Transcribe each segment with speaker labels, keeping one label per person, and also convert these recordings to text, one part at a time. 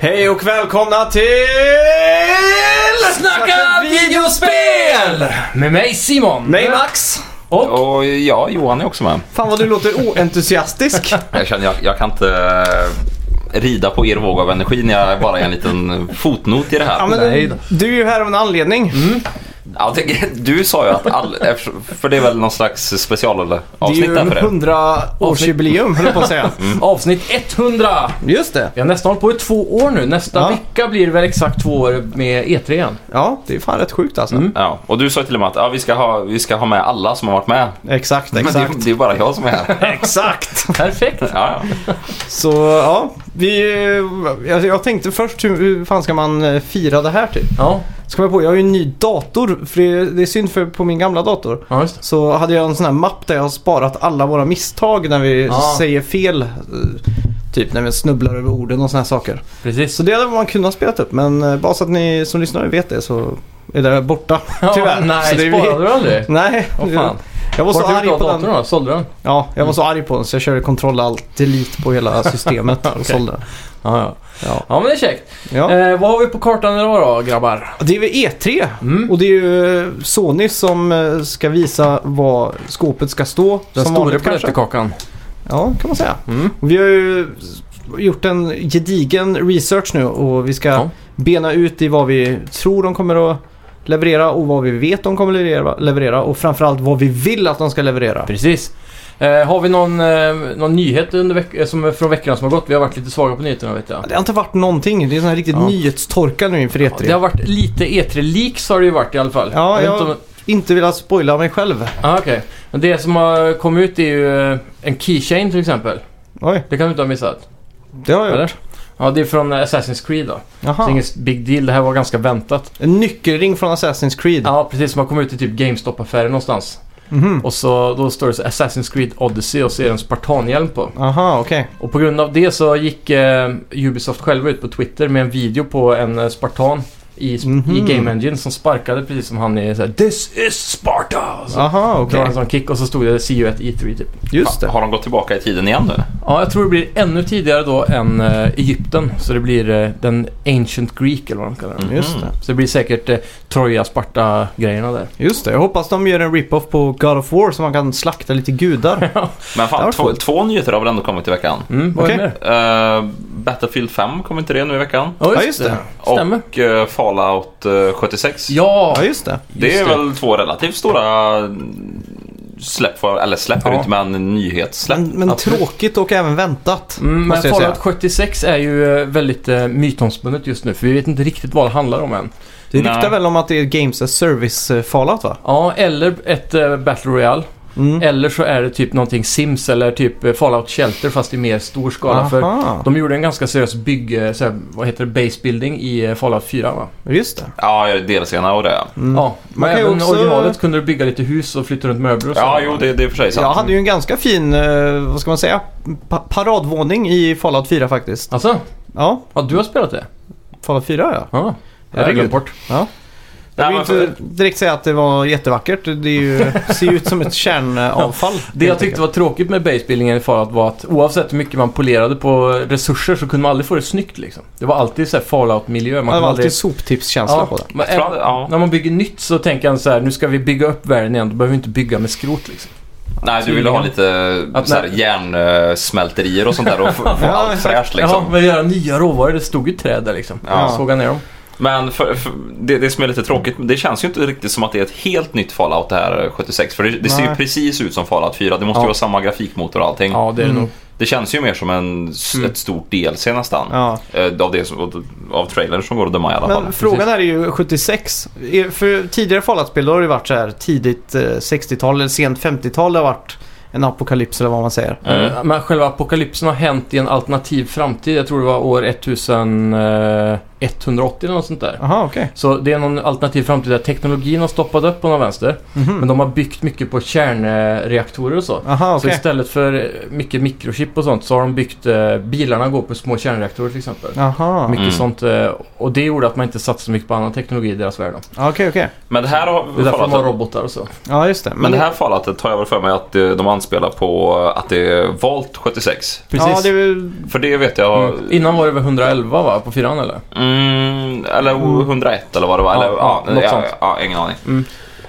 Speaker 1: Hej och välkomna till...
Speaker 2: Snacka videospel! Med mig Simon.
Speaker 1: Nej Max!
Speaker 2: Och
Speaker 3: Och ja, Johan är också med.
Speaker 1: Fan vad du låter oentusiastisk.
Speaker 3: Jag känner jag, jag kan inte eh, rida på er våg av energi när jag bara är en liten fotnot i det
Speaker 1: Ja,
Speaker 3: här.
Speaker 1: men,
Speaker 2: Nej då.
Speaker 1: du är ju här av en anledning.
Speaker 3: Mm. Ja, det, du sa ju att all, eftersom- för det är väl någon slags
Speaker 1: Det är
Speaker 3: specialavsnitt
Speaker 1: ju
Speaker 3: där för det. Mm.
Speaker 1: 100-årsjubileum höll jag på att säga.
Speaker 2: Mm. avsnitt 100.
Speaker 1: Just det.
Speaker 2: Vi har nästan hållit på i två år nu. Nästa
Speaker 1: Ja.
Speaker 2: vecka blir det väl exakt två år med E3 igen.
Speaker 1: Ja, det är fan rätt sjukt alltså.
Speaker 3: Ja, och du sa till och med att ja, vi, ska ha, vi ska ha med alla som har varit med.
Speaker 1: Exakt,
Speaker 3: Men det,
Speaker 1: exakt.
Speaker 3: är- det är bara jag som är här.
Speaker 1: Exakt!
Speaker 2: Perfekt.
Speaker 3: Ja, ja.
Speaker 1: Så ja, vi... eh, Jag, jag tänkte först hur, hur fan ska man eh, fira det här typ?
Speaker 2: Ja,
Speaker 1: Så kom jag på, jag har ju en ny dator. För det, det är synd för på min gamla dator.
Speaker 2: ja just det.
Speaker 1: Så hade jag en sån här mapp där jag har sparat alla våra misstag när vi
Speaker 2: Ja.
Speaker 1: säger fel. eh, Typ när vi snubblar över orden och såna här saker.
Speaker 2: Precis.
Speaker 1: Så det hade man kunnat spela upp men eh, bara så att ni som lyssnar vet det så är det borta.
Speaker 2: Ja,
Speaker 1: Tyvärr.
Speaker 2: Nej,
Speaker 1: så det är vi-
Speaker 2: sparade du aldrig?
Speaker 1: Nej.
Speaker 2: Åh fan.
Speaker 1: Jag var så
Speaker 2: Vart har
Speaker 1: arg
Speaker 2: du av
Speaker 1: på den.
Speaker 2: datorn då? Sålde du den?
Speaker 1: Ja, jag var så arg på den så jag körde kontroll allt delete på hela systemet och sålde. den.
Speaker 2: Ja, ja.
Speaker 1: Ja.
Speaker 2: ja men det är käckt.
Speaker 1: Ja.
Speaker 2: Eh, vad har vi på kartan idag då grabbar?
Speaker 1: Det är väl E3
Speaker 2: Mm.
Speaker 1: och det är ju eh, Sony som eh, ska visa var skåpet ska stå.
Speaker 2: Den
Speaker 1: som
Speaker 2: stora
Speaker 1: vanligt kanske.
Speaker 2: plötterkakan.
Speaker 1: Ja, kan man säga.
Speaker 2: Mm.
Speaker 1: Och Vi har ju gjort en gedigen research nu och vi ska
Speaker 2: Ja.
Speaker 1: bena ut i vad vi tror de kommer att leverera och vad vi vet de kommer leverera, leverera och framförallt vad vi vill att de ska leverera.
Speaker 2: Precis. Eh, har vi någon, eh, någon nyhet under veck- eh, som, från veckan som har gått? Vi har varit lite svaga på nyheterna vet jag.
Speaker 1: Det har inte varit någonting. Det är sån här riktigt
Speaker 2: Ja.
Speaker 1: nyhetstorka nu inför E E3.
Speaker 2: Det har varit lite E3-leaks har det ju varit i alla fall.
Speaker 1: Ja,
Speaker 2: vet
Speaker 1: jag-
Speaker 2: inte om-
Speaker 1: Inte velat spoila mig själv.
Speaker 2: Ah, okej. Men det som har kommit ut är ju eh, en keychain till exempel.
Speaker 1: Oj,
Speaker 2: Det kan du inte ha missat?
Speaker 1: det har jag gjort.
Speaker 2: Eller? Ja, det är från eh, Assassin's Creed då. Så
Speaker 1: Jaha.
Speaker 2: inget big deal, det här var ganska väntat.
Speaker 1: En nyckelring från Assassin's Creed.
Speaker 2: Ja, precis. Som har kommit ut i typ GameStop-affären någonstans.
Speaker 1: Mhm.
Speaker 2: Och så då står det så Assassin's Creed Odyssey och så är det en spartanhjälm på.
Speaker 1: Aha, okej.
Speaker 2: Och på grund av det så gick eh, Ubisoft själva ut på Twitter med en video på en eh, spartan i, i
Speaker 1: Mhm.
Speaker 2: Game Engine som sparkade precis som han är såhär “This is Sparta!” och så
Speaker 1: Aha, okej.
Speaker 2: drar han en sån kick och så stod det “See you at E3” typ.
Speaker 1: Just det.
Speaker 3: Har de gått tillbaka i tiden igen nu?
Speaker 2: Ja, jag tror det blir ännu tidigare då än eh, Egypten. Så det blir eh, den Ancient Greek eller vad de kallar den.
Speaker 3: Mm.
Speaker 1: Just det.
Speaker 2: Så det blir säkert eh, Troja, Sparta-grejerna där.
Speaker 1: Just det. Jag hoppas de gör en rip-off på God of War så man kan slakta lite gudar.
Speaker 3: Men
Speaker 1: Det var
Speaker 3: fan, två,
Speaker 1: coolt.
Speaker 3: två nyheter har väl ändå kommit i veckan?
Speaker 2: Mm, vad är det
Speaker 1: Okej.
Speaker 2: mer?
Speaker 3: Eh, Battlefield 5, kommer inte det nu i veckan?
Speaker 2: Ja,
Speaker 1: Ja, just det.
Speaker 2: Stämmer.
Speaker 3: Och eh, Fallout eh, 76.
Speaker 2: Ja!
Speaker 1: Ja, just det.
Speaker 3: Det är
Speaker 2: Just det.
Speaker 3: väl två relativt stora mm, släpp, för- eller släpp är det
Speaker 2: Ja.
Speaker 3: inte men nyhetssläpp.
Speaker 1: Men, men
Speaker 3: Absolut.
Speaker 1: tråkigt och även väntat.
Speaker 2: Mm, men
Speaker 1: måste jag
Speaker 2: Fallout
Speaker 1: säga.
Speaker 2: 76 är ju eh, väldigt eh, mytomspunnet just nu för vi vet inte riktigt vad det handlar om än.
Speaker 1: Det ryktar
Speaker 3: Nej.
Speaker 1: väl om att det är Games as Service eh, Fallout va?
Speaker 2: Ja, eller ett eh, Battle Royale.
Speaker 1: Mm.
Speaker 2: Eller så är det typ någonting Sims eller typ eh, Fallout Shelter fast i mer stor skala. För
Speaker 1: Aha,
Speaker 2: de gjorde en ganska seriös bygg... eh, Så här, vad heter det? Base building i eh, Fallout 4 va?
Speaker 1: just det.
Speaker 3: Ja, jag är delserna och det. ja.
Speaker 1: Mm.
Speaker 2: Ja,
Speaker 1: Man
Speaker 2: men
Speaker 1: kan ju
Speaker 2: även
Speaker 1: också-
Speaker 2: originalet kunde du bygga lite hus och flytta runt möbler och så.
Speaker 3: Ja, jo, det, det är för sig sant.
Speaker 1: Jag hade ju en ganska fin, eh, vad ska man säga, pa- paradvåning i Fallout 4 faktiskt.
Speaker 2: Alltså?
Speaker 1: Ja,
Speaker 2: Ja, du har spelat det?
Speaker 1: Fallout 4 ja.
Speaker 2: Ja.
Speaker 1: Herregud.
Speaker 2: Jag glömde bort.
Speaker 1: Jag
Speaker 3: Nej,
Speaker 1: vill
Speaker 3: men
Speaker 1: inte
Speaker 3: för,
Speaker 1: direkt säga att det var jättevackert. Det är ju, ser ju ut som ett kärnavfall.
Speaker 2: Det jag
Speaker 1: helt
Speaker 2: tyckte
Speaker 1: enkelt.
Speaker 2: var tråkigt med basebuildingen i Fallout var att oavsett hur mycket man polerade på resurser så kunde man aldrig få det snyggt liksom. Det var alltid så här Fallout-miljö. Man
Speaker 1: Det
Speaker 2: kunde
Speaker 1: var
Speaker 2: aldrig...
Speaker 1: alltid soptippskänsla
Speaker 2: Ja,
Speaker 1: på det.
Speaker 2: men,
Speaker 3: Fra- ja.
Speaker 2: När man bygger nytt så tänker han så här, nu ska vi bygga upp världen igen, då behöver vi inte bygga med skrot liksom.
Speaker 3: nej, du ville ha lite
Speaker 2: Att
Speaker 3: så här,
Speaker 2: när-
Speaker 3: järnsmälterier och sånt där och få, få
Speaker 1: Ja,
Speaker 3: allt
Speaker 1: exakt.
Speaker 3: fräscht
Speaker 2: Ja,
Speaker 3: liksom.
Speaker 2: men göra nya råvaror, det stod ju träd där liksom.
Speaker 3: Ja.
Speaker 2: Såga ner dem.
Speaker 3: Men för, för, det, det som är lite tråkigt, det känns ju inte riktigt som att det är ett helt nytt Fallout det här 76. För det, det ser ju
Speaker 1: Nej.
Speaker 3: precis ut som Fallout 4. Det måste ju
Speaker 2: Ja.
Speaker 3: vara samma grafikmotor och allting.
Speaker 2: Ja, det är det
Speaker 1: Mm.
Speaker 2: nog.
Speaker 3: Det känns ju mer som en, s-
Speaker 2: Mm.
Speaker 3: ett stort DLC nästan.
Speaker 1: Ja.
Speaker 3: Eh, Av, det som, av trailern som går att döma i alla fall.
Speaker 1: Men frågan här är ju 76. Är- För tidigare Fallout-spel då har det varit så här tidigt eh, 60-tal eller sent 50-tal. Det har varit en apokalyps eller vad man säger.
Speaker 3: Mm.
Speaker 2: Eh, Men själva apokalypsen har hänt i en alternativ framtid. Jag tror det var år 1000, eh, 180 eller något sånt där.
Speaker 1: Jaha, okej.
Speaker 2: Så det är någon alternativ framtid där teknologin har stoppat upp på någon vänster.
Speaker 1: Mhm.
Speaker 2: Men de har byggt mycket på kärnreaktorer och så.
Speaker 1: Jaha,
Speaker 2: Så
Speaker 1: okej.
Speaker 2: istället för eh, mycket mikrochip och sånt så har de byggt eh, bilarna går på små kärnreaktorer till exempel.
Speaker 1: Jaha,
Speaker 2: Mycket
Speaker 3: Mm.
Speaker 2: sånt. eh, Och det gjorde att man inte satsade så mycket på annan teknologi i deras värld. då.
Speaker 1: Ja, okej, okej.
Speaker 3: Men det här har...
Speaker 2: Det är därför de har
Speaker 3: Fallout-
Speaker 2: robotar och så.
Speaker 1: Ja, just det. Men,
Speaker 3: Men det här fallet tar jag väl för mig att eh, de anspelar på att det är Volt 76.
Speaker 1: Ja, det är väl...
Speaker 3: För det vet jag...
Speaker 2: Mm. Innan var det väl 111 va? På fyran eller?
Speaker 3: Mm, eller
Speaker 1: Mm.
Speaker 3: 101 eller vad det var.
Speaker 2: Ja,
Speaker 3: eller,
Speaker 2: ja, något
Speaker 3: ja,
Speaker 2: sånt.
Speaker 3: ja, ja, ingen aning.
Speaker 2: Mm.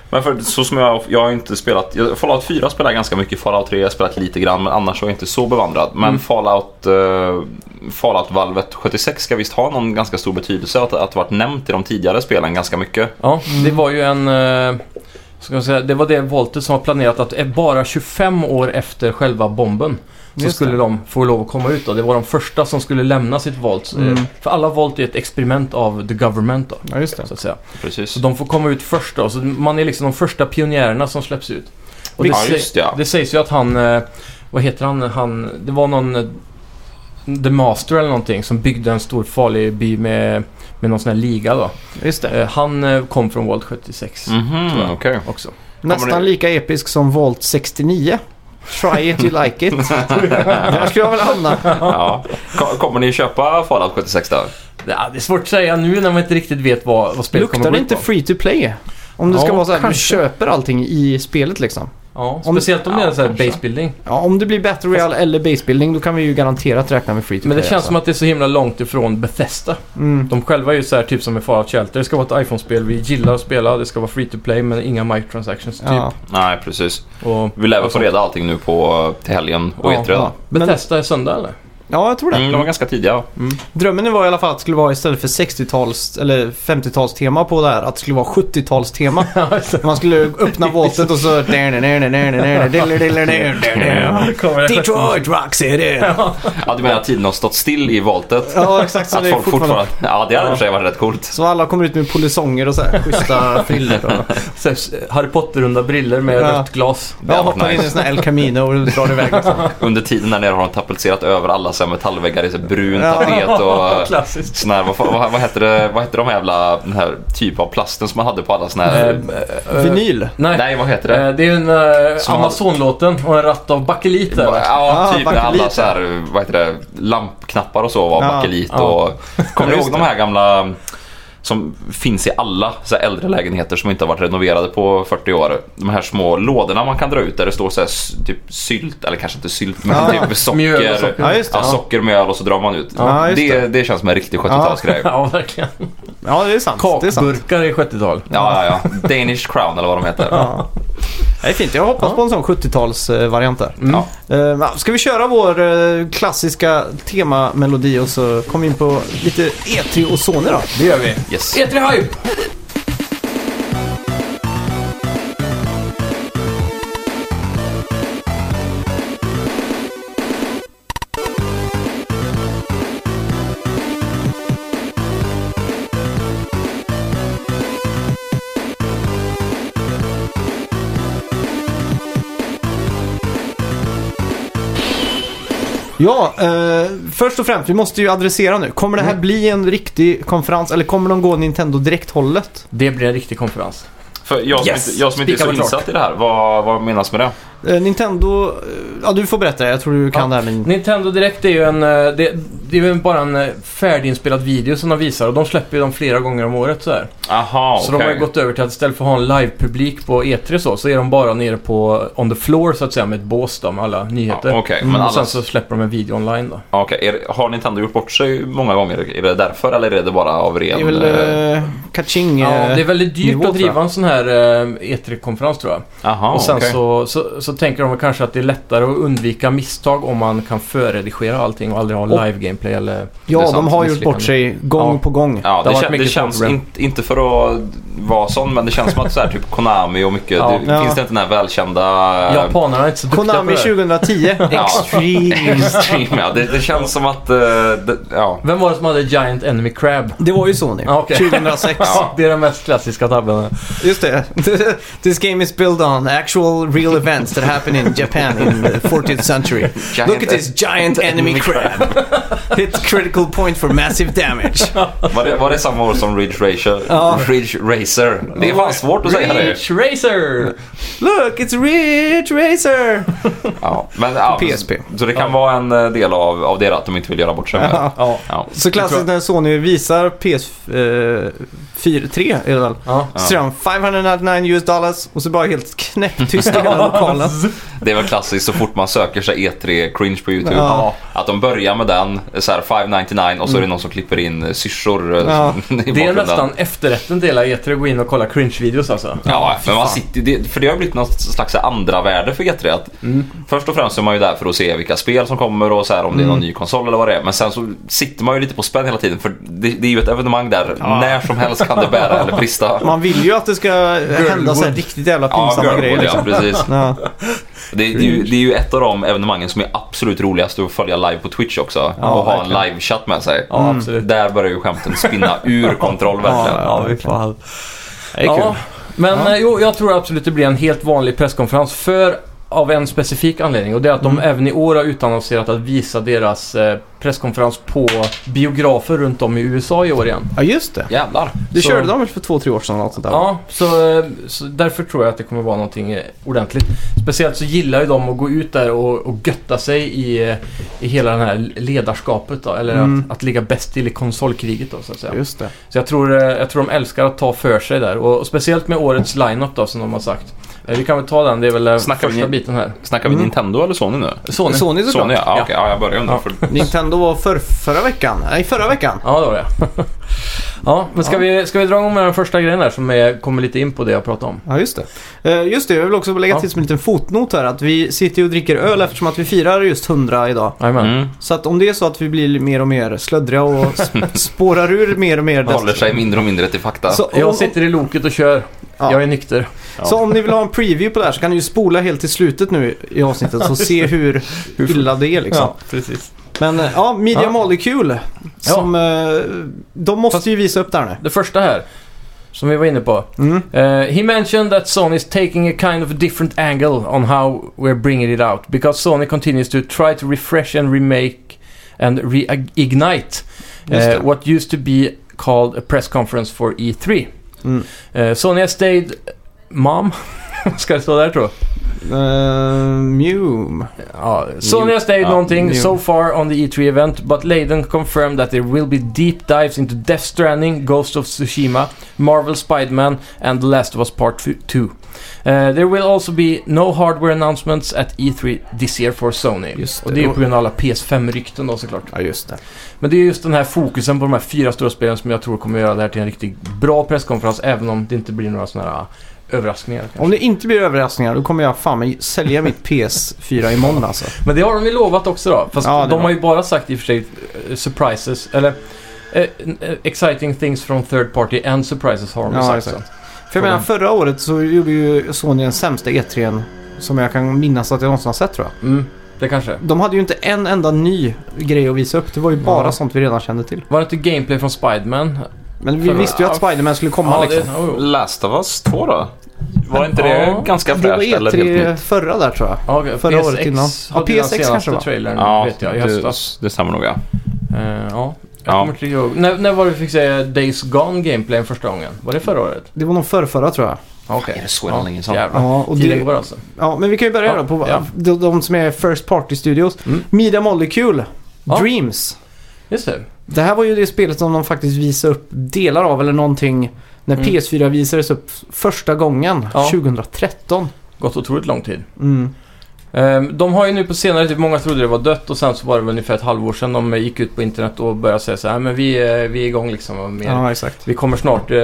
Speaker 3: Men för, så som jag, jag har inte spelat, jag- Fallout 4 spelar jag ganska mycket, Fallout 3 har jag spelat lite grann men annars är jag inte så bevandrad. Men
Speaker 2: Mm.
Speaker 3: Fallout, eh, Fallout-valvet 76 ska visst ha någon ganska stor betydelse att, att det varit nämnt i de tidigare spelen ganska mycket.
Speaker 2: Ja, det var ju en... eh, Ska jag säga, det var det Voltet som var planerat att eh, bara 25 år efter själva bomben så
Speaker 1: Just
Speaker 2: skulle
Speaker 1: det.
Speaker 2: de få lov att komma ut. Då. Det var de första som skulle lämna sitt Volt. eh,
Speaker 1: Mm.
Speaker 2: För alla Volt är ett experiment av the government då,
Speaker 1: Ja, just det.
Speaker 2: så att säga.
Speaker 3: Precis.
Speaker 2: Så de får komma ut först då. Så man är liksom de första pionjärerna som släpps ut. Och det,
Speaker 3: Ja,
Speaker 2: sä-
Speaker 3: just det, ja.
Speaker 2: det sägs ju att han... eh, Vad heter han? han det var någon... eh, The Master eller någonting som byggde en stor farlig by med, med någon sån här liga då.
Speaker 1: Just det.
Speaker 2: Eh, Han eh, kom från Volt 76
Speaker 1: Mm.
Speaker 2: tror
Speaker 3: Mhm,
Speaker 2: jag.
Speaker 3: okej.
Speaker 2: också.
Speaker 1: Nästan
Speaker 3: det-
Speaker 1: lika episk som Volt 69. Try it, you like it. Där skulle jag väl hamna.
Speaker 3: Ja. Ko- Kommer ni köpa Fallout 76 då?
Speaker 2: Ja, det är svårt att säga nu när man inte riktigt vet vad, vad spelet
Speaker 1: Luktar
Speaker 2: kommer
Speaker 1: det
Speaker 2: att
Speaker 1: inte
Speaker 2: gå ut på.
Speaker 1: free to play? Om det ska
Speaker 2: Ja,
Speaker 1: vara så här, du
Speaker 2: kanske.
Speaker 1: köper allting i spelet liksom.
Speaker 2: Ja,
Speaker 1: Om-
Speaker 2: speciellt om det är så här
Speaker 3: kanske.
Speaker 2: base building.
Speaker 1: Ja, om det blir Battle Royale eller Base Building då kan vi ju garanterat räkna med free to
Speaker 2: Men
Speaker 1: play.
Speaker 2: det känns som att det är så himla långt ifrån Bethesda.
Speaker 1: Mm.
Speaker 2: De själva är ju så här typ som i Fallout Shelter. Det ska vara ett iPhone-spel vi gillar att spela. Det ska vara free to play men inga microtransactions typ.
Speaker 1: Ja.
Speaker 3: Nej, precis.
Speaker 2: Och
Speaker 3: Vi lär väl få reda allting nu på till helgen och
Speaker 2: Ja,
Speaker 3: E3 då.
Speaker 1: Ja. Men,
Speaker 2: Bethesda är söndag eller?
Speaker 1: ja, jag tror det.
Speaker 3: Mm, de var ganska tidiga.
Speaker 1: Drömmen var i alla fall att det skulle vara istället för 60-tals eller 50-tals tema på det här, att det skulle vara 70-tals tema. Man skulle öppna voltet och så... Detroit Rock City!
Speaker 3: Ja, du menar att tiden har stått still i voltet?
Speaker 1: Ja, exakt så
Speaker 3: Att
Speaker 1: det är
Speaker 3: folk
Speaker 1: fortfarande.
Speaker 3: fortfarande... Ja, det hade i och för sig varit rätt coolt.
Speaker 1: Så alla kommer ut med polisonger och så här, schyssta frillor. och-
Speaker 2: Så här, Harry Potter-runda briller med
Speaker 1: Ja.
Speaker 2: rött glas.
Speaker 3: Det
Speaker 1: Jag
Speaker 3: hade varit
Speaker 1: hoppar in i
Speaker 3: nice.
Speaker 1: en sån här El Camino och drar iväg liksom.
Speaker 3: Under tiden där nere har de tapetserat över alla så här metallväggar i så här brun
Speaker 1: Ja.
Speaker 3: tapet och...
Speaker 2: Klassiskt.
Speaker 3: Sån här, vad, fan- vad, vad, hette det, vad hette de jävla, den här typ av plasten som man hade på alla såna här...
Speaker 1: Vinyl.
Speaker 2: Eh, Nej,
Speaker 3: nej, vad heter det?
Speaker 2: Eh, Det är ju en eh,
Speaker 3: Som har-
Speaker 2: Amazon-låten och en ratt av bakelit där. va?
Speaker 3: Ja,
Speaker 1: Ah,
Speaker 3: typ när alla
Speaker 1: bakelit,
Speaker 3: så här, vad heter det, lampknappar och så var
Speaker 1: Ja,
Speaker 3: bakelit
Speaker 2: ja.
Speaker 3: och... Kommer du
Speaker 1: Just
Speaker 3: ihåg de här gamla mm, som finns i alla så här äldre lägenheter som inte har varit renoverade på 40 år? De här små lådorna man kan dra ut där det står så här, s- typ sylt, eller kanske inte sylt men
Speaker 1: Ja.
Speaker 3: typ socker.
Speaker 2: Mjöl och socker.
Speaker 1: Ja, just det.
Speaker 3: Ja, socker, mjöl och så drar man ut.
Speaker 1: Ja, just
Speaker 3: det,
Speaker 1: det.
Speaker 3: det. känns som en riktig 70-talsgrej. Ja.
Speaker 2: Ja, verkligen.
Speaker 1: Ja, det är sant. Det är sant.
Speaker 2: Kakburkar i 70-tal.
Speaker 3: Ja, ja, Danish crown eller vad de heter.
Speaker 1: Ja. Det är fint. Jag hoppas på en sån 70-talsvariant där.
Speaker 2: Mm.
Speaker 3: Ja.
Speaker 1: Eh, ja, Ska vi köra vår eh, klassiska temamelodi och så kom vi in på lite E3 och Sony då?
Speaker 2: Det gör vi.
Speaker 3: Yes.
Speaker 2: E3 Hype!
Speaker 1: Ja, eh, först och främst, vi måste ju adressera nu. Kommer
Speaker 2: Mm.
Speaker 1: det här bli en riktig konferens eller kommer de gå Nintendo direkt-hållet?
Speaker 2: Det blir en riktig konferens.
Speaker 3: För jag som
Speaker 2: Yes.
Speaker 3: inte, jag som inte är
Speaker 2: Spika
Speaker 3: så
Speaker 2: var klart.
Speaker 3: insatt i det här, vad, vad menas med det?
Speaker 1: Eh, Nintendo... eh, Ja, du får berätta. Jag tror du kan
Speaker 2: Ja.
Speaker 1: det här med...
Speaker 2: Nintendo Direct är ju en... eh, Det, det är ju en- bara en eh, färdiginspelad video som de visar och de släpper ju dem flera gånger om året så här.
Speaker 3: Aha,
Speaker 2: Så de har ju gått över till att istället för att ha en live-publik på E3 så, så är de bara nere på on the floor så att säga med ett bås då med alla
Speaker 3: Ja,
Speaker 2: nyheter.
Speaker 3: Okej, men
Speaker 2: Och sen
Speaker 3: alla
Speaker 2: så släpper de en video online då.
Speaker 3: Ja, Okej, är- har Nintendo gjort bort sig många gånger? Är det därför eller är det bara av
Speaker 1: Det
Speaker 3: ren...
Speaker 1: är väl...
Speaker 3: eh,
Speaker 1: eh, Kaching...
Speaker 2: Ja,
Speaker 1: eh,
Speaker 2: det är väldigt dyrt
Speaker 1: nivå, tror
Speaker 2: att driva
Speaker 1: jag.
Speaker 2: en sån här eh, E3-konferens tror jag.
Speaker 3: Aha,
Speaker 2: och sen
Speaker 3: okej.
Speaker 2: så, så, så tänker de väl kanske att det är lättare att undvika misstag om man kan förredigera allting och aldrig ha
Speaker 1: Och-
Speaker 2: live-gameplay eller...
Speaker 3: det
Speaker 1: Ja,
Speaker 3: är
Speaker 1: de
Speaker 3: sant,
Speaker 1: har gjort
Speaker 2: misslyckande.
Speaker 1: bort sig gång
Speaker 2: Ja.
Speaker 1: på gång.
Speaker 2: det
Speaker 3: Ja, det,
Speaker 2: har varit
Speaker 3: kän- det
Speaker 2: mycket
Speaker 3: känns
Speaker 2: problem.
Speaker 3: inte, inte för att vara sån, men det känns som att så här, typ Konami och mycket...
Speaker 2: Ja.
Speaker 3: det,
Speaker 1: Ja.
Speaker 3: Finns det inte den här välkända... eh,
Speaker 2: Japanerna är inte så duktiga
Speaker 1: Konami
Speaker 2: på det.
Speaker 1: 2010.
Speaker 3: Ja.
Speaker 1: Extreme.
Speaker 3: Extreme, ja. Det, det känns som att... eh, det, ja.
Speaker 2: Vem var det som hade Giant Enemy Crab?
Speaker 1: Det var ju Sony.
Speaker 2: Ja, okej.
Speaker 1: 2006.
Speaker 2: Ja, det är den mest klassiska tabben.
Speaker 1: Just det. This game is built on actual real events that happened in Japan in the 14th century.
Speaker 3: Giant
Speaker 1: Look at this giant enemy crab. Hit critical point for massive damage.
Speaker 3: Var det, var det samma år som Ridge Racer?
Speaker 1: Ja.
Speaker 3: Ridge Racer. Det är fan svårt att säga det.
Speaker 2: Reach Racer!
Speaker 1: Look, it's Ridge Racer!
Speaker 3: Ja, men, ja,
Speaker 1: PSP.
Speaker 3: Så det kan vara en eh, del av, av det då, att de inte vill göra bort sig med det.
Speaker 1: Ja.
Speaker 2: Ja.
Speaker 3: Ja.
Speaker 1: Så klassiskt när Sony visar eh, PS4, 3 är det väl?
Speaker 2: Ja.
Speaker 1: Så ser de 599 US dollars och så bara helt knäpptyst i hela lokalen.
Speaker 3: Det är väl klassiskt så fort man söker sig E3 cringe på YouTube.
Speaker 1: Ja.
Speaker 3: Att de börjar med den, så här 599 och så är det någon som klipper in eh, syrsor eh,
Speaker 1: Mm. Ja.
Speaker 3: i
Speaker 2: Det är
Speaker 3: bakgrunden.
Speaker 2: nästan efterrätten till hela E3, gå in och kolla cringe-videos alltså.
Speaker 3: Ja, men man sitter, det, för det har blivit något slags andra värde för E3. Att
Speaker 1: Mm.
Speaker 3: Först och främst är man ju där för att se vilka spel som kommer och så här, om det är
Speaker 1: Mm.
Speaker 3: någon ny konsol eller vad det är. Men sen så sitter man ju lite på spänn hela tiden för det, det är ju ett evenemang där när som helst kan det bära eller brista.
Speaker 1: Man vill ju att det ska hända så här
Speaker 2: Girlwood.
Speaker 1: riktigt jävla
Speaker 3: Ja,
Speaker 1: pinsamma grejer.
Speaker 3: Girlwood, ja,
Speaker 1: Liksom.
Speaker 3: precis.
Speaker 1: Ja.
Speaker 3: Det, det, är ju, det är ju ett av de evenemangen som är absolut roligast att följa live på Twitch också.
Speaker 1: Ja,
Speaker 3: och ha
Speaker 1: verkligen.
Speaker 3: en livechatt med sig.
Speaker 2: Ja,
Speaker 1: Mm.
Speaker 2: absolut.
Speaker 3: Där börjar ju skämten spinna ur kontroll verkligen.
Speaker 1: Ja,
Speaker 2: vi fan.
Speaker 1: Det är
Speaker 2: Ja,
Speaker 1: kul.
Speaker 2: men
Speaker 1: Ja.
Speaker 2: eh, jo, jag tror absolut det blir en helt vanlig presskonferens för av en specifik anledning och det är att
Speaker 1: Mm.
Speaker 2: de även i år har utannonserat att visa deras eh, presskonferens på biografer runt om i USA i år igen.
Speaker 1: Ja, just det.
Speaker 3: Jävlar.
Speaker 1: Det
Speaker 2: Så-
Speaker 1: körde de väl för två, tre år sedan eller något sånt där?
Speaker 2: Ja, så, eh, så därför tror jag att det kommer vara någonting eh, ordentligt. Speciellt så gillar ju de att gå ut där och, och götta sig i, eh, i hela det här ledarskapet då, eller
Speaker 1: Mm.
Speaker 2: att, att ligga bäst till i konsolkriget då så att säga.
Speaker 1: Just det.
Speaker 2: Så jag tror, eh, jag tror de älskar att ta för sig där och, och speciellt med årets line-up då som de har sagt. Eh, Vi kan väl ta den, det är väl eh,
Speaker 3: Snackar vi
Speaker 2: första
Speaker 3: ni-
Speaker 2: biten här.
Speaker 3: Snackar vi
Speaker 1: Mm.
Speaker 3: Nintendo eller Sony nu?
Speaker 2: Sony.
Speaker 1: Sony såklart.
Speaker 3: Sony ja, ja.
Speaker 2: Ja.
Speaker 3: okej. ja jag börjar undra.
Speaker 2: Ja.
Speaker 3: För...
Speaker 1: Nintendo var för, förra veckan. Nej, förra veckan.
Speaker 2: Ja, det var det. ja, men ska,
Speaker 1: Ja.
Speaker 2: Vi, ska vi dra igång med den första grejen där som är, kommer lite in på det jag pratade om?
Speaker 1: Ja, just det. Eh, just det, jag vill också lägga
Speaker 2: Ja.
Speaker 1: till som en liten fotnot här att vi sitter ju och dricker öl eftersom att vi firar just 100 idag.
Speaker 2: Jajamän.
Speaker 3: Mm.
Speaker 1: Så att om det är så att vi blir mer och mer slöddriga och sp- spårar ur mer och mer.
Speaker 3: Håller sig mindre och mindre till fakta.
Speaker 1: Så om,
Speaker 2: Jag sitter i loket och kör.
Speaker 1: Ja.
Speaker 2: Jag är nykter.
Speaker 1: så om ni vill ha en preview på det här så kan ni ju spola helt till slutet nu i avsnittet och se hur illa det är liksom.
Speaker 2: precis.
Speaker 1: Men eh, ja, Media
Speaker 2: Ja.
Speaker 1: Molecule. Som, eh, de måste ju visa upp det här
Speaker 2: Det första här, som vi var inne på.
Speaker 1: nu. Mm.
Speaker 2: Uh, he mentioned that Sony is taking a kind of a different angle on how we're bringing it out because Sony continues to try to refresh and remake and reignite
Speaker 1: Just
Speaker 2: uh,
Speaker 1: det.
Speaker 2: what used to be called a press conference for E3.
Speaker 1: Mm.
Speaker 2: Uh, Sony has stayed mom. Ska det stå där tror jag?
Speaker 1: Eh, Mume.
Speaker 2: Ja, Sony has stayed
Speaker 3: Ja,
Speaker 2: någonting
Speaker 1: new.
Speaker 2: so far on the E3 event but Layden confirmed that there will be deep dives into Death Stranding, Ghost of Tsushima, Marvel Spider-Man and The Last of Us Part 2. Uh, there will also be no hardware announcements at E3 this year for Sony.
Speaker 1: Just
Speaker 2: Och
Speaker 1: det.
Speaker 2: det är ju på grund av alla PS5-rykten då såklart.
Speaker 1: Ja, just det.
Speaker 2: Men det är just den här fokusen på de här fyra stora spelen som jag tror kommer göra det här till en riktigt bra presskonferens även om det inte blir några sådana här överraskningar.
Speaker 1: Om det inte blir överraskningar då kommer jag fan mig sälja mitt PS4 imorgon alltså.
Speaker 2: Men det har de ju lovat också då. Fast
Speaker 1: Ja, det
Speaker 2: de
Speaker 1: var-
Speaker 2: har ju bara sagt i och för sig eh, surprises, eller eh, eh, exciting things from third party and surprises har de ju
Speaker 1: Ja,
Speaker 2: sagt. Så.
Speaker 1: exakt. För jag menar förra året så gjorde ju Sony den sämsta E3 som jag kan minnas att jag någonsin har sett tror jag.
Speaker 2: Mm, det kanske.
Speaker 1: De hade ju inte en enda ny grej att visa upp. Det var ju bara
Speaker 2: Ja.
Speaker 1: sånt vi redan kände till.
Speaker 2: Var det inte gameplay från Spiderman?
Speaker 1: Men vi
Speaker 2: Förra-
Speaker 1: visste ju att Spiderman skulle komma
Speaker 2: Ja, det-
Speaker 1: liksom.
Speaker 2: oh, oh.
Speaker 3: Last of Us 2 då? Var inte det
Speaker 2: Ja, E
Speaker 3: ganska
Speaker 1: Det var
Speaker 3: fräscht eller helt
Speaker 1: E3
Speaker 3: nytt?
Speaker 1: förra där tror jag.
Speaker 2: Ja, okej,
Speaker 1: Förra
Speaker 2: PSX
Speaker 1: året innan. Ja,
Speaker 2: hade
Speaker 1: PSX
Speaker 2: den
Speaker 1: kanske,
Speaker 2: senaste
Speaker 1: va?
Speaker 2: trailern
Speaker 3: Ja,
Speaker 2: vet jag, i
Speaker 3: det,
Speaker 2: höstas.
Speaker 3: det stämmer nog ja.
Speaker 2: Eh, ja. Jag
Speaker 3: Ja.
Speaker 2: kommer inte ihåg. När, när var det vi fick se Days Gone gameplayen första gången? Var det förra året?
Speaker 1: Det var nog förrförra tror jag.
Speaker 2: Ja, Okej.
Speaker 3: Är det så länge sedan?
Speaker 2: Jävlar.
Speaker 1: Ja, och
Speaker 2: Tiden
Speaker 1: det,
Speaker 2: går alltså.
Speaker 1: ja, men vi kan ju börja
Speaker 2: Ja,
Speaker 1: då på
Speaker 2: ja.
Speaker 1: de, de som är First Party Studios.
Speaker 2: Mm.
Speaker 1: Media Molecule,
Speaker 2: Ja.
Speaker 1: Dreams.
Speaker 2: Just det.
Speaker 1: Det här var ju det spelet som de faktiskt visade upp delar av eller någonting när
Speaker 2: Mm.
Speaker 1: PS4 visades upp första gången
Speaker 2: Ja.
Speaker 1: 2013.
Speaker 2: Gått otroligt lång tid.
Speaker 1: Mm.
Speaker 2: Ehm, De har ju nu på senare tid, många trodde det var dött och sen så var det väl ungefär ett halvår sedan de eh, gick ut på internet och började säga så här, men vi, eh, vi är igång liksom. Och mer.
Speaker 1: Ja, exakt.
Speaker 2: Vi kommer snart eh,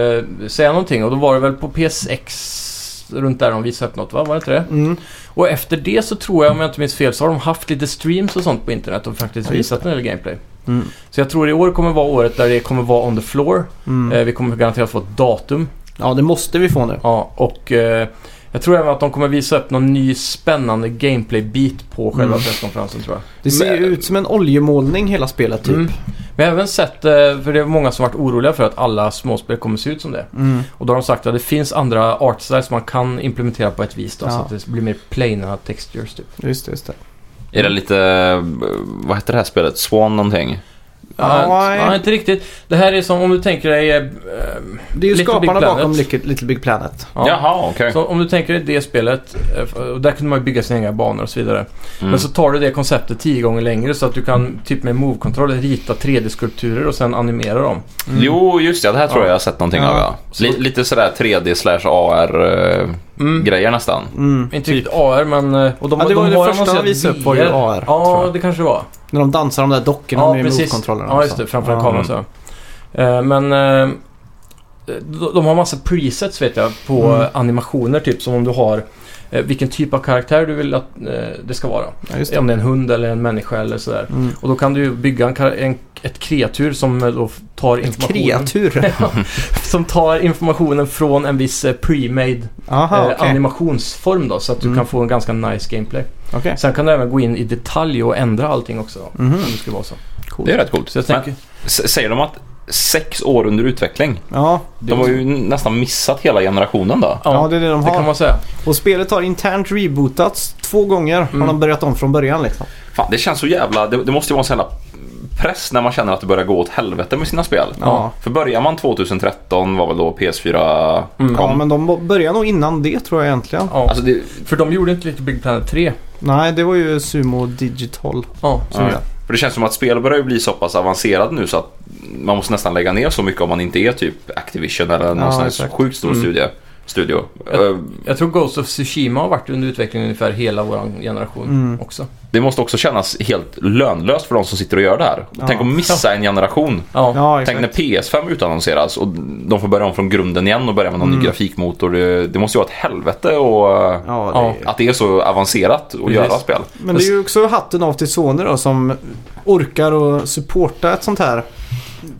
Speaker 2: säga någonting och då var det väl på PSX runt där de visade upp något va? Var det inte det?
Speaker 1: Mm.
Speaker 2: Och efter det så tror jag, om jag inte minns fel, så har de haft lite streams och sånt på internet och faktiskt
Speaker 1: Ja, just
Speaker 2: visat en del gameplay.
Speaker 1: Mm.
Speaker 2: Så jag tror i år kommer vara året där det kommer vara on the floor.
Speaker 1: Mm.
Speaker 2: Eh, Vi kommer garanterat få ett datum.
Speaker 1: Ja, det måste vi få nu.
Speaker 2: Ja, och eh, jag tror även att de kommer visa upp någon ny spännande gameplay-bit på själva
Speaker 1: Mm.
Speaker 2: presskonferensen tror jag.
Speaker 1: Det ser ju
Speaker 3: Men-
Speaker 1: ut som en oljemålning hela spelet typ.
Speaker 2: Mm. Men jag har även sett, eh, för det är många som varit oroliga för att alla småspel kommer se ut som det.
Speaker 1: Mm.
Speaker 2: Och då har de sagt att det finns andra artstyles som man kan implementera på ett vis då,
Speaker 1: Ja.
Speaker 2: så att det blir mer plaina textures typ.
Speaker 1: Just det, just det.
Speaker 3: Är det lite, eh, vad heter det här spelet? Swan någonting?
Speaker 2: Ja,
Speaker 1: Nej.
Speaker 2: ja, inte riktigt. Det här är som om du tänker dig... eh,
Speaker 1: Det är ju
Speaker 2: Little Big
Speaker 1: skaparna bakom
Speaker 2: Planet.
Speaker 1: Little, Little Big Planet.
Speaker 2: ja.
Speaker 3: Jaha, okej.
Speaker 2: Så om du tänker dig det spelet, eh, och där kunde man ju bygga sina egna banor och så vidare.
Speaker 3: Mm.
Speaker 2: Men så tar du det konceptet tio gånger längre så att du kan typ med move-kontroll rita 3D-skulpturer och sen animera dem.
Speaker 1: Mm.
Speaker 3: Jo, just det. Det här tror jag jag har sett någonting
Speaker 1: Ja.
Speaker 3: av ja. Li- lite sådär 3D slash AR-grejer
Speaker 2: Mm.
Speaker 3: nästan.
Speaker 1: Mm.
Speaker 3: typ.
Speaker 2: Inte riktigt AR men... eh, Och de,
Speaker 1: Ja, det var
Speaker 2: de
Speaker 1: ju
Speaker 2: har
Speaker 1: det första de
Speaker 2: annonserat
Speaker 1: visade upp var ju
Speaker 2: VR.
Speaker 1: AR. tror
Speaker 2: Ja,
Speaker 1: jag.
Speaker 2: det kanske det var.
Speaker 1: När de dansar de där dockorna
Speaker 2: Ja,
Speaker 1: med
Speaker 2: precis.
Speaker 1: move-kontrollerna.
Speaker 2: Ja,
Speaker 1: och
Speaker 2: just
Speaker 1: så.
Speaker 2: det. Framför en
Speaker 1: Ja. Mm.
Speaker 2: kamera så. Eh, Men... eh, de- De har massa presets vet jag på
Speaker 1: Mm.
Speaker 2: eh, animationer typ som om du har eh, vilken typ av karaktär du vill att eh, det ska vara.
Speaker 1: Ja, just det.
Speaker 2: Om det är en hund eller en människa eller sådär.
Speaker 1: Mm.
Speaker 2: Och då kan du ju bygga en, kar- en, ett kreatur som eh, då f- tar
Speaker 1: Ett
Speaker 2: informationen.
Speaker 1: kreatur.
Speaker 2: som tar informationen från en viss eh, pre-made
Speaker 1: Aha,
Speaker 2: eh,
Speaker 1: Ah, okej.
Speaker 2: animationsform då så att du
Speaker 1: Mm.
Speaker 2: kan få en ganska nice gameplay.
Speaker 1: Okej.
Speaker 2: Sen kan du även gå in i detalj och ändra allting också då,
Speaker 1: Mhm.
Speaker 2: om det skulle vara så.
Speaker 3: Det är rätt coolt.
Speaker 2: Så jag tänker,
Speaker 3: Men, s- säger de att sex år under utveckling?
Speaker 1: Ja,
Speaker 3: De har ju nästan missat hela generationen då.
Speaker 1: ja, det är det de
Speaker 2: det kan
Speaker 1: har.
Speaker 2: man säga.
Speaker 1: Och spelet har internt rebootats två gånger. Har
Speaker 2: Mm.
Speaker 1: de börjat om från början liksom.
Speaker 3: Fan, det känns så jävla... Det, det måste ju vara en sån jävla press när man känner att det börjar gå åt helvete med sina spel.
Speaker 1: Ja.
Speaker 3: För börjar man 2013 var väl då PS4
Speaker 2: Mm.
Speaker 3: kom.
Speaker 1: Ja, men de började nog innan det tror jag egentligen.
Speaker 2: Ja.
Speaker 3: Alltså det,
Speaker 2: För de gjorde inte lite Big Planet 3.
Speaker 1: Nej, det var ju Sumo Digital.
Speaker 2: Ja, så
Speaker 1: Ja.
Speaker 2: gjorde jag.
Speaker 3: för det känns som att spel börjar ju bli så pass avancerad nu så att man måste nästan lägga ner så mycket om man inte är typ Activision eller någon
Speaker 1: Ja,
Speaker 3: sån här
Speaker 1: exakt.
Speaker 3: sjukt stor
Speaker 2: Mm.
Speaker 3: studie. Studio.
Speaker 2: Jag-
Speaker 3: Eh,
Speaker 2: jag tror Ghost of Tsushima har varit under utveckling ungefär hela vår generation
Speaker 1: Mm.
Speaker 2: också.
Speaker 3: Det måste också kännas helt lönlöst för de som sitter och gör det här.
Speaker 1: Ja.
Speaker 3: Tänk att missa en generation.
Speaker 2: Ja,
Speaker 1: Ja,
Speaker 3: Tänk
Speaker 1: exakt.
Speaker 3: när PS5 utannonseras och de får börja om från grunden igen och börja med någon ny grafikmotor. Det, det måste ju vara ett helvete och eh,
Speaker 1: Ja,
Speaker 2: Ja.
Speaker 1: det...
Speaker 3: att det är så avancerat att
Speaker 2: Precis.
Speaker 3: göra spel.
Speaker 1: Men det är ju också hatten av till Sony då som orkar och supporta ett sånt här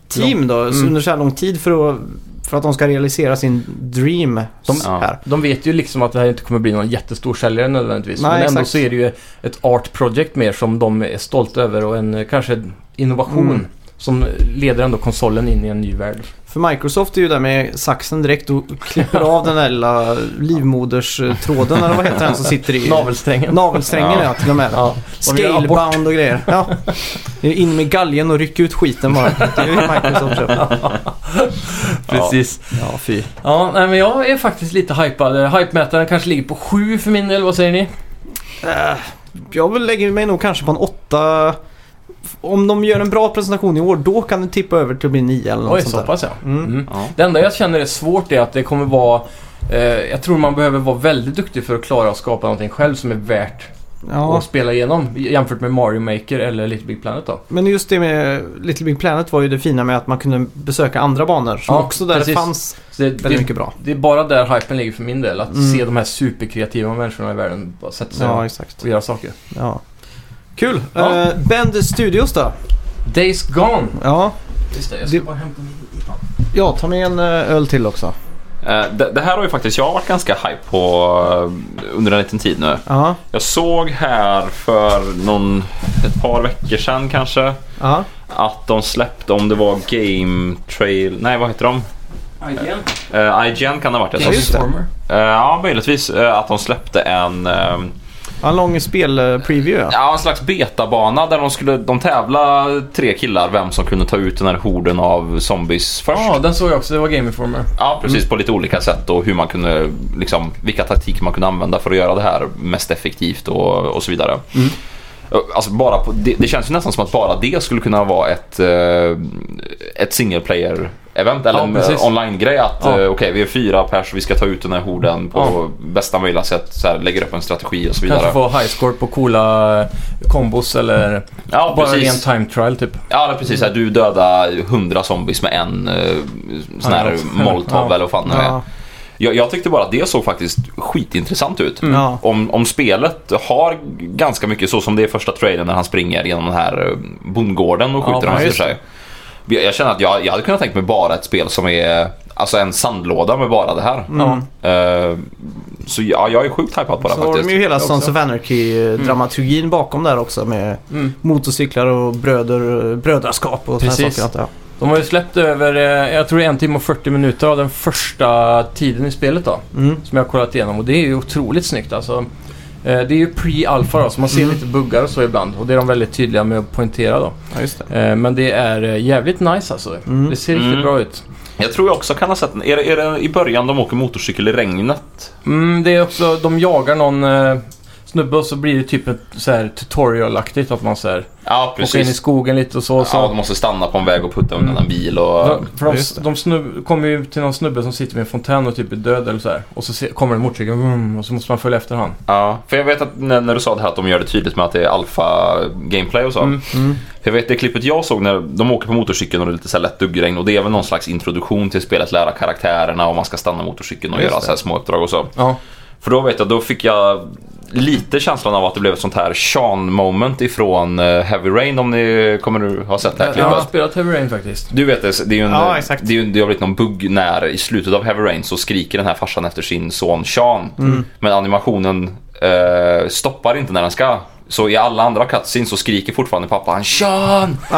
Speaker 1: team då
Speaker 2: Mm.
Speaker 1: under så här lång tid för att, för att de ska realisera sin dream.
Speaker 2: De-
Speaker 1: så här.
Speaker 2: De vet ju liksom att det här inte kommer bli någon jättestor säljare nödvändigtvis.
Speaker 1: Nej,
Speaker 2: men ändå
Speaker 1: exakt.
Speaker 2: så är det ju ett art project mer som de är stolta över och en eh, kanske en innovation
Speaker 1: Mm.
Speaker 2: som leder ändå konsolen in i en ny värld.
Speaker 1: För Microsoft är ju där med saxen direkt och klipper av den där lilla livmoderstråden eller vad heter den som sitter i
Speaker 2: Navelsträngen.
Speaker 1: navelsträngen?
Speaker 3: Ja.
Speaker 1: Ja, till och med.
Speaker 2: Ja, de gör abort.
Speaker 1: Scalebound och grejer. Ja. Det är in med galgen och ryck ut skiten bara. Det är ju Microsoft köper.
Speaker 2: precis.
Speaker 1: Ja, fy.
Speaker 2: Ja, nej, men jag är faktiskt lite hypad. Eh, Hypemätaren kanske ligger på 7 för min del, vad säger ni?
Speaker 1: Eh, Jag vill lägga mig nog kanske på en åtta. Om de gör en bra presentation i år, då kan det tippa över till att bli nio eller något
Speaker 2: Oj,
Speaker 1: sånt
Speaker 2: så
Speaker 1: där.
Speaker 2: pass ja.
Speaker 1: Mm.
Speaker 2: Mm.
Speaker 3: Ja.
Speaker 2: Det enda jag känner är svårt är att det kommer vara eh, jag tror man behöver vara väldigt duktig för att klara att skapa någonting själv som är värt
Speaker 1: Ja,
Speaker 2: att spela igenom jämfört med Mario Maker eller Little Big Planet då.
Speaker 1: men just det med Little Big Planet var ju det fina med att man kunde besöka andra banor som
Speaker 2: Ja,
Speaker 1: också där
Speaker 2: precis.
Speaker 1: det fanns
Speaker 2: Så det,
Speaker 1: väldigt
Speaker 2: det,
Speaker 1: mycket bra.
Speaker 2: det är bara där hypen ligger för min del. Att
Speaker 1: Mm.
Speaker 2: se de här superkreativa människorna i världen bara sätta sig
Speaker 1: Ja,
Speaker 2: ner
Speaker 1: exakt.
Speaker 2: och göra saker.
Speaker 1: Ja. Kul!
Speaker 2: Ja.
Speaker 1: Ja. Bend Studios då?
Speaker 2: Days Gone!
Speaker 1: Ja.
Speaker 2: Just det, jag ska
Speaker 1: Det-
Speaker 2: bara hämta min IPA.
Speaker 1: ja, ta med en eh, öl till också.
Speaker 3: Eh, Det, det här har ju faktiskt jag varit ganska hype på eh, under en liten tid nu.
Speaker 1: Ja.
Speaker 3: Jag såg här för någon, ett par veckor sedan kanske
Speaker 1: Ja.
Speaker 3: att de släppte om det var Game Trail... Nej, vad heter de?
Speaker 2: IGN?
Speaker 3: Uh, IGN kan det ha varit.
Speaker 1: Ja,
Speaker 3: Jag
Speaker 1: just
Speaker 3: sa-
Speaker 1: det.
Speaker 2: Transformer?
Speaker 3: Eh, ja, möjligtvis eh, att de släppte en, eh,
Speaker 1: En lång spelpreview ja.
Speaker 3: ja, en slags betabana där de skulle de tävla tre killar vem som kunde ta ut den här horden av zombies först.
Speaker 2: Ja, Mm. den såg jag också. Det var Game Informer.
Speaker 3: Ja, precis. På lite olika sätt och hur man kunde, liksom, vilka taktiker man kunde använda för att göra det här mest effektivt och, och så vidare.
Speaker 2: Mm.
Speaker 3: Alltså bara på, det, det känns ju nästan som att bara det skulle kunna vara ett, eh, ett single player event eller
Speaker 2: Ja,
Speaker 3: en
Speaker 2: precis.
Speaker 3: eh, online-grej att
Speaker 2: Ja.
Speaker 3: eh, okej vi är fyra pers och vi ska ta ut den här horden på bästa möjliga sätt. Så här, lägger upp en strategi och så vidare.
Speaker 2: Kanske få high score på coola eh, kombos eller
Speaker 3: Ja,
Speaker 2: bara
Speaker 3: precis.
Speaker 2: ren time trial typ.
Speaker 3: Ja, det är precis. Så här, du dödar hundra zombies med en eh, sån här
Speaker 2: Granat.
Speaker 3: molotov
Speaker 2: Ja.
Speaker 3: eller vad fan det är.
Speaker 1: Ja.
Speaker 3: Jag, jag tyckte bara att det såg faktiskt skitintressant ut.
Speaker 1: Mm. Ja.
Speaker 3: Om, om spelet har ganska mycket så som det är i första trailern när han springer genom den här eh, bondgården och skjuter
Speaker 2: Ja,
Speaker 3: dem efter
Speaker 1: just
Speaker 3: sig. Jag, jag känner att jag, jag hade kunnat tänka mig bara ett spel som är alltså en sandlåda med bara det här.
Speaker 2: Ja.
Speaker 3: Eh, så ja, jag är sjukt hypad på det
Speaker 1: Så har de
Speaker 3: faktiskt.
Speaker 1: ju hela
Speaker 2: Jag
Speaker 1: Sons
Speaker 2: också.
Speaker 1: of Anarchy-dramaturgin
Speaker 3: Mm.
Speaker 1: bakom där också med
Speaker 2: Mm.
Speaker 1: motorcyklar och bröder, brödraskap och sådana
Speaker 2: Precis.
Speaker 1: saker. antar jag.
Speaker 2: De har ju släppt över, eh, jag tror en timme och 40 minuter av den första tiden i spelet då.
Speaker 1: Mm.
Speaker 2: Som jag har kollat igenom och det är ju otroligt snyggt alltså. Eh, det är ju pre-alpha då, så man ser
Speaker 1: Mm.
Speaker 2: lite buggar och så ibland. Och det är de väldigt tydliga med att poängtera då.
Speaker 1: Ja, just det.
Speaker 2: Eh, men det är eh, jävligt nice alltså.
Speaker 1: Mm.
Speaker 2: Det ser riktigt
Speaker 3: Mm.
Speaker 2: bra ut.
Speaker 3: Jag tror jag också kan ha sett den. Är det, är det i början de åker motorcykel i regnet?
Speaker 2: Mm, det är också, de jagar någon eh, snubbe och så blir det typ ett så här tutorial-aktigt. Att man så här,
Speaker 3: Ja,
Speaker 2: åker in i
Speaker 3: precis.
Speaker 2: skogen lite och så. Och så.
Speaker 3: Ja, de måste stanna på en väg och putta undan
Speaker 2: Mm.
Speaker 3: en bil och...
Speaker 2: De- För
Speaker 1: Ja,
Speaker 2: de,
Speaker 1: just det.
Speaker 2: de snub, kommer ju till någon snubbe som sitter vid en fontän och typ är död eller så här. Och så se, kommer en motorcykel vroom, och så måste man följa efter han.
Speaker 3: Ja, för jag vet att när, när du sa det här att de gör det tydligt med att det är alfa gameplay och så.
Speaker 2: Mm.
Speaker 1: Mm.
Speaker 3: För jag vet det klippet jag såg när de åker på motorcykeln och det är lite så här lätt duggregn och det är väl någon slags introduktion till spelet, lära karaktärerna och man ska stanna motorcykeln och
Speaker 1: Just
Speaker 3: göra
Speaker 1: det.
Speaker 3: så här små uppdrag och så.
Speaker 2: Ja.
Speaker 3: För då vet jag, då fick jag lite känslan av att det blev ett sånt här Sean moment ifrån eh, Heavy Rain om ni kommer att ha sett det här
Speaker 2: Jag
Speaker 3: klippet.
Speaker 2: har spelat Heavy Rain faktiskt.
Speaker 3: Du vet, det det är ju en,
Speaker 1: Ja, exakt.
Speaker 3: det, är ju, det har blivit någon bugg när i slutet av Heavy Rain så skriker den här farsan efter sin son Sean.
Speaker 1: Mm.
Speaker 3: Men animationen eh, stoppar inte när den ska. Så i alla andra cutscenes så skriker fortfarande pappan Sean!
Speaker 1: Det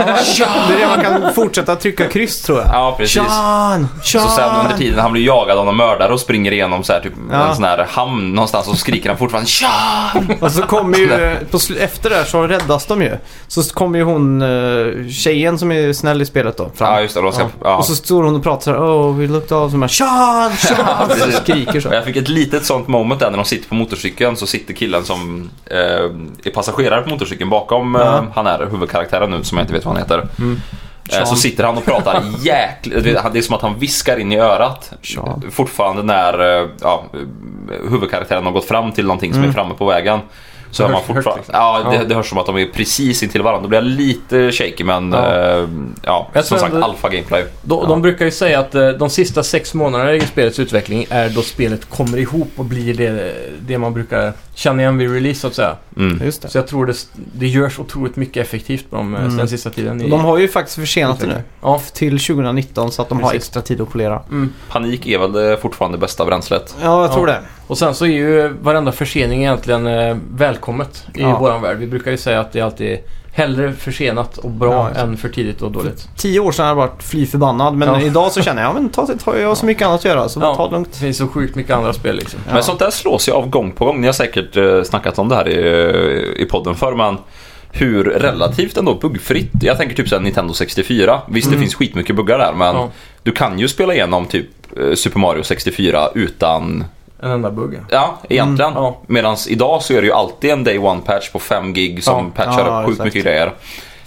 Speaker 1: är det man kan fortsätta trycka kryss tror jag.
Speaker 3: Ja, precis.
Speaker 1: Sean! Sean!
Speaker 3: Så sen under tiden han blir jagad av någon mördare och springer igenom så här, typ,
Speaker 1: Ja.
Speaker 3: en sån här hamn någonstans och skriker han fortfarande Sean!
Speaker 1: Och så kommer ju, eh, på sl- efter det här så räddas de ju. Så kommer ju hon, eh, tjejen som är snäll i spelet då, fram.
Speaker 3: Ja, just det. Då ska, ja.
Speaker 1: Och så står hon och pratar såhär, oh we looked off, så man Sean, Sean!
Speaker 3: Ja,
Speaker 1: Så
Speaker 3: precis.
Speaker 1: skriker
Speaker 3: Och
Speaker 1: så.
Speaker 3: Jag fick ett litet sånt moment där när de sitter på motorcykeln så sitter killen som eh, är passagerare på motorcykeln bakom eh,
Speaker 1: Ja.
Speaker 3: han är huvudkaraktären nu som jag inte vet vad han heter.
Speaker 2: Mm.
Speaker 3: Eh, så
Speaker 1: Sean.
Speaker 3: sitter han och pratar jäkligt, du vet, han- det är som att han viskar in i örat.
Speaker 1: Sean.
Speaker 3: Fortfarande när eh, ja, eh, huvudkaraktären har gått fram till någonting som
Speaker 1: Mm.
Speaker 3: är framme på vägen. Så
Speaker 2: Det
Speaker 3: hör man
Speaker 2: hörs för högt,
Speaker 3: fortfarande,
Speaker 2: liksom.
Speaker 3: ja,
Speaker 2: Ja.
Speaker 3: det, det hörs som att de är precis intill varandra. Då blir jag lite shaky men
Speaker 2: Ja.
Speaker 3: eh, ja,
Speaker 2: Jag
Speaker 3: som
Speaker 2: tror
Speaker 3: sagt
Speaker 2: ändå-
Speaker 3: alfa gameplay.
Speaker 2: De, de brukar ju säga att eh, de sista sex månaderna i spelets utveckling är då spelet kommer ihop och blir det, det man brukar känna igen vid release så att säga.
Speaker 3: Mm.
Speaker 1: Just det.
Speaker 2: Så jag tror det, det görs otroligt mycket effektivt på dem eh,
Speaker 1: Mm.
Speaker 2: den sista tiden. I,
Speaker 1: De har ju faktiskt försenat det nu.
Speaker 2: Ja.
Speaker 1: Till 2019 så att de har
Speaker 2: Precis.
Speaker 1: extra tid att polera.
Speaker 2: Mm.
Speaker 3: Panik är väl det fortfarande bästa bränslet.
Speaker 1: Ja, jag tror
Speaker 2: Ja.
Speaker 1: det.
Speaker 2: Och sen så är ju varenda försening egentligen eh, välkommet i
Speaker 1: Ja.
Speaker 2: våran värld. Vi brukar ju säga att det är alltid hellre försenat och bra
Speaker 1: Ja, exakt.
Speaker 2: än för tidigt och dåligt.
Speaker 1: Tio år sedan hade jag varit fly förbannad men
Speaker 2: Ja.
Speaker 1: idag så känner jag, ja men ta, ta, jag har så mycket annat att göra så
Speaker 2: Ja.
Speaker 1: ta det lugnt.
Speaker 2: Det finns så sjukt mycket andra spel liksom.
Speaker 1: Ja.
Speaker 3: Men sånt där slås ju av gång på gång. Ni har säkert eh, snackat om det här i, eh, i podden förr men hur relativt ändå buggfritt. Jag tänker typ såhär Nintendo 64. Visst det finns skitmycket buggar där men
Speaker 2: Mm. Ja.
Speaker 3: du kan ju spela igenom typ eh, Super Mario 64 utan,
Speaker 2: En enda bugg.
Speaker 3: ja egentligen.
Speaker 2: Mm, ja.
Speaker 3: Medan idag så är det ju alltid en Day One patch på 5 gig som
Speaker 1: Ja.
Speaker 3: patchar
Speaker 1: Ja,
Speaker 3: upp sjukt
Speaker 1: exakt.
Speaker 3: mycket grejer.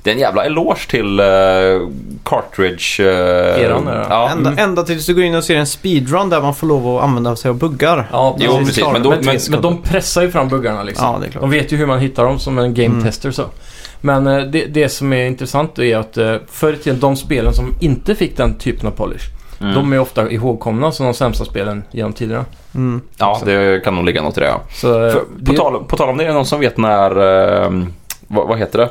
Speaker 3: Det är en jävla eloge till uh, Cartridge... eh,
Speaker 2: Eran är det.
Speaker 3: ja.
Speaker 1: Ända, ända tills du går in och ser en speedrun där man får lov att använda sig av buggar.
Speaker 2: Ja,
Speaker 3: Jo,
Speaker 1: Precis,
Speaker 3: precis.
Speaker 1: klar.
Speaker 3: Men, då,
Speaker 2: men,
Speaker 3: men,
Speaker 2: men de pressar ju fram buggarna liksom.
Speaker 1: Ja, det är klart. Mm.
Speaker 2: De vet ju hur man hittar dem som en game tester så. Men eh, det, det som är intressant är att eh, förr i tiden, de spelen som inte fick den typen av polish,
Speaker 3: Mm.
Speaker 2: de är ofta ihågkomna som de sämsta spelen genom tiderna.
Speaker 1: Mm.
Speaker 3: ja, det kan nog ligga något i det ja.
Speaker 2: Så, eh,
Speaker 3: För,
Speaker 2: det-
Speaker 3: på, tal, på tal om det, är det någon som vet när... eh, vad, vad heter det?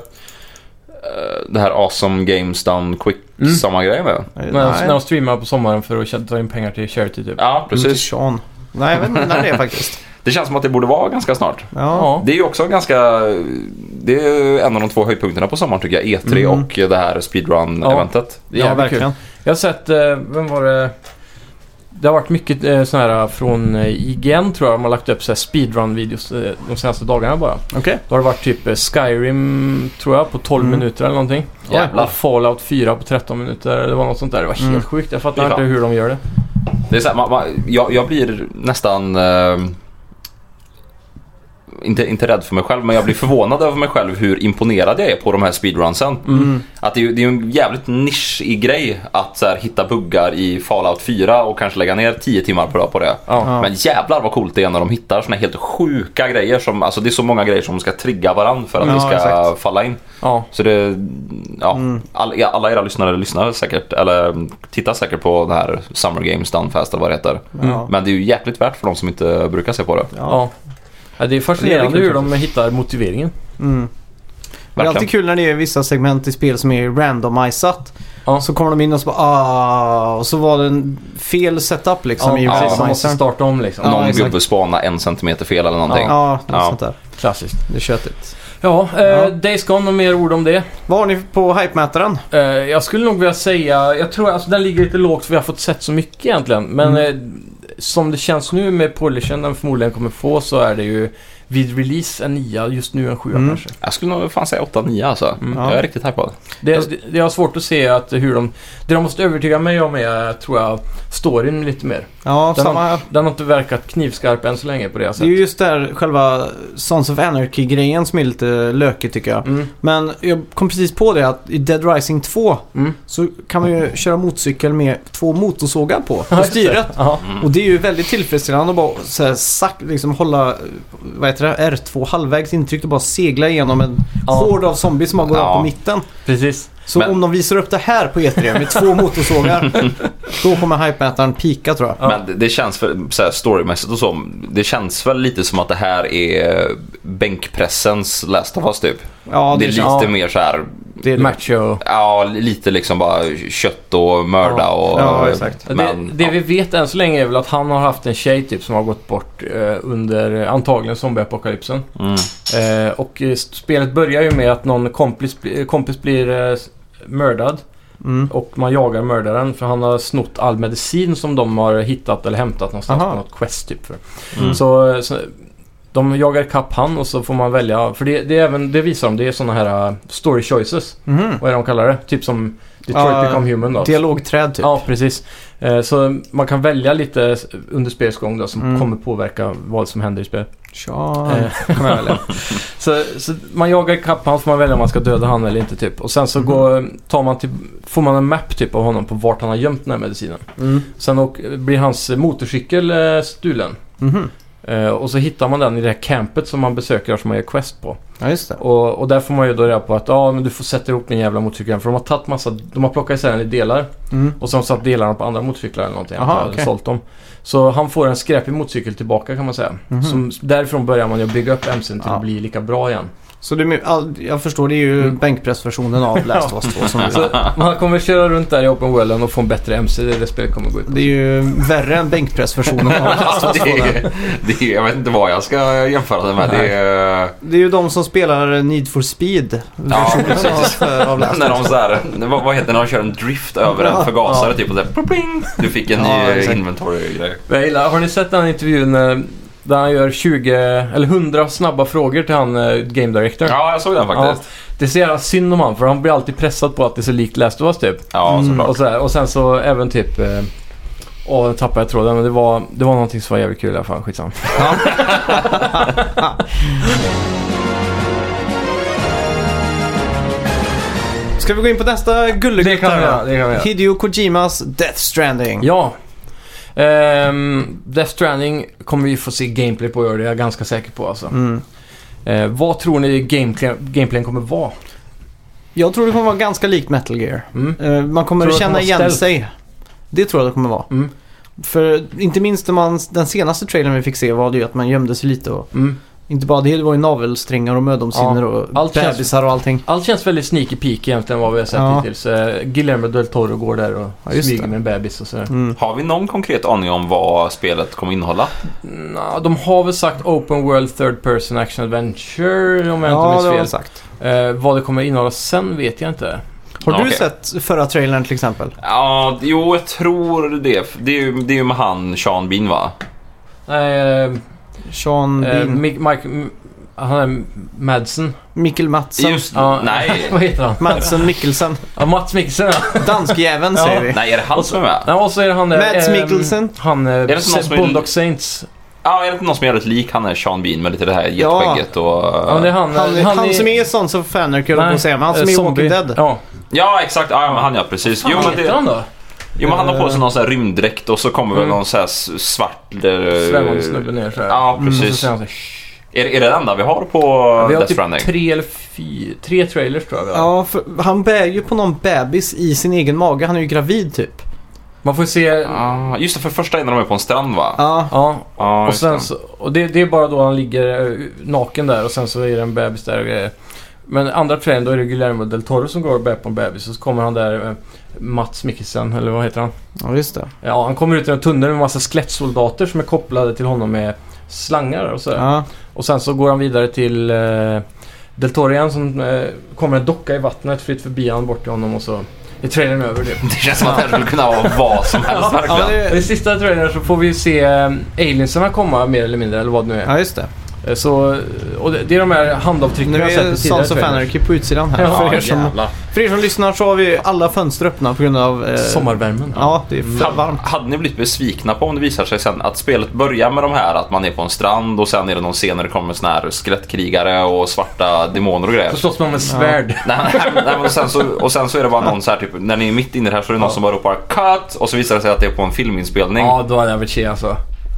Speaker 3: Eh, det här Awesome Games Done Quick,
Speaker 2: Mm.
Speaker 3: samma grej med?
Speaker 2: men, när
Speaker 1: Mm,
Speaker 2: de streamar på sommaren för att tjä- ta in pengar till charity typ.
Speaker 3: Ja,
Speaker 1: Inte
Speaker 3: precis.
Speaker 1: Sean. Nej, jag vet inte när det är faktiskt.
Speaker 3: Det känns som att det borde vara ganska snart.
Speaker 1: Ja.
Speaker 2: Ja.
Speaker 3: Det är ju också ganska... Det är ju en av de två höjdpunkterna på sommaren tycker jag. E3
Speaker 1: Mm.
Speaker 3: och det här speedrun-eventet.
Speaker 2: Det är
Speaker 1: Ja,
Speaker 2: jävligt kul.
Speaker 1: verkligen.
Speaker 2: Jag har sett, eh, vem var det? Det har varit mycket eh, sådana här från eh, IGN tror jag. De har lagt upp så här speedrun-videos eh, de senaste dagarna bara.
Speaker 1: Okej.
Speaker 2: Då har det varit typ eh, Skyrim, tror jag, på 12
Speaker 1: Mm.
Speaker 2: minuter eller någonting.
Speaker 3: Jävlar.
Speaker 2: Och Fallout 4 på 13 minuter. Det var något sånt där. Det var helt
Speaker 1: Mm.
Speaker 2: sjukt. Jag fattar
Speaker 3: Fy
Speaker 2: inte
Speaker 3: fan.
Speaker 2: hur de gör det.
Speaker 3: Det är så här, man, man, jag, jag blir nästan... eh, inte, inte rädd för mig själv, men jag blir förvånad över mig själv hur imponerad jag är på de här speedrunsen.
Speaker 1: Mm.
Speaker 3: Att det är ju det är ju en jävligt nischig grej att så här, hitta buggar i Fallout 4 och kanske lägga ner 10 timmar per dag på det.
Speaker 2: Ja.
Speaker 1: Ja.
Speaker 3: Men jävlar vad coolt det är när de hittar såna helt sjuka grejer som, alltså det är så många grejer som ska trigga varandra för att
Speaker 1: Ja,
Speaker 3: det ska
Speaker 1: exakt. Mm.
Speaker 3: falla in.
Speaker 2: ja.
Speaker 3: Så det, ja, all, ja, alla era lyssnare lyssnar säkert, eller tittar säkert på det här Summer Games Done Fast eller vad det heter.
Speaker 1: Ja.
Speaker 3: Men det är ju jäkligt värt för de som inte brukar se på det.
Speaker 1: Ja.
Speaker 2: ja. ja. Det är
Speaker 1: Det
Speaker 2: fascinerande
Speaker 1: är
Speaker 2: hur
Speaker 1: jävligt kul
Speaker 2: de hittar motiveringen.
Speaker 1: Mm. Det är alltid
Speaker 3: Verkligen.
Speaker 1: kul när det är vissa segment i spel som är randomisat.
Speaker 2: Ja.
Speaker 1: Så kommer de in och så bara ah, Och så var det en fel setup liksom i
Speaker 2: ja, precis. Man måste
Speaker 1: randomisern.
Speaker 2: starta om liksom.
Speaker 1: Ja,
Speaker 3: Någon
Speaker 1: exakt.
Speaker 3: gubbe spana en centimeter fel eller någonting. Ja.
Speaker 1: Ja, något
Speaker 3: Ja.
Speaker 1: sånt där.
Speaker 2: Klassiskt.
Speaker 1: Det är köttigt.
Speaker 2: Ja, eh,
Speaker 1: Ja.
Speaker 2: Days Gone och mer ord om det.
Speaker 1: Vad har ni på hypemätaren?
Speaker 2: Eh, jag skulle nog vilja säga, jag tror alltså den ligger lite lågt för vi har fått sett så mycket egentligen. Men eh, som det känns nu med polishen den förmodligen kommer få så är det ju vid release en 9, just nu en 7
Speaker 1: Mm.
Speaker 2: kanske.
Speaker 3: Jag skulle nog fan säga 8-9 alltså.
Speaker 2: Mm.
Speaker 1: Ja.
Speaker 3: Jag är riktigt hypad.
Speaker 2: Det, det, jag har svårt att se att hur de... Det de måste övertyga mig om är, tror jag, storyn lite mer.
Speaker 1: Ja,
Speaker 2: Den
Speaker 1: samma.
Speaker 2: Den har inte verkat knivskarp än så länge på det
Speaker 1: Det är ju
Speaker 2: sättet.
Speaker 1: just där själva Sons of Anarchy-grejen som är lite lökig tycker jag.
Speaker 2: Mm,
Speaker 1: Men jag kom precis på det att i Dead Rising 2
Speaker 2: mm.
Speaker 1: så kan man ju köra motorcykel med två motorsågar på,
Speaker 2: Ja,
Speaker 1: på styret.
Speaker 2: just det. Ja.
Speaker 1: Mm. Och det är ju väldigt tillfredsställande att bara så här, sack, liksom hålla eh, vad heter det, R2 halvvägs intryckt och bara segla igenom en
Speaker 2: Ja.
Speaker 1: hord av zombies som bara går
Speaker 3: Ja.
Speaker 1: av på mitten.
Speaker 2: Precis.
Speaker 1: Så
Speaker 3: Men-
Speaker 1: om de visar upp det här på E3 med två motorsågar, då kommer hypemätaren pika tror jag.
Speaker 2: Ja.
Speaker 3: Men det, det känns för, så här, storymässigt och så. Det känns väl lite som att det här är bänkpressens Last of Us typ.
Speaker 1: Ja,
Speaker 3: det är
Speaker 1: det,
Speaker 3: lite
Speaker 1: känns-
Speaker 2: ja.
Speaker 3: mer så här,
Speaker 1: det är det.
Speaker 2: Macho.
Speaker 3: ja lite liksom bara kött och mörda
Speaker 2: Ja.
Speaker 3: och...
Speaker 1: Ja, exakt.
Speaker 3: Men,
Speaker 2: det det vi vet än så länge är väl att han har haft en tjej typ som har gått bort eh, under eh, antagligen zombieapokalypsen.
Speaker 3: ja. Mm.
Speaker 2: Eh, och eh, spelet börjar ju med att någon kompis, bli- eh, kompis blir eh, s- mördad
Speaker 1: Mm.
Speaker 2: och man jagar mördaren för han har snott all medicin som de har hittat eller hämtat någonstans
Speaker 1: Aha.
Speaker 2: på något quest typ. För.
Speaker 3: Mm.
Speaker 2: Så, eh, så de jagar kapp han och så får man välja. För det, det, är även, det visar de, det är sådana här eh, story choices.
Speaker 1: Mhm.
Speaker 2: Vad är de kallar det? Typ som Detroit
Speaker 1: Ja,
Speaker 2: Become Human då.
Speaker 1: Dialogträd typ.
Speaker 2: Ja, precis. Eh, Så man kan välja lite under spelets gång då, som
Speaker 1: Mm.
Speaker 2: kommer påverka vad som händer i spelet.
Speaker 1: Tja,
Speaker 2: Eh,
Speaker 1: kan man välja.
Speaker 2: Så, så man jagar ikapp han får man välja om man ska döda han eller inte typ. Och sen så går, tar man till, får man en map typ av honom på vart han har gömt den här medicinen.
Speaker 1: Mm.
Speaker 2: Sen åk, blir hans motorcykel eh, stulen.
Speaker 1: Mhm.
Speaker 2: Eh, Och så hittar man den i det här campet som man besöker och som man gör quest på.
Speaker 1: Ja, just det.
Speaker 2: Och, och där får man ju då reda på att ja, men du får sätta ihop din jävla motorcykel igen. För de har tagit massa, de har plockat isär den i delar.
Speaker 1: Mm.
Speaker 2: Och sen satt delarna på andra motorcyklar eller någonting.
Speaker 1: Aha,
Speaker 2: Aha,
Speaker 1: okej.
Speaker 2: sålt dem. Så han får en skräpig motorcykel tillbaka kan man säga.
Speaker 1: Mhm.
Speaker 2: Som, därifrån börjar man ju bygga upp MCn till
Speaker 1: Ja.
Speaker 2: att bli lika bra igen.
Speaker 1: Så det är, med- all- jag förstår, det är ju
Speaker 2: Mm.
Speaker 1: bänkpressversionen av Last of Us 2 som du
Speaker 2: Så man kommer köra runt där i open worlden och få en bättre MC. Det är det spelet kommer gå ut på.
Speaker 1: Det är ju värre än bänkpressversionen av Last of Us
Speaker 3: det,
Speaker 1: 2. där.
Speaker 3: är, det är, jag vet inte vad jag ska jämföra det med. Det är,
Speaker 1: Det är ju de som spelar Need for Speed.
Speaker 3: Ja,
Speaker 1: versionen
Speaker 3: precis.
Speaker 1: av- av Last
Speaker 3: när
Speaker 1: of
Speaker 3: de
Speaker 1: Us.
Speaker 3: så här, vad, vad heter det när de kör en drift över
Speaker 1: Ja,
Speaker 3: en förgasare typ och så här, pling, du fick en
Speaker 1: Ja,
Speaker 3: ny
Speaker 1: exakt.
Speaker 3: inventory-grej.
Speaker 2: Men Jag gillar, har ni sett den intervjun eh, där han gör 20 eller 100 snabba frågor till han eh, Game Director?
Speaker 3: Ja, jag såg den faktiskt.
Speaker 2: det är så jävla synd om han för han blir alltid pressad på att det är så likt Last of Us typ.
Speaker 3: Ja,
Speaker 1: Mm.
Speaker 3: såklart.
Speaker 2: Och, sådär. och sen så även typ... eh, Åh, nu tappade jag tråden. Men det var, det var någonting som var jävligt kul i alla fall. Skitsamma.
Speaker 1: Ska vi gå in på nästa gullegutt här då?
Speaker 2: Det kan vi göra.
Speaker 1: Hideo Kojimas Death Stranding.
Speaker 2: Ja. Ehm, Death Stranding kommer vi få se gameplay på i år. Det är jag ganska säker på alltså.
Speaker 1: Mm.
Speaker 2: Eh, vad tror ni gameplay, gameplayen kommer vara?
Speaker 1: Jag tror det kommer vara ganska likt Metal Gear.
Speaker 2: Mm.
Speaker 1: Eh, Man kommer
Speaker 2: Tror du att de
Speaker 1: känna
Speaker 2: har
Speaker 1: igen
Speaker 2: ställt?
Speaker 1: sig. Det tror jag det kommer vara.
Speaker 2: Mm.
Speaker 1: För inte minst när man, den senaste trailern vi fick se var det ju att man gömde sig lite och
Speaker 2: Mm.
Speaker 1: inte bara det, det var ju navelsträngar och mödomshinnor
Speaker 2: Ja,
Speaker 1: och
Speaker 2: allt känns-
Speaker 1: bebisar och allting.
Speaker 2: Allt känns väldigt sneaky peek egentligen vad vi har sett
Speaker 1: Ja.
Speaker 2: hittills. Eh, Guillermo del Toro går där och
Speaker 1: Ja, just
Speaker 2: smyger
Speaker 1: det.
Speaker 2: med en bebis och sådär.
Speaker 1: Mm.
Speaker 3: Har vi någon konkret aning om vad spelet kommer innehålla?
Speaker 2: Nå, de har väl sagt Open World Third Person Action Adventure om jag
Speaker 1: Ja,
Speaker 2: inte
Speaker 1: det har de
Speaker 2: minns fel.
Speaker 1: sagt.
Speaker 2: Eh, vad det kommer innehålla sen vet jag inte.
Speaker 1: Har
Speaker 3: Ja,
Speaker 1: du
Speaker 3: okej.
Speaker 1: sett förra trailern till exempel?
Speaker 3: Ja, jo, jag tror det. Det är ju, det är ju med han Sean Bean va?
Speaker 2: Nej, eh,
Speaker 1: Sean
Speaker 2: eh,
Speaker 1: Bean,
Speaker 2: Mike, Mike, M- han är
Speaker 1: Mm.
Speaker 2: Madsen.
Speaker 1: Mikkel Madsen.
Speaker 3: Just
Speaker 2: Ja.
Speaker 3: Nej.
Speaker 2: vad heter han?
Speaker 1: Madsen Mikkelsen.
Speaker 2: Ja, Mats Mikkelsen ja.
Speaker 1: Danskjäveln
Speaker 2: Ja.
Speaker 1: säger vi.
Speaker 3: Nej, är det han som är med?
Speaker 2: Nej, och så är det han eh,
Speaker 1: Mads
Speaker 2: ehm,
Speaker 1: Mikkelsen.
Speaker 2: Han eh,
Speaker 3: det som någon som är-
Speaker 2: Bondock Saints.
Speaker 3: Ja, är det inte någon som är jävligt lik han är Sean Bean med lite det här getskägget och...
Speaker 2: Ja, det är han. eh,
Speaker 1: Han, han,
Speaker 2: är-
Speaker 1: som är i Sons of Anarchy höll jag på att säga, men han som
Speaker 2: eh,
Speaker 1: är i
Speaker 2: zombie.
Speaker 1: Walking Dead.
Speaker 2: Ja.
Speaker 3: Ja, exakt. Ja, men han ja, precis.
Speaker 2: Fan,
Speaker 3: Jo
Speaker 2: vad
Speaker 3: men,
Speaker 2: heter
Speaker 3: det,
Speaker 2: han då?
Speaker 3: jo, men han har på sig någon sån här rymddräkt och så kommer väl
Speaker 2: Mm.
Speaker 3: någon sån här s- svart... eh,
Speaker 2: Svävande snubbe ner så här.
Speaker 3: Ja,
Speaker 2: Och så
Speaker 3: precis.
Speaker 2: säger han så här, "Shh."
Speaker 3: Är, är det det enda vi har på
Speaker 2: Vi har
Speaker 3: Death
Speaker 2: typ
Speaker 3: Stranding?
Speaker 2: tre eller fyra, tre trailers tror jag vi har.
Speaker 1: Ja, för han bär ju på någon bebis i sin egen mage. Han är ju gravid typ.
Speaker 2: Man får se... Ja,
Speaker 3: Ah, just det, för första är när de är på en strand va?
Speaker 1: Ja,
Speaker 3: Ja,
Speaker 2: och
Speaker 3: just
Speaker 2: sen
Speaker 3: det.
Speaker 2: så, och det, det är bara då han ligger eh, naken där och sen så är det en bebis där och grejer. Men andra trailern då är det Guillermo del Toro som går och bär på en bebis och så kommer han där eh, Mats Mikkelsen, eller vad heter han?
Speaker 1: ja just det.
Speaker 2: Ja, han kommer ut i en tunnel med en massa skelettsoldater som är kopplade till honom med slangar och sådär.
Speaker 1: Ja.
Speaker 2: Och sen så går han vidare till eh, Deltorian som eh, kommer en docka i vattnet fritt förbi han bort till honom och så Är trailern över det?
Speaker 3: Det känns som att det här skulle kunna vara vad som helst
Speaker 1: Ja, men
Speaker 3: verkligen.
Speaker 1: det,
Speaker 2: I sista trailern så får vi se eh, aliensarna komma mer eller mindre, eller vad det nu är.
Speaker 1: ja, just det.
Speaker 2: Eh, Så, och det, det är de här handavtrycken
Speaker 1: Nu
Speaker 2: vi har sett
Speaker 1: är
Speaker 2: i tidigare
Speaker 1: Sons of
Speaker 2: trailers.
Speaker 1: Anarchy på utsidan här.
Speaker 2: Ja,
Speaker 1: för, er som,
Speaker 3: jävlar.
Speaker 1: för er som lyssnar så har vi alla fönster öppna på grund av... eh,
Speaker 2: Sommarvärmen.
Speaker 1: Ja, det är för
Speaker 3: Hade-
Speaker 1: varmt.
Speaker 3: Hade ni blivit besvikna på om det visar sig sen att spelet börjar med de här att man är på en strand och sen är det någon scen där det kommer sån här skrättkrigare och svarta demoner och grejer.
Speaker 2: Så slåss man med svärd.
Speaker 3: Nej, nej, nej, men sen så, och sen så är det bara någon så här typ, när ni är mitt inne i det här så är det någon
Speaker 2: Ja.
Speaker 3: som bara ropar 'Cut!' och så visar det sig att det är på en filminspelning.
Speaker 2: Ja, då hade jag varit tjej alltså.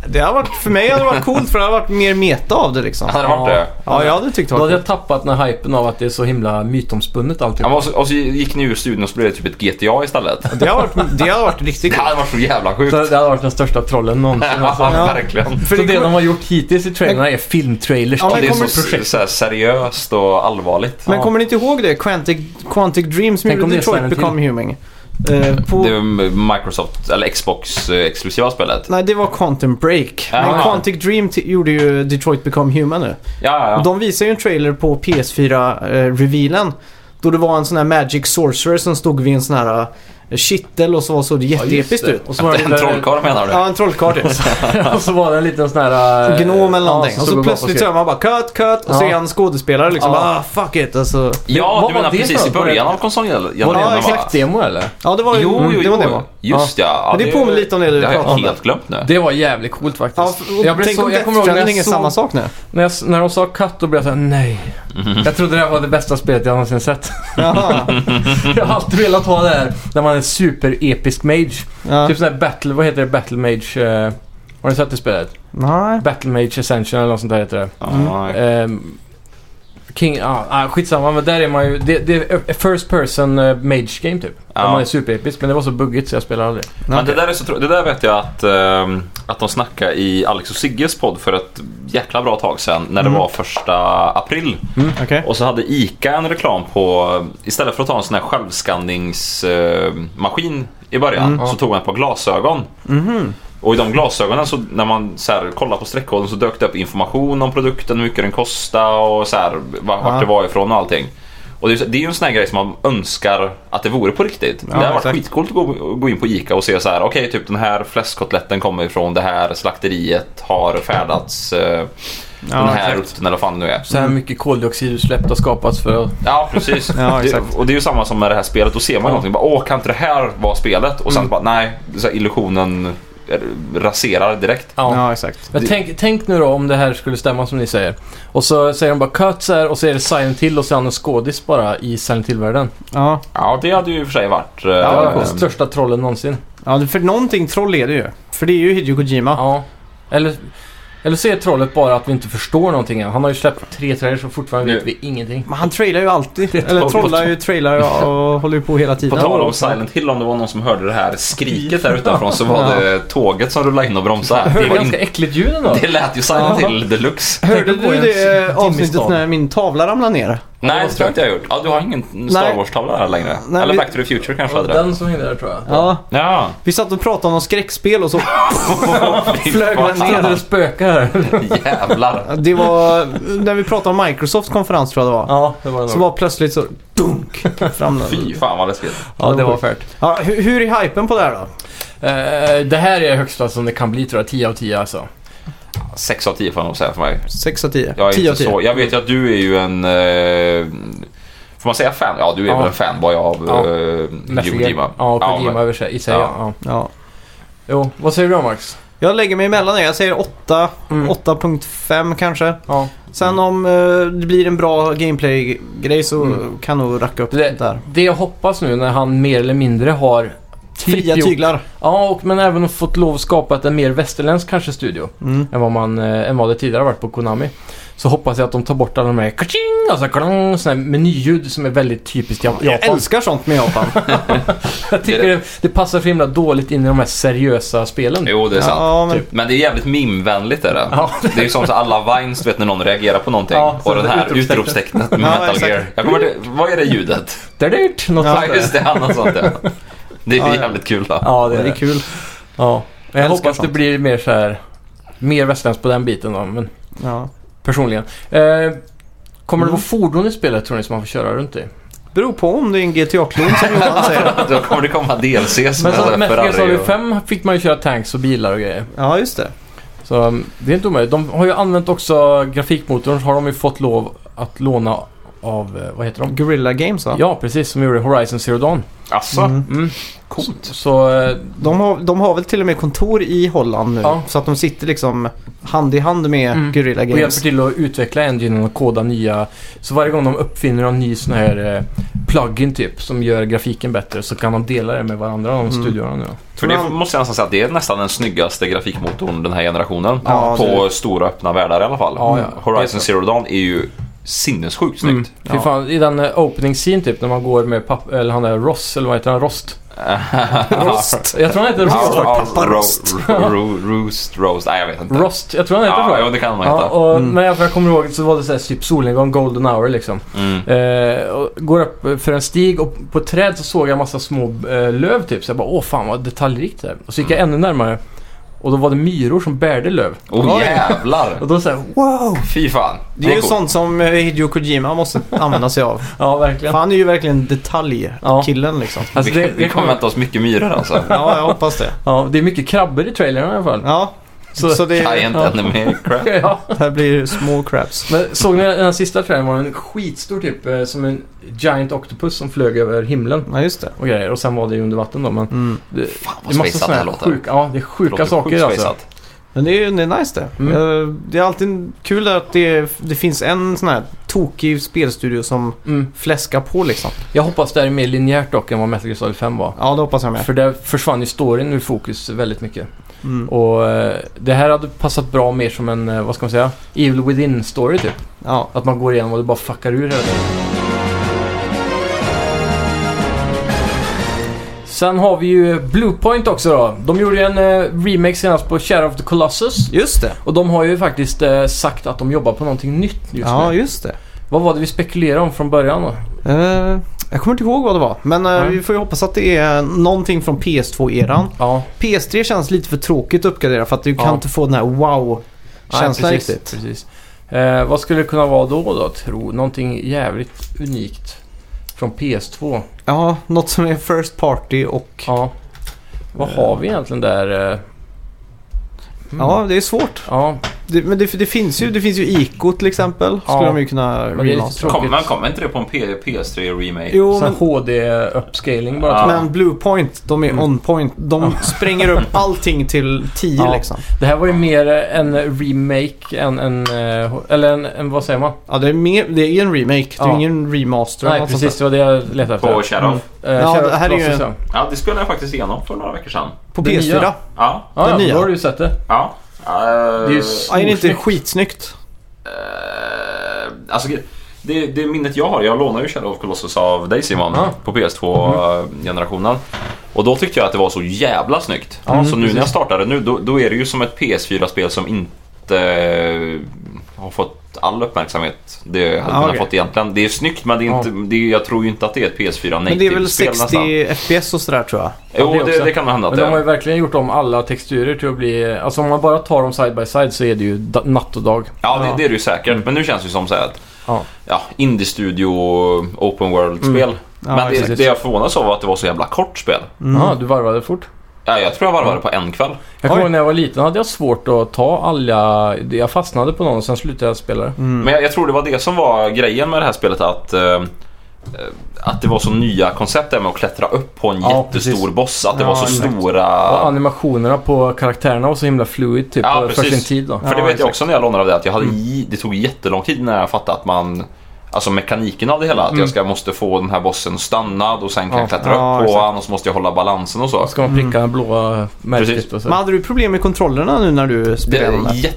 Speaker 1: Det har varit, för mig hade det varit coolt för det har varit mer meta av det liksom.
Speaker 3: Hade det varit
Speaker 2: Ja.
Speaker 3: det?
Speaker 1: Ja, jag hade tyckt det
Speaker 2: Då
Speaker 1: var
Speaker 2: hade
Speaker 1: coolt.
Speaker 2: jag tappat den här hypen av att det är så himla mytomspunnet allting.
Speaker 3: Ja, men och, så, och så gick ni ur studion och så blev det typ ett GTA istället.
Speaker 1: Det har varit, det har varit riktigt
Speaker 3: Det
Speaker 1: coolt.
Speaker 3: hade varit så jävla sjukt.
Speaker 2: Så det hade varit den största trollen någonsin alltså.
Speaker 3: Ja,
Speaker 1: Ja.
Speaker 3: verkligen.
Speaker 1: För
Speaker 2: så
Speaker 1: det
Speaker 2: det
Speaker 1: kommer-
Speaker 2: de har gjort hittills i trailerna är filmtrailers typ.
Speaker 1: Ja,
Speaker 2: till
Speaker 1: men
Speaker 3: Det är
Speaker 1: kommer-
Speaker 3: så, så här seriöst och allvarligt.
Speaker 1: Men
Speaker 2: Ja.
Speaker 1: kommer ni inte ihåg det? Quantic, Quantic Dream som
Speaker 2: Tänk om
Speaker 1: gjorde
Speaker 2: det är
Speaker 1: Detroit
Speaker 2: Silent Hill.
Speaker 1: Become Human. Eh, på,
Speaker 3: Det är Microsoft, eller Xbox eh, exklusiva spelet.
Speaker 1: Nej, det var Quantum Break.
Speaker 3: Ja.
Speaker 1: Men Quantic Dream t- gjorde ju Detroit Become Human nu.
Speaker 3: Ja, ja, ja.
Speaker 1: De visade ju en trailer på PS4-revealen. eh, då det var en sån här Magic Sorcerer som stod vid en sån här eh, kittel och så såg det jätteepiskt ut.
Speaker 2: Och så var det
Speaker 3: En trollkarl menar du?
Speaker 1: Ja, en trollkarl typ.
Speaker 2: Och så var det en liten sån här... eh,
Speaker 1: Gnom eller
Speaker 2: ja,
Speaker 1: någonting.
Speaker 2: som
Speaker 1: och
Speaker 2: stod
Speaker 1: så
Speaker 2: och gapade
Speaker 1: plötsligt
Speaker 2: och
Speaker 1: så
Speaker 2: skrek.
Speaker 1: hör man bara cut, cut och så
Speaker 2: Ja.
Speaker 1: är han skådespelare liksom.
Speaker 2: Ja.
Speaker 1: Ah, fuck it alltså.
Speaker 3: Ja,
Speaker 2: Vad var
Speaker 3: du menar
Speaker 2: det
Speaker 3: precis
Speaker 2: för
Speaker 3: i
Speaker 2: något?
Speaker 3: början av konsolgenerationen
Speaker 2: Var det
Speaker 1: Ja,
Speaker 3: va?
Speaker 2: en
Speaker 1: exakt.
Speaker 2: demo eller?
Speaker 1: Ja, det var ju
Speaker 3: Jo, jo,
Speaker 1: det. Var det
Speaker 3: jo.
Speaker 1: var.
Speaker 3: Just ja. ja
Speaker 1: Men det påminner lite om det du
Speaker 3: Det har
Speaker 1: pratade
Speaker 3: jag
Speaker 1: om. där.
Speaker 3: helt glömt nu.
Speaker 2: Det var jävligt coolt faktiskt.
Speaker 1: Ja, och
Speaker 2: jag blev
Speaker 1: tänk
Speaker 2: så,
Speaker 1: om
Speaker 2: jag
Speaker 1: Death
Speaker 2: kommer ihåg när
Speaker 1: Stranding är
Speaker 2: jag
Speaker 1: samma
Speaker 2: såg
Speaker 1: sak nu.
Speaker 2: När, jag, när de sa katt då blev jag såhär, nej. Jag trodde det här var det bästa spelet jag någonsin sett.
Speaker 1: Jaha.
Speaker 2: jag har alltid velat ha det här när man är super-episk mage.
Speaker 1: Ja.
Speaker 2: Typ sån här battle, vad heter det? Battle mage... eh, har ni sett det spelet?
Speaker 1: Nej.
Speaker 2: Battle mage Ascension eller något sånt där heter det.
Speaker 1: Mm.
Speaker 3: Ja,
Speaker 2: Ehm, King, ja ah, skitsamma men där är man ju, det, det är First Person eh, Mage Game typ. Där
Speaker 3: Ja.
Speaker 2: man är superepisk men det var så buggigt så jag spelade aldrig.
Speaker 3: Men det där, är så, tro- det där vet jag att, ehm, att de snackade i Alex och Sigges podd för ett jäkla bra tag sedan när det
Speaker 1: Mm.
Speaker 3: var första april.
Speaker 1: Okej.
Speaker 3: Och så hade ICA en reklam på, istället för att ta en sån här självskanningsmaskin i början,
Speaker 1: Mm. Mhm.
Speaker 3: så tog man ett par glasögon. Och i de glasögonen, så när man så här, kollade på streckkoden så dök det upp information om produkten, hur mycket den kostade och så här, va- vart
Speaker 1: Ja.
Speaker 3: det var ifrån och allting. Och det är, så- det är ju en sån här grej som man önskar att det vore på riktigt.
Speaker 1: Ja,
Speaker 3: det hade varit
Speaker 1: exakt.
Speaker 3: skitcoolt att gå, gå in på ICA och se så här, okej typ den här fläskkotletten kommer ifrån det här slakteriet, har färdats eh, den här
Speaker 1: exakt.
Speaker 3: rutten eller vad fan det nu är.
Speaker 2: Så här mycket koldioxidutsläpp har skapats för att...
Speaker 3: Ja, precis.
Speaker 1: Ja, exakt.
Speaker 3: det, och det är ju samma som med det här spelet. Då ser man
Speaker 2: Ja.
Speaker 3: någonting. Bara, Åh, kan inte det här vara spelet? Och sen
Speaker 1: Mm.
Speaker 3: bara, nej. Så här, illusionen eh, raserar direkt.
Speaker 2: Ja.
Speaker 1: Ja, exakt.
Speaker 2: Men
Speaker 3: Det-
Speaker 2: tänk, tänk nu då om det här skulle stämma som ni säger. Och så säger de bara cut så här och så är det Silent Hill och så är han en skådis bara i Silent Hill-världen.
Speaker 1: Ja.
Speaker 3: Ja, det hade ju i och för sig varit... eh,
Speaker 2: det var
Speaker 1: coolt.
Speaker 2: den största trollen någonsin.
Speaker 1: ja, det- för någonting troll är det ju. För det är ju Hideo Kojima.
Speaker 2: Ja. Eller, eller så är trollet bara att vi inte förstår någonting än. Han har ju släppt tre trailers och fortfarande
Speaker 3: Nu.
Speaker 2: vet vi ingenting.
Speaker 1: Men han trailar ju alltid.
Speaker 2: är
Speaker 1: Eller
Speaker 2: troll.
Speaker 1: trollar ju, trailar ju och håller ju på hela
Speaker 3: På
Speaker 1: tiden.
Speaker 3: tal om Silent Hill, om det var någon som hörde det här skriket där utanför så var det tåget som rullade in och bromsade.
Speaker 2: Det
Speaker 3: Det,
Speaker 2: är
Speaker 3: var
Speaker 2: ganska
Speaker 3: in,
Speaker 2: äckligt ljud ändå.
Speaker 3: det lät ju Silent Hill deluxe.
Speaker 1: Hörde
Speaker 2: Tänk på
Speaker 1: du
Speaker 2: en
Speaker 1: det
Speaker 2: timmis
Speaker 1: avsnittet
Speaker 2: dag.
Speaker 1: när min tavla ramlade ner?
Speaker 3: Nej, det tror jag inte jag har gjort. Ja, du har ingen
Speaker 1: Nej.
Speaker 3: Star Wars-tavla där längre.
Speaker 1: Nej,
Speaker 3: Eller
Speaker 1: vi-
Speaker 3: Back to the Future
Speaker 2: Det
Speaker 3: kanske
Speaker 2: var
Speaker 3: hade det.
Speaker 2: den som hindrade tror jag.
Speaker 1: Ja.
Speaker 3: Ja.
Speaker 1: Vi satt och pratade om något skräckspel och så flög den
Speaker 2: Ser du
Speaker 1: ner.
Speaker 2: det spökar här?
Speaker 3: Jävlar.
Speaker 1: Det var när vi pratade om Microsofts konferens tror jag det var.
Speaker 2: Ja, det var det
Speaker 1: Så var plötsligt så dunk fram den.
Speaker 3: Fy fan vad läskigt.
Speaker 2: Ja, det var färt.
Speaker 1: ja, hur, hur är hypen på det här då?
Speaker 2: Eh, det här är högsta som det kan bli tror jag. 10 av 10 alltså.
Speaker 3: 6 av 10 får jag nog säga för mig.
Speaker 1: 6 av 10?
Speaker 3: Jag är
Speaker 1: 10 av
Speaker 3: inte
Speaker 1: 10?
Speaker 3: så. Jag vet ju att du är ju en... Eh, får man säga fan? Ja, du är
Speaker 2: Ja.
Speaker 3: väl en fanboy av
Speaker 2: Ja.
Speaker 3: eh, Hideo Kojima.
Speaker 2: Ja, Kojima
Speaker 3: men-
Speaker 2: över sig, i sig. Ja.
Speaker 3: Ja.
Speaker 2: Ja.
Speaker 1: Ja.
Speaker 2: Jo, vad säger du då Max?
Speaker 1: Jag lägger mig emellan er. Jag säger 8.
Speaker 2: Mm.
Speaker 1: 8.5 kanske.
Speaker 2: Ja.
Speaker 1: Sen om eh, det blir en bra gameplay-grej så
Speaker 2: Mm.
Speaker 1: kan nog racka upp
Speaker 2: Det-
Speaker 1: det där.
Speaker 2: Det jag hoppas nu när han mer eller mindre har typ
Speaker 1: Fria
Speaker 2: gjort-
Speaker 1: tyglar.
Speaker 2: Ja, och, men även fått lov att skapa en mer västerländsk kanske studio.
Speaker 1: Mm.
Speaker 2: än vad, man, eh, än vad det tidigare har varit på Konami. Så hoppas jag att de tar bort alla de här kaching, alltså klang, såna här menyljud som är väldigt typiskt jap-
Speaker 1: Jag
Speaker 2: Japan.
Speaker 1: älskar sånt med Japan.
Speaker 2: Jag tycker det, det passar så himla dåligt in i de här seriösa spelen.
Speaker 3: Jo, det är sant.
Speaker 1: ja, men,
Speaker 2: Typ.
Speaker 3: Men det är jävligt mimvänligt är det.
Speaker 2: Ja.
Speaker 3: Det är ju som så alla vines, du vet när någon reagerar på någonting.
Speaker 2: Ja, så
Speaker 3: och den
Speaker 2: det
Speaker 3: här
Speaker 2: utropstecknet.
Speaker 3: utropstecknet med
Speaker 1: Ja,
Speaker 3: Metal
Speaker 1: exakt.
Speaker 3: Gear. Jag kommer till, vad är det ljudet?
Speaker 2: Där det är något
Speaker 1: Ja.
Speaker 2: sånt
Speaker 3: Ja,
Speaker 2: där.
Speaker 3: just det. Annat sånt ja. Det är
Speaker 1: Ja, ja.
Speaker 3: jävligt kul då.
Speaker 2: Ja,
Speaker 1: det är kul.
Speaker 2: Ja. Jag,
Speaker 1: Jag älskar
Speaker 2: hoppas det
Speaker 1: sånt.
Speaker 2: blir mer så här, mer västerländskt på den biten då, men
Speaker 1: Ja.
Speaker 2: personligen. Eh, kommer
Speaker 1: Mm.
Speaker 2: det vara fordon i spelet tror ni som man får köra runt i?
Speaker 1: beror på om det är en GTA-klon som Johan säger.
Speaker 3: Då kommer det komma DLCs
Speaker 2: Men som Metal
Speaker 3: med
Speaker 2: Gear
Speaker 3: Ferrari.
Speaker 2: Alltså, Solid
Speaker 3: och-
Speaker 2: 5 fick man ju köra tanks och bilar och grejer.
Speaker 1: Ja, just det.
Speaker 2: Så um, det är inte omöjligt. De har ju använt också grafikmotorn. Har de ju fått lov att låna av, eh, vad heter de?
Speaker 1: Guerrilla Games va?
Speaker 2: Ja, precis. Som gjorde Horizon Zero Dawn.
Speaker 3: Asså,
Speaker 1: Mm.
Speaker 2: Mm.
Speaker 3: coolt.
Speaker 2: Så eh,
Speaker 1: De har, de har väl till och med kontor i Holland nu.
Speaker 2: Ja.
Speaker 1: Så att de sitter liksom hand i hand med
Speaker 2: Mm.
Speaker 1: Guerrilla
Speaker 2: Och hjälper
Speaker 1: Games.
Speaker 2: till att utveckla enginen och koda nya. Så varje gång de uppfinner en ny sån här eh, plugin typ som gör grafiken bättre så kan de dela det med varandra de
Speaker 1: Mm.
Speaker 2: studiorna nu.
Speaker 3: För det måste jag nästan säga att det är nästan den snyggaste grafikmotorn den här generationen.
Speaker 1: Ja,
Speaker 3: på
Speaker 1: det-
Speaker 3: stora öppna världar i alla fall.
Speaker 2: Ja, ja.
Speaker 3: Horizon Zero Dawn är ju sinnessjukt snyggt.
Speaker 2: Fy fan, i den eh, opening scene typ när man går med papp- eller han där Ross, eller vad heter han? Rost?
Speaker 1: Rost.
Speaker 2: Jag tror han heter Rost.
Speaker 1: Ja.
Speaker 3: Ja,
Speaker 1: Pappa
Speaker 3: ro-
Speaker 1: Rost.
Speaker 3: ro- ro- Roast, roast, nej jag vet inte.
Speaker 2: Rost, jag tror han heter
Speaker 3: Ja,
Speaker 2: så.
Speaker 3: jo, det kan man
Speaker 2: Ja,
Speaker 3: heta.
Speaker 2: och,
Speaker 1: Mm.
Speaker 2: Men jag, för jag kommer ihåg så var det så här, typ solnedgång, golden hour liksom.
Speaker 3: Mm.
Speaker 2: Eh, och går upp för en stig och på ett träd så såg jag en massa små eh, löv typ. Så jag bara åh fan vad detaljrikt det är. Och så gick jag
Speaker 3: Mm.
Speaker 2: ännu närmare. Och då var det myror som bärde löv.
Speaker 3: Oh jävlar!
Speaker 2: Och då såhär wow!
Speaker 3: Fy fan.
Speaker 1: Det är ju
Speaker 3: coolt.
Speaker 1: sånt som eh, Hideo Kojima måste använda sig av.
Speaker 2: Ja verkligen.
Speaker 1: För han är ju verkligen detaljkillen liksom.
Speaker 2: Alltså,
Speaker 3: vi,
Speaker 2: det,
Speaker 3: vi
Speaker 2: det,
Speaker 3: kommer vänta oss mycket myror alltså.
Speaker 1: Ja, jag hoppas det.
Speaker 2: ja, det är mycket krabbor i trailern i alla fall.
Speaker 1: Ja, så, så det,
Speaker 3: Giant enemy crap.
Speaker 2: Ja.
Speaker 1: det här blir ju små craps.
Speaker 2: Men såg ni den här sista trailern var det en skitstor typ eh, som en giant octopus som flög över himlen
Speaker 1: Ja, just det.
Speaker 2: och grejer. Och sen var det ju under vatten då men.
Speaker 1: Mm.
Speaker 2: Det,
Speaker 3: Fan
Speaker 2: det
Speaker 3: vad
Speaker 2: är massa
Speaker 3: spejsat det här
Speaker 2: sådana
Speaker 3: låter.
Speaker 2: sjuka, ja, det är sjuka
Speaker 3: Låter
Speaker 2: saker
Speaker 3: sjukt
Speaker 2: alltså.
Speaker 3: spejsat.
Speaker 1: Men det är ju det är nice det.
Speaker 2: Mm.
Speaker 1: Eh, Det är alltid kul att det, det finns en sån här tokig spelstudio som
Speaker 2: Mm.
Speaker 1: fläskar på liksom.
Speaker 2: Jag hoppas det här är mer linjärt dock än vad Metal Gear Solid 5 var.
Speaker 1: Ja, det hoppas jag med.
Speaker 2: För där försvann ju storyn ur fokus väldigt mycket.
Speaker 1: Mm.
Speaker 2: Och eh, det här hade passat bra mer som en, eh, vad ska man säga, Evil Within-story typ.
Speaker 1: Ja.
Speaker 2: Att man går igenom och det bara fuckar ur hela tiden. Sen har vi ju Bluepoint också då. De gjorde ju en eh, remake senast på Shadow of the Colossus.
Speaker 1: Just det.
Speaker 2: Och de har ju faktiskt eh, sagt att de jobbar på någonting nytt just
Speaker 1: Ja,
Speaker 2: nu.
Speaker 1: just det.
Speaker 2: Vad var det vi spekulerade om från början då?
Speaker 1: Eh, jag kommer inte ihåg vad det var. Men eh,
Speaker 2: Nej.
Speaker 1: vi får ju hoppas att det är någonting från PS2-eran.
Speaker 2: Ja,
Speaker 1: PS3 känns lite för tråkigt att uppgradera för att du
Speaker 2: Ja.
Speaker 1: kan inte få den här wow-känslan
Speaker 2: Nej, precis,
Speaker 1: riktigt.
Speaker 2: precis. Eh, vad skulle det kunna vara då då, tro? Någonting jävligt unikt från PS2.
Speaker 1: Ja, något som är first party och... Ja,
Speaker 2: Ja. Vad har vi egentligen där? eh? Mm.
Speaker 1: det är svårt.
Speaker 2: ja.
Speaker 1: Det, men det, det finns ju. Det finns ju Ico till exempel. Skulle
Speaker 2: Ja.
Speaker 1: de ju kunna
Speaker 2: det är lite
Speaker 1: remastera.
Speaker 2: tråkigt.
Speaker 3: Kommer man- kommer inte det på en P- PS3 remake?
Speaker 1: Jo,
Speaker 2: Sån
Speaker 1: men,
Speaker 2: HD-upscaling bara.
Speaker 3: Ja.
Speaker 2: typ.
Speaker 1: men Blue Point, de är
Speaker 2: Mm.
Speaker 1: on point. De spränger upp allting till 10
Speaker 2: Ja.
Speaker 1: liksom.
Speaker 2: Det här var ju mer eh, en remake än en... eh, Eller en, en vad säger man?
Speaker 1: Ja, det är, mer, det är en remake. Det är
Speaker 2: Ja.
Speaker 1: ingen remaster. eller
Speaker 2: Nej,
Speaker 1: något
Speaker 2: precis.
Speaker 1: sånt
Speaker 2: Det var det jag letade efter.
Speaker 3: På Shadow?
Speaker 1: Mm.
Speaker 2: Eh,
Speaker 1: Ja,
Speaker 2: Shadow
Speaker 1: det här är ju-
Speaker 2: Colossus, ja.
Speaker 3: Ja, det spelade jag faktiskt igenom för några veckor sedan.
Speaker 1: där. På
Speaker 2: det nya.
Speaker 1: PS4.
Speaker 3: Ja,
Speaker 2: Ja,
Speaker 1: Den
Speaker 2: ja,
Speaker 1: nya.
Speaker 2: då har du ju sett det.
Speaker 3: ja. Eh,
Speaker 2: Det är ju
Speaker 1: Ja, är det inte
Speaker 2: Osnyggt.
Speaker 1: skitsnyggt?
Speaker 3: Eh, alltså, det, det minnet jag har, jag lånade ju Shadow of Colossus av dig Simon
Speaker 2: Ja. Mhm.
Speaker 3: på PS2-generationen. Och då tyckte jag att det var så jävla snyggt.
Speaker 2: Ja,
Speaker 3: så nu
Speaker 2: precis.
Speaker 3: när jag startade nu, då, då är det ju som ett PS4-spel som inte eh, har fått all uppmärksamhet det hade
Speaker 1: Ja,
Speaker 3: kunnat
Speaker 1: okej.
Speaker 3: fått egentligen. Det är snyggt men det är
Speaker 2: Ja.
Speaker 3: inte, det är, jag tror ju inte att det är ett PS4
Speaker 1: Men det är väl
Speaker 3: native-spel
Speaker 1: 60
Speaker 3: typ nästan.
Speaker 1: FPS och sådär tror jag.
Speaker 3: Jo,
Speaker 2: det
Speaker 3: det,
Speaker 2: också.
Speaker 3: det kan hända att
Speaker 2: Men
Speaker 3: det
Speaker 2: de har ju
Speaker 3: är.
Speaker 2: verkligen gjort om alla texturer till att bli... Alltså om man bara tar dem side by side så är det ju da- natt och dag.
Speaker 3: Ja,
Speaker 1: Ja.
Speaker 3: det, det är det ju säkert. Men nu känns det ju som så här att
Speaker 2: Ja.
Speaker 3: ja, indie-studio, open world-spel.
Speaker 1: Ja,
Speaker 3: Men det,
Speaker 2: precis.
Speaker 3: det jag förvånades av var att det var så jävla kort spel.
Speaker 1: Mm.
Speaker 2: Ja, du varvade fort.
Speaker 3: Ja, jag tror jag varvade på en kväll.
Speaker 1: Oj.
Speaker 2: Jag kommer ihåg när jag var liten hade jag svårt att ta alla... Jag fastnade på någon och sen slutade jag spela det.
Speaker 1: Mm.
Speaker 3: Men jag, jag tror det var det som var grejen med det här spelet att eh, eh, att det var så nya koncept där med att klättra upp på en
Speaker 2: Ja,
Speaker 3: jättestor
Speaker 2: precis.
Speaker 3: boss. Att det
Speaker 1: Ja,
Speaker 3: var så
Speaker 1: exakt.
Speaker 3: stora...
Speaker 2: Och animationerna på karaktärerna var så himla fluid typ
Speaker 3: Ja,
Speaker 2: för- för
Speaker 3: precis.
Speaker 2: sin tid då.
Speaker 3: För det
Speaker 1: Ja,
Speaker 3: vet jag
Speaker 1: exakt.
Speaker 3: också när jag lånade av det att jag hade, i- det tog jättelång tid när jag fattade att man Alltså mekaniken av det hela, att jag ska, måste få den här bossen stannad och sen kan
Speaker 2: Ja.
Speaker 3: jag klättra
Speaker 1: Ja,
Speaker 3: upp på
Speaker 1: exakt.
Speaker 3: honom och så måste jag hålla balansen och så.
Speaker 2: Ska man pricka mm. blåa märket
Speaker 3: Precis.
Speaker 2: och så.
Speaker 1: Men hade du problem med kontrollerna nu när du
Speaker 3: Det
Speaker 1: spelade?
Speaker 3: är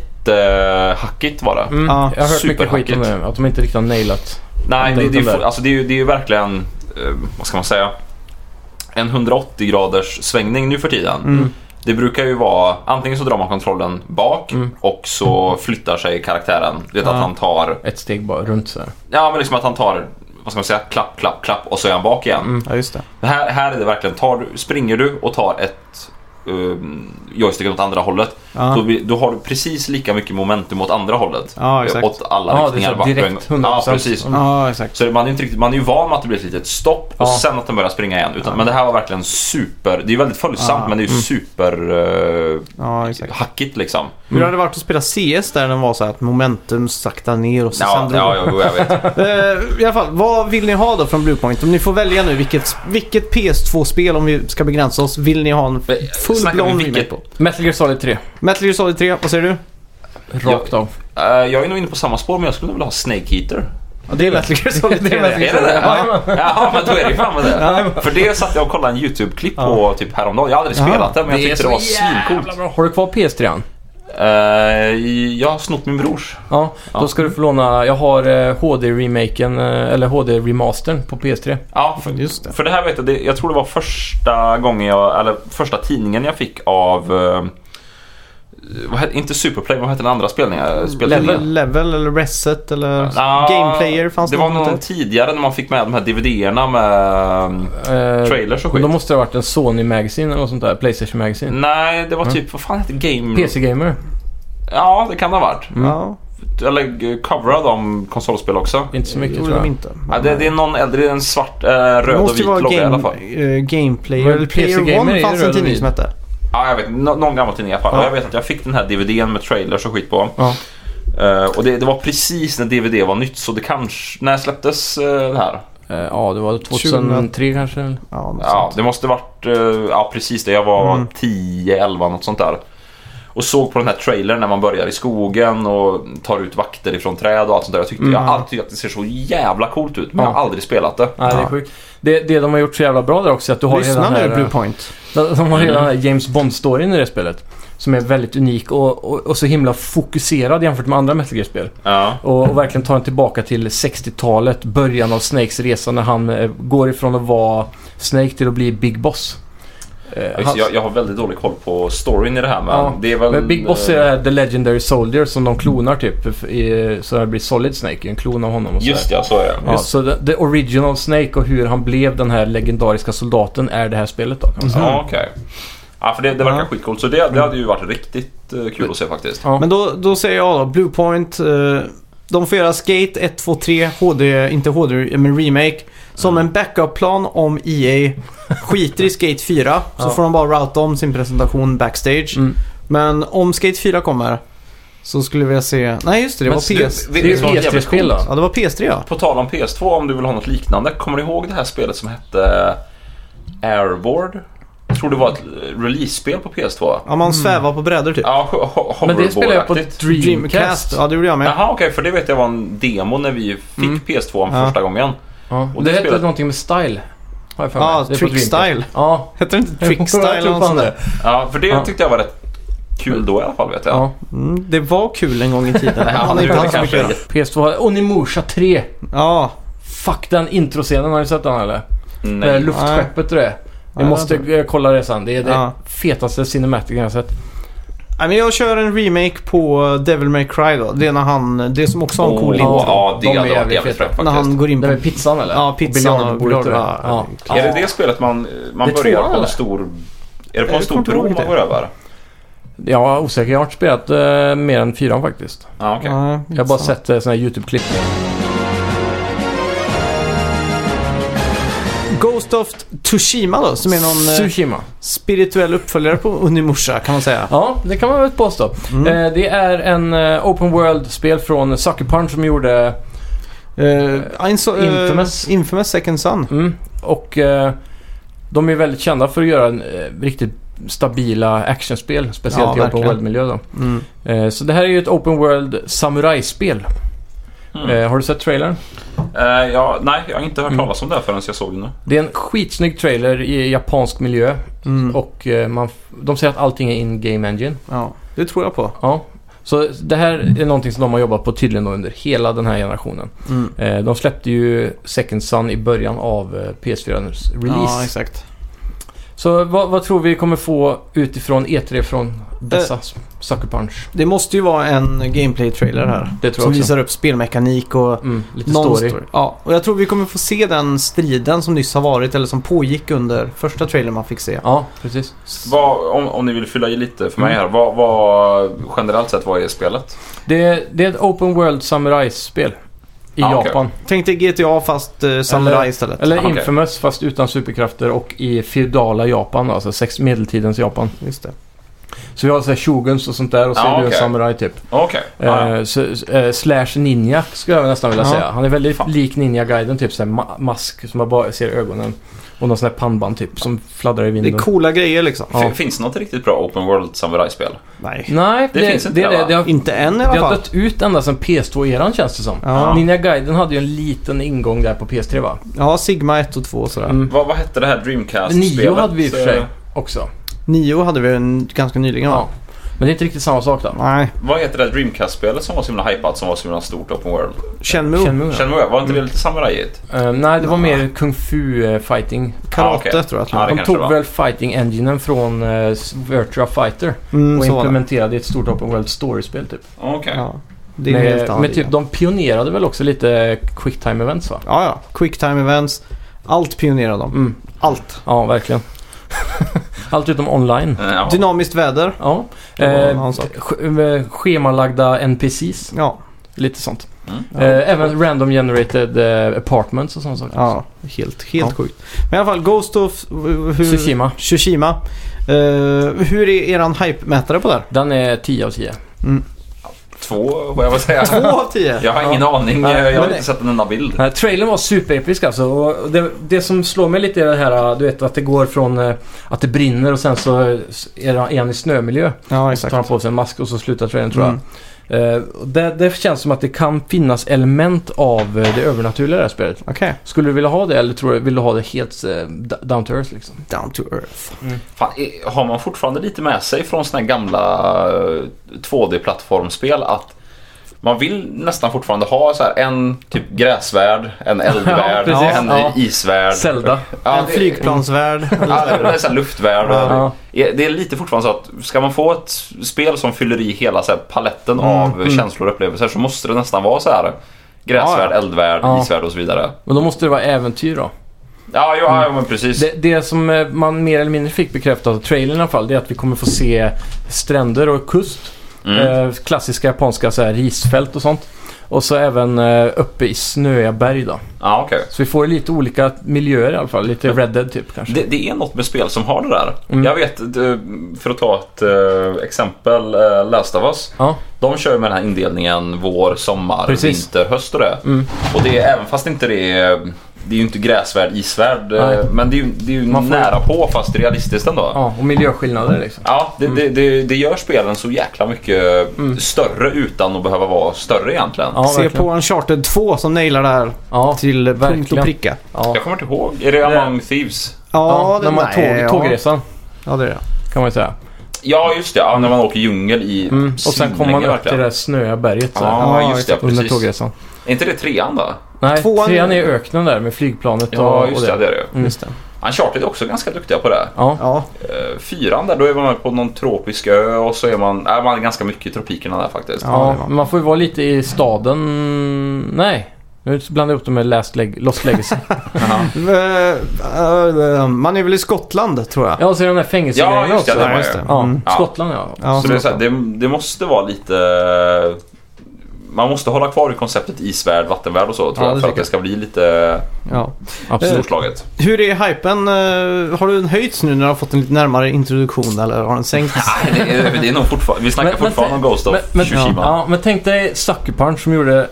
Speaker 3: jättehackigt var det.
Speaker 2: Mm.
Speaker 1: Ja,
Speaker 2: jag har hört mycket skit om
Speaker 3: superhackigt.
Speaker 2: det. Att de inte riktigt har nailat.
Speaker 3: Nej, det,
Speaker 2: Den-
Speaker 3: det, är,
Speaker 2: den
Speaker 3: ju-
Speaker 2: där.
Speaker 3: alltså det, är, ju- det är ju verkligen, eh, vad ska man säga, en 180 graders svängning nu för tiden.
Speaker 1: Mm.
Speaker 3: Det brukar ju vara, antingen så drar man kontrollen bak och så flyttar sig karaktären. Du vet
Speaker 1: Mm. Ja.
Speaker 3: att han tar,
Speaker 2: Ett steg bara runt så här.
Speaker 3: ja men liksom att han tar, vad ska man säga, klapp,
Speaker 1: Mm.
Speaker 3: klapp, klapp och så är han bak igen.
Speaker 1: Ja, just det.
Speaker 3: Men Här, här är det verkligen, tar du, springer du och tar ett uh, joysticken åt andra hållet. Då,
Speaker 1: Ja,
Speaker 3: blir- då har du precis lika mycket momentum åt andra hållet. Eh,
Speaker 1: ja exakt.
Speaker 3: Åt alla
Speaker 2: Ja, det är
Speaker 3: riktningar.
Speaker 2: så
Speaker 3: bara på en
Speaker 2: direkt Mm.
Speaker 3: gång.
Speaker 2: 100%.
Speaker 3: Ja, precis.
Speaker 1: Ja, exakt.
Speaker 3: Så man är, inte riktigt, man är ju van med att det blir ett litet stopp och
Speaker 2: Ja.
Speaker 3: sen att den börjar springa igen. Utan,
Speaker 1: Ja.
Speaker 3: Men det här var verkligen super... Det är ju väldigt följsamt
Speaker 1: Ja.
Speaker 3: men det är ju
Speaker 2: Mm.
Speaker 3: super... eh,
Speaker 1: Ja, exakt.
Speaker 3: hackigt liksom.
Speaker 1: Hur hade det varit att spela CS där den var så här att momentum sakta ner och så
Speaker 3: Ja,
Speaker 1: sen drog
Speaker 3: ja, ja, jo, jag vet.
Speaker 1: Eh, I alla fall, vad vill ni ha då från Bluepoint? Om ni får välja nu vilket, vilket PS2-spel, om vi ska begränsa oss, vill ni ha en
Speaker 3: Snackar vi
Speaker 1: full-blown
Speaker 3: Eh, vilket-
Speaker 1: remake på?
Speaker 2: Metal Gear Solid 3.
Speaker 1: Metal Gear Solid 3, vad säger du?
Speaker 2: Rakt av.
Speaker 3: Eh, jag är nog inne på samma spår men jag skulle nog vilja ha Snake Eater.
Speaker 1: Ja, det är Metal Gear Solid 3.
Speaker 2: Metal Gear
Speaker 3: Är det det?
Speaker 2: Ja.
Speaker 3: Jaha, men då är det ju fan med det. För det satt jag och kollade en YouTube-klipp på typ häromdagen. Jag har aldrig
Speaker 1: Ja.
Speaker 3: spelat det men jag tyckte det var
Speaker 2: jävla
Speaker 3: svincoolt.
Speaker 2: bra. Har du kvar PS3?
Speaker 3: Eh, jag har snott min brors.
Speaker 2: Ja,
Speaker 3: Ja.
Speaker 2: då ska du få låna. Jag har eh, HD-remaken, eh, eller HD-remastern på PS3.
Speaker 3: Ja, för,
Speaker 1: Just det.
Speaker 3: för det här vet jag. Det, jag tror det var första gången jag, eller första tidningen jag fick av eh, vad hette, inte Superplay, vad hette den andra spelningen?
Speaker 1: Level,
Speaker 3: speltidningen?
Speaker 1: level eller Reset eller
Speaker 3: Ja,
Speaker 1: Game Player fanns
Speaker 3: det
Speaker 1: det
Speaker 3: var
Speaker 1: något
Speaker 3: någon
Speaker 1: där?
Speaker 3: tidigare när man fick med de här DVD-erna med...
Speaker 2: Eh,
Speaker 3: Trailers och
Speaker 2: men Då
Speaker 3: skit.
Speaker 2: måste det ha varit en Sony Magazine eller något sånt där. Playstation Magazine.
Speaker 3: Nej, det var
Speaker 1: Mm.
Speaker 3: typ, vad fan hette Game...
Speaker 2: PC Gamer.
Speaker 3: Ja, det kan det ha varit.
Speaker 2: Mm.
Speaker 1: Ja,
Speaker 3: Eller eh, coverade de konsolspel också.
Speaker 2: Inte så
Speaker 1: det
Speaker 2: mycket
Speaker 1: gjorde
Speaker 2: tror jag.
Speaker 1: de inte.
Speaker 3: Ja, det, det är någon äldre, det är en svart, eh, röd
Speaker 1: det
Speaker 3: och
Speaker 1: måste
Speaker 3: vit
Speaker 1: ju vara
Speaker 3: logga i alla fall.
Speaker 1: game, eh, game Player,
Speaker 2: Men
Speaker 1: eller
Speaker 2: PC
Speaker 1: Player
Speaker 2: Gamer är
Speaker 1: One
Speaker 2: ju
Speaker 1: fanns
Speaker 2: röd
Speaker 1: en
Speaker 2: och
Speaker 1: tidning
Speaker 2: vit.
Speaker 1: som hette.
Speaker 3: Ja, jag vet. Nå- någon gammal tidning i alla fall.
Speaker 1: Ja.
Speaker 3: Och jag vet att jag fick den här DVDn med trailers och skit på.
Speaker 2: Ja.
Speaker 3: Eh, och det, det var precis när DVD var nytt så det kanske... När släpptes eh, det här?
Speaker 2: Eh, ja, det var 2003 kanske. eller?
Speaker 1: Ja, något
Speaker 3: Ja,
Speaker 1: sånt.
Speaker 3: det måste varit... eh, ja, precis det. Jag var
Speaker 1: Mm.
Speaker 3: 10, 11 något sånt där. Och såg på den här trailern när man börjar i skogen och tar ut vakter ifrån träd och allt sånt där. Jag tyckte, jag
Speaker 1: Mm.
Speaker 3: har alltid tyckt att det ser så jävla coolt ut men jag har
Speaker 2: Ja.
Speaker 3: aldrig spelat det.
Speaker 2: Nej, det är
Speaker 1: Ja.
Speaker 2: sjukt. Det, det de har gjort så jävla bra där också är att du har
Speaker 1: Lyssna
Speaker 2: hela den
Speaker 1: nu
Speaker 2: här... eh,
Speaker 1: Bluepoint.
Speaker 2: De har hela den här James Bond-storyn i det spelet. Som är väldigt unik och, och, och så himla fokuserad jämfört med andra Metal Gear-spel.
Speaker 3: Ja.
Speaker 2: Och, och verkligen tar den tillbaka till 60-talet, början av Snakes resa när han eh, går ifrån att vara Snake till att bli Big Boss. Eh,
Speaker 3: Ja, Just,
Speaker 2: han-
Speaker 3: det, jag, jag har väldigt dålig koll på storyn i det här men
Speaker 2: Ja,
Speaker 3: det är väl...
Speaker 2: Men Big Boss är
Speaker 3: eh,
Speaker 2: det här The Legendary Soldier som de klonar typ. f- I, så det blir Solid Snake, en klon av honom och sådär.
Speaker 3: Just det, ja, så är det.
Speaker 2: Ja, så the, the Original Snake och hur han blev den här legendariska soldaten är det här spelet då kan man säga.
Speaker 3: Ja, okej. Ja, för det, det verkar
Speaker 1: Ja.
Speaker 3: skitcoolt. Så det, det hade ju varit riktigt eh, kul att se faktiskt.
Speaker 2: Ja.
Speaker 1: Men då, då säger jag då, Bluepoint. Eh, de får göra Skate 1, 2, 3, HD, inte HD, men Remake. Som en backup-plan om EA skiter i Skate 4. Så
Speaker 2: Ja.
Speaker 1: får de bara routa om sin presentation backstage.
Speaker 2: Mm.
Speaker 1: Men om Skate 4 kommer så skulle vi vilja se... Nej just det, det
Speaker 2: Men
Speaker 1: var
Speaker 2: slut-
Speaker 1: PS...
Speaker 2: Det är ju
Speaker 3: Vet du vad jävligt
Speaker 2: PS3-spel då.
Speaker 1: Ja, det var PS3 ja.
Speaker 3: På tal om PS2, om du vill ha något liknande. Kommer du ihåg det här spelet som hette Airboard? Jag tror det var ett eh, release-spel på PS2.
Speaker 1: Ja, man
Speaker 2: Mm.
Speaker 1: svävar på brädor typ.
Speaker 3: Ja, ho- ho-
Speaker 2: Men det spelar jag på
Speaker 3: hoverboard-aktigt.
Speaker 2: Dreamcast.
Speaker 1: Ja, det gjorde jag med.
Speaker 3: Jaha, okej, för det vet jag var en demo när vi fick
Speaker 2: Mm.
Speaker 3: PS2
Speaker 1: Ja.
Speaker 3: första gången.
Speaker 2: Ja.
Speaker 3: Och
Speaker 2: Och
Speaker 3: det
Speaker 2: det hette
Speaker 3: spelet-
Speaker 2: någonting med Style. Har jag för mig.
Speaker 1: Ja,
Speaker 2: Det är på
Speaker 1: Trick Style.
Speaker 2: Dreamcast. Ja.
Speaker 1: Hette det inte Trick
Speaker 2: Jag
Speaker 1: Style
Speaker 2: tror
Speaker 1: eller något
Speaker 2: fan
Speaker 1: sånt där?
Speaker 2: det.
Speaker 3: Ja, för det
Speaker 2: Ja.
Speaker 3: tyckte jag var rätt kul då i alla fall vet jag.
Speaker 2: Ja.
Speaker 1: Mm, det var kul en gång i tiden.
Speaker 3: Ja,
Speaker 1: Han har
Speaker 3: nu
Speaker 1: inte
Speaker 3: är det
Speaker 1: haft så mycket
Speaker 3: kanske-
Speaker 1: att göra.
Speaker 2: PS2 och Onimusha 3.
Speaker 1: Ja,
Speaker 2: Fuck den introscenen, har ni sett den eller?
Speaker 3: Nej.
Speaker 2: Nej. Luftskeppet och det. Vi
Speaker 1: Nej,
Speaker 2: måste
Speaker 1: jag
Speaker 2: eh, kolla det sen. Det är det
Speaker 1: Ja. Mm.
Speaker 2: fetaste cinematic jag har sett.
Speaker 1: Nej, men jag kör en remake på Devil May Cry då. Det är när han, det som också har en cool
Speaker 3: Åh,
Speaker 1: intro.
Speaker 3: Ja, det
Speaker 2: De är
Speaker 3: hade varit
Speaker 2: jävligt
Speaker 3: jävligt
Speaker 2: feta.
Speaker 3: fräckt
Speaker 1: när
Speaker 3: faktiskt.
Speaker 1: han går in
Speaker 2: Det
Speaker 1: på...
Speaker 2: är pizzan eller?
Speaker 1: Ja, pizzan och
Speaker 2: biljardbordet
Speaker 1: biljard.
Speaker 2: det. Ja.
Speaker 1: Ja.
Speaker 3: Är det det spelet man, man
Speaker 2: Det tror
Speaker 3: börjar
Speaker 2: jag,
Speaker 3: på en
Speaker 2: eller?
Speaker 3: stor... Är det på
Speaker 1: Jag
Speaker 3: en stor
Speaker 1: kommer inte
Speaker 3: bro
Speaker 1: ihåg
Speaker 3: man
Speaker 1: det.
Speaker 3: går över?
Speaker 2: Ja, osäker. Jag har inte spelat eh, mer än fyran faktiskt.
Speaker 3: Ja, okej.
Speaker 1: Ja,
Speaker 2: Jag har bara
Speaker 1: pizzan.
Speaker 2: sett eh, såna här YouTube-klipp.
Speaker 1: Ghost of Tsushima då, som är någon eh,
Speaker 2: Tsushima.
Speaker 1: spirituell uppföljare på Unimusha kan man säga.
Speaker 2: Ja, det kan man väl påstå.
Speaker 1: Mm.
Speaker 2: Eh, det är en eh, Open World-spel från Sucker Punch som gjorde...
Speaker 1: Eh, Inso- eh,
Speaker 2: Infamous.
Speaker 1: Infamous Second Son.
Speaker 2: Mm, och eh, de är väldigt kända för att göra en, eh, riktigt stabila actionspel. Speciellt
Speaker 1: Ja,
Speaker 2: i Open
Speaker 1: verkligen.
Speaker 2: World-miljö då.
Speaker 1: Mm.
Speaker 2: Eh, så det här är ju ett Open World samurajspel.
Speaker 3: Mm.
Speaker 2: Eh, har du sett trailern?
Speaker 3: Eh, ja, nej, jag har inte hört
Speaker 2: Mm.
Speaker 3: talas om det här förrän jag såg det nu.
Speaker 2: Det är en skitsnygg trailer i japansk miljö.
Speaker 1: Mm.
Speaker 2: Och eh, man, f- de säger att allting är in-game engine.
Speaker 1: Ja, det tror jag på.
Speaker 2: Ja. Så det här är någonting som de har jobbat på tydligen då under hela den här generationen.
Speaker 1: Mm.
Speaker 2: Eh, de släppte ju Second Sun i början av eh, PS4-release.
Speaker 1: Ja, exakt.
Speaker 2: så vad, vad tror vi kommer få utifrån E3 E från dessa? Sucker Punch.
Speaker 1: Eh, Det måste ju vara en gameplay-trailer här.
Speaker 2: Det tror
Speaker 1: Som
Speaker 2: jag också.
Speaker 1: visar upp spelmekanik och
Speaker 2: Mm, lite
Speaker 1: någon
Speaker 2: story.
Speaker 1: story. Ja, och jag tror vi kommer få se den striden som nyss har varit eller som pågick under första trailern man fick se.
Speaker 2: Ja, precis.
Speaker 3: Vad, om, om ni vill fylla i lite för mig
Speaker 2: Mm.
Speaker 3: här. Vad, vad, generellt sett, vad är spelet?
Speaker 2: Det, det är ett Open World Samurai-spel. I
Speaker 3: Ah, okej.
Speaker 2: Japan.
Speaker 1: Tänk dig GTA fast eh, Samurai
Speaker 2: Eller-
Speaker 1: istället.
Speaker 2: Typ. Eller
Speaker 3: Okej.
Speaker 2: Infamous fast utan superkrafter och i feudala Japan, alltså sex medeltidens Japan.
Speaker 1: Just det.
Speaker 2: Så vi har så här shoguns och sånt där och så
Speaker 3: Ja,
Speaker 2: är du en
Speaker 3: okej.
Speaker 2: samurai typ.
Speaker 3: Okej. Ja, ja.
Speaker 2: Eh, så, eh, slash ninja skulle jag nästan vilja
Speaker 1: Ja.
Speaker 2: säga. Han är väldigt
Speaker 3: Fan.
Speaker 2: lik ninja-guiden, typ såhär ma- mask som man bara ser i ögonen. Och någon sån här pannband typ som fladdrar i
Speaker 1: Det
Speaker 2: vinden.
Speaker 1: är coola grejer liksom.
Speaker 2: Ja.
Speaker 3: Fin- Finns det något riktigt bra Open World Samurai-spel?
Speaker 1: Nej.
Speaker 2: Nej, det,
Speaker 3: Det
Speaker 2: det,
Speaker 3: finns
Speaker 2: det,
Speaker 3: inte
Speaker 2: det,
Speaker 3: det, va?
Speaker 2: det, har,
Speaker 1: Inte än i
Speaker 2: det
Speaker 1: alla
Speaker 2: har
Speaker 1: fall.
Speaker 2: dött ut ända sedan PS2-eran känns det som.
Speaker 1: Ja.
Speaker 2: Ninja Gaiden hade ju en liten ingång där på PS3 va?
Speaker 1: ja, Sigma 1 och 2 och sådär.
Speaker 2: Mm.
Speaker 3: Vad, vad hette det här Dreamcast-spelet?
Speaker 2: Nio hade vi i och för sig
Speaker 3: Eh,
Speaker 2: också.
Speaker 1: 9 hade vi en, ganska nyligen va?
Speaker 2: Ja. Men det är inte riktigt samma sak då.
Speaker 1: Nej.
Speaker 3: Vad heter det här Dreamcast-spelet som var så himla hypat som var så himla stort Open World?
Speaker 1: Shenmue.
Speaker 2: Shenmue, ja. Mm.
Speaker 3: Shenmue, var inte det lite samurajigt?
Speaker 2: Eh, nej, det var mer kung fu eh, fighting.
Speaker 1: Karate
Speaker 3: Ah, okej.
Speaker 1: tror jag att det
Speaker 3: Ja,
Speaker 1: var.
Speaker 3: det
Speaker 2: De
Speaker 3: kanske det
Speaker 2: tog
Speaker 3: var.
Speaker 2: väl fighting enginen från eh, s- Virtua Fighter
Speaker 1: Mm,
Speaker 2: och
Speaker 1: så var det.
Speaker 2: implementerade i ett stort open world story-spel typ.
Speaker 3: Okej.
Speaker 1: Ja. Det är en helt
Speaker 2: Med,
Speaker 1: annan
Speaker 2: med typ,
Speaker 1: liga.
Speaker 2: de pionerade väl också lite quick time events va?
Speaker 1: Ja, ja. Quick time events. Allt pionerar de.
Speaker 2: Mm.
Speaker 1: Allt.
Speaker 2: Ja, verkligen. Allt utom online.
Speaker 3: Eh, ja.
Speaker 1: Dynamiskt väder.
Speaker 2: Ja.
Speaker 1: Det var en
Speaker 2: Eh,
Speaker 1: annan sak.
Speaker 2: sch- eh, schemalagda NPCs,
Speaker 1: Ja.
Speaker 2: lite sånt.
Speaker 3: Mm.
Speaker 1: Ja.
Speaker 2: Eh, även random generated eh, apartments och sådana saker.
Speaker 1: Ja, helt, helt
Speaker 2: Ja.
Speaker 1: sjukt. Men i alla fall, Ghost of... Hur,
Speaker 2: Tsushima.
Speaker 1: Tsushima. Eh, hur är eran hype-mätare på det här?
Speaker 2: Den är 10 av 10.
Speaker 3: Två, vad jag vill säga.
Speaker 1: Två av tio?
Speaker 3: Jag har ingen aning.
Speaker 2: Nej,
Speaker 3: jag
Speaker 2: men
Speaker 3: har
Speaker 2: det-
Speaker 3: inte sett en enda bild.
Speaker 2: Den här Eh, trailern var superepisk alltså. Och det, det som slår mig lite är det här eh, du vet att det går från eh, att det brinner och sen så eh, är han- är han i snömiljö.
Speaker 1: Ja,
Speaker 2: Så tar han
Speaker 1: exakt.
Speaker 2: på sig en mask och så slutar trailern tror jag. Eh, och det, det känns som att det kan finnas element av eh, det övernaturliga i det här spelet.
Speaker 1: Okej.
Speaker 2: Skulle du vilja ha det eller tror du, vill du ha det helt eh, d- down to earth liksom?
Speaker 1: Down to earth.
Speaker 3: Fan, eh, har man fortfarande lite med sig från såna här gamla eh, 2D-plattformsspel att man vill nästan fortfarande ha så här en typ gräsvärld, en eldvärld,
Speaker 2: Ja, precis.
Speaker 3: en
Speaker 2: Ja.
Speaker 3: isvärld.
Speaker 2: Zelda.
Speaker 3: Ja,
Speaker 1: en
Speaker 3: det-
Speaker 1: flygplansvärld.
Speaker 3: Ja, det är så här luftvärld.
Speaker 2: Ja.
Speaker 3: Det det är lite fortfarande så att ska man få ett spel som fyller i hela så här paletten av känslor och upplevelser så måste det nästan vara så här gräsvärld,
Speaker 1: Ja,
Speaker 3: eldvärld,
Speaker 2: Ja.
Speaker 3: isvärld och så vidare.
Speaker 2: Men då måste det vara äventyr då.
Speaker 3: Ja, jo, ja men precis.
Speaker 2: Det, det som eh, man mer eller mindre fick bekräftat av trailern i alla fall, det är att vi kommer få se stränder och kust.
Speaker 3: Mm.
Speaker 2: Eh, klassiska japanska så här, risfält och sånt. Och så även eh, uppe i snöiga berg då.
Speaker 3: Ja, okej.
Speaker 2: Så vi får lite olika miljöer i alla fall. Lite Red Dead typ kanske.
Speaker 3: Det, det är något med spel som har det där.
Speaker 2: Mm.
Speaker 3: Jag vet, det- för att ta ett eh, exempel, eh, Last of Us.
Speaker 2: Ja,
Speaker 3: De kör ju med den här indelningen vår, sommar,
Speaker 2: Precis.
Speaker 3: vinter, höst och det.
Speaker 2: Mm.
Speaker 3: Och det är även fast inte det är, det är ju inte gräsvärd, isvärd. eh,
Speaker 2: Nej.
Speaker 3: Men det är ju, det är ju
Speaker 2: Man får-
Speaker 3: nära på fast realistiskt ändå. Ja.
Speaker 2: ja och miljöskillnader liksom.
Speaker 3: det, det, det, det gör spelen så jäkla mycket större utan att behöva vara större egentligen.
Speaker 2: Mm. Ja,
Speaker 1: Se
Speaker 2: verkligen.
Speaker 1: på Uncharted 2 som nailar det här
Speaker 2: Ja,
Speaker 1: till punkt och
Speaker 2: verkligen.
Speaker 1: pricka.
Speaker 2: ja.
Speaker 3: Jag kommer inte ihåg. Är det Among Thieves?
Speaker 1: Ja,
Speaker 2: när man
Speaker 1: nej,
Speaker 2: tåg, tågresan
Speaker 1: Ja, det är det.
Speaker 2: kan man ju säga.
Speaker 3: Ja, just det. Ja, när man åker djungel i
Speaker 2: Mm. Och sen kommer man
Speaker 3: svinlänge
Speaker 2: upp till det
Speaker 3: verkligen.
Speaker 2: där snöiga berget så här,
Speaker 3: Ja,
Speaker 1: Ja,
Speaker 3: just det.
Speaker 2: under
Speaker 3: Precis.
Speaker 2: tågresan.
Speaker 3: Är inte det trean då?
Speaker 2: Nej,
Speaker 1: Tvåan-
Speaker 2: trean är i öknen där med flygplanet
Speaker 3: Ja,
Speaker 2: och, och
Speaker 3: just det.
Speaker 2: det. Mm.
Speaker 3: Det är det ju.
Speaker 1: Just det.
Speaker 3: Uncharted är också ganska duktiga på det.
Speaker 2: Ja,
Speaker 1: Ja,
Speaker 3: Eh, Fyran där, då är man på någon tropisk ö och så är man, är man är ganska mycket i tropikerna där faktiskt.
Speaker 1: Ja,
Speaker 2: Ja,
Speaker 1: det var-
Speaker 2: men man får ju vara lite i staden... Nej. Nu blandar jag ihop det med Last Leg- Lost Legacy.
Speaker 1: Eh, eh, Man är väl i Skottland tror jag.
Speaker 2: ja, och så är den där fängelsegrejen
Speaker 3: Ja, just det,
Speaker 2: också.
Speaker 3: det var
Speaker 1: just
Speaker 3: ju.
Speaker 1: det.
Speaker 2: Ja,
Speaker 1: Mm.
Speaker 3: Ja.
Speaker 2: Skottland ja.
Speaker 1: Ja.
Speaker 3: Så det, är så här, det, det måste vara lite... Man måste hålla kvar i konceptet isvärld, vattenvärld och så tror
Speaker 1: Ja,
Speaker 3: jag
Speaker 1: det
Speaker 3: för att
Speaker 1: tycker
Speaker 3: det ska bli lite
Speaker 1: Ja.
Speaker 2: Absolut.
Speaker 3: storslaget.
Speaker 1: Hur är hypen? Eh, Har den höjts nu när du har fått en lite närmare introduktion eller har den sänkts?
Speaker 3: Nej, det är, det är nog fortfarande... Vi snackar
Speaker 2: Men- men
Speaker 3: fortfarande
Speaker 2: tänk-
Speaker 3: om Ghost of
Speaker 2: men, men,
Speaker 3: Tsushima.
Speaker 2: ja, men tänk dig Sucker Punch som gjorde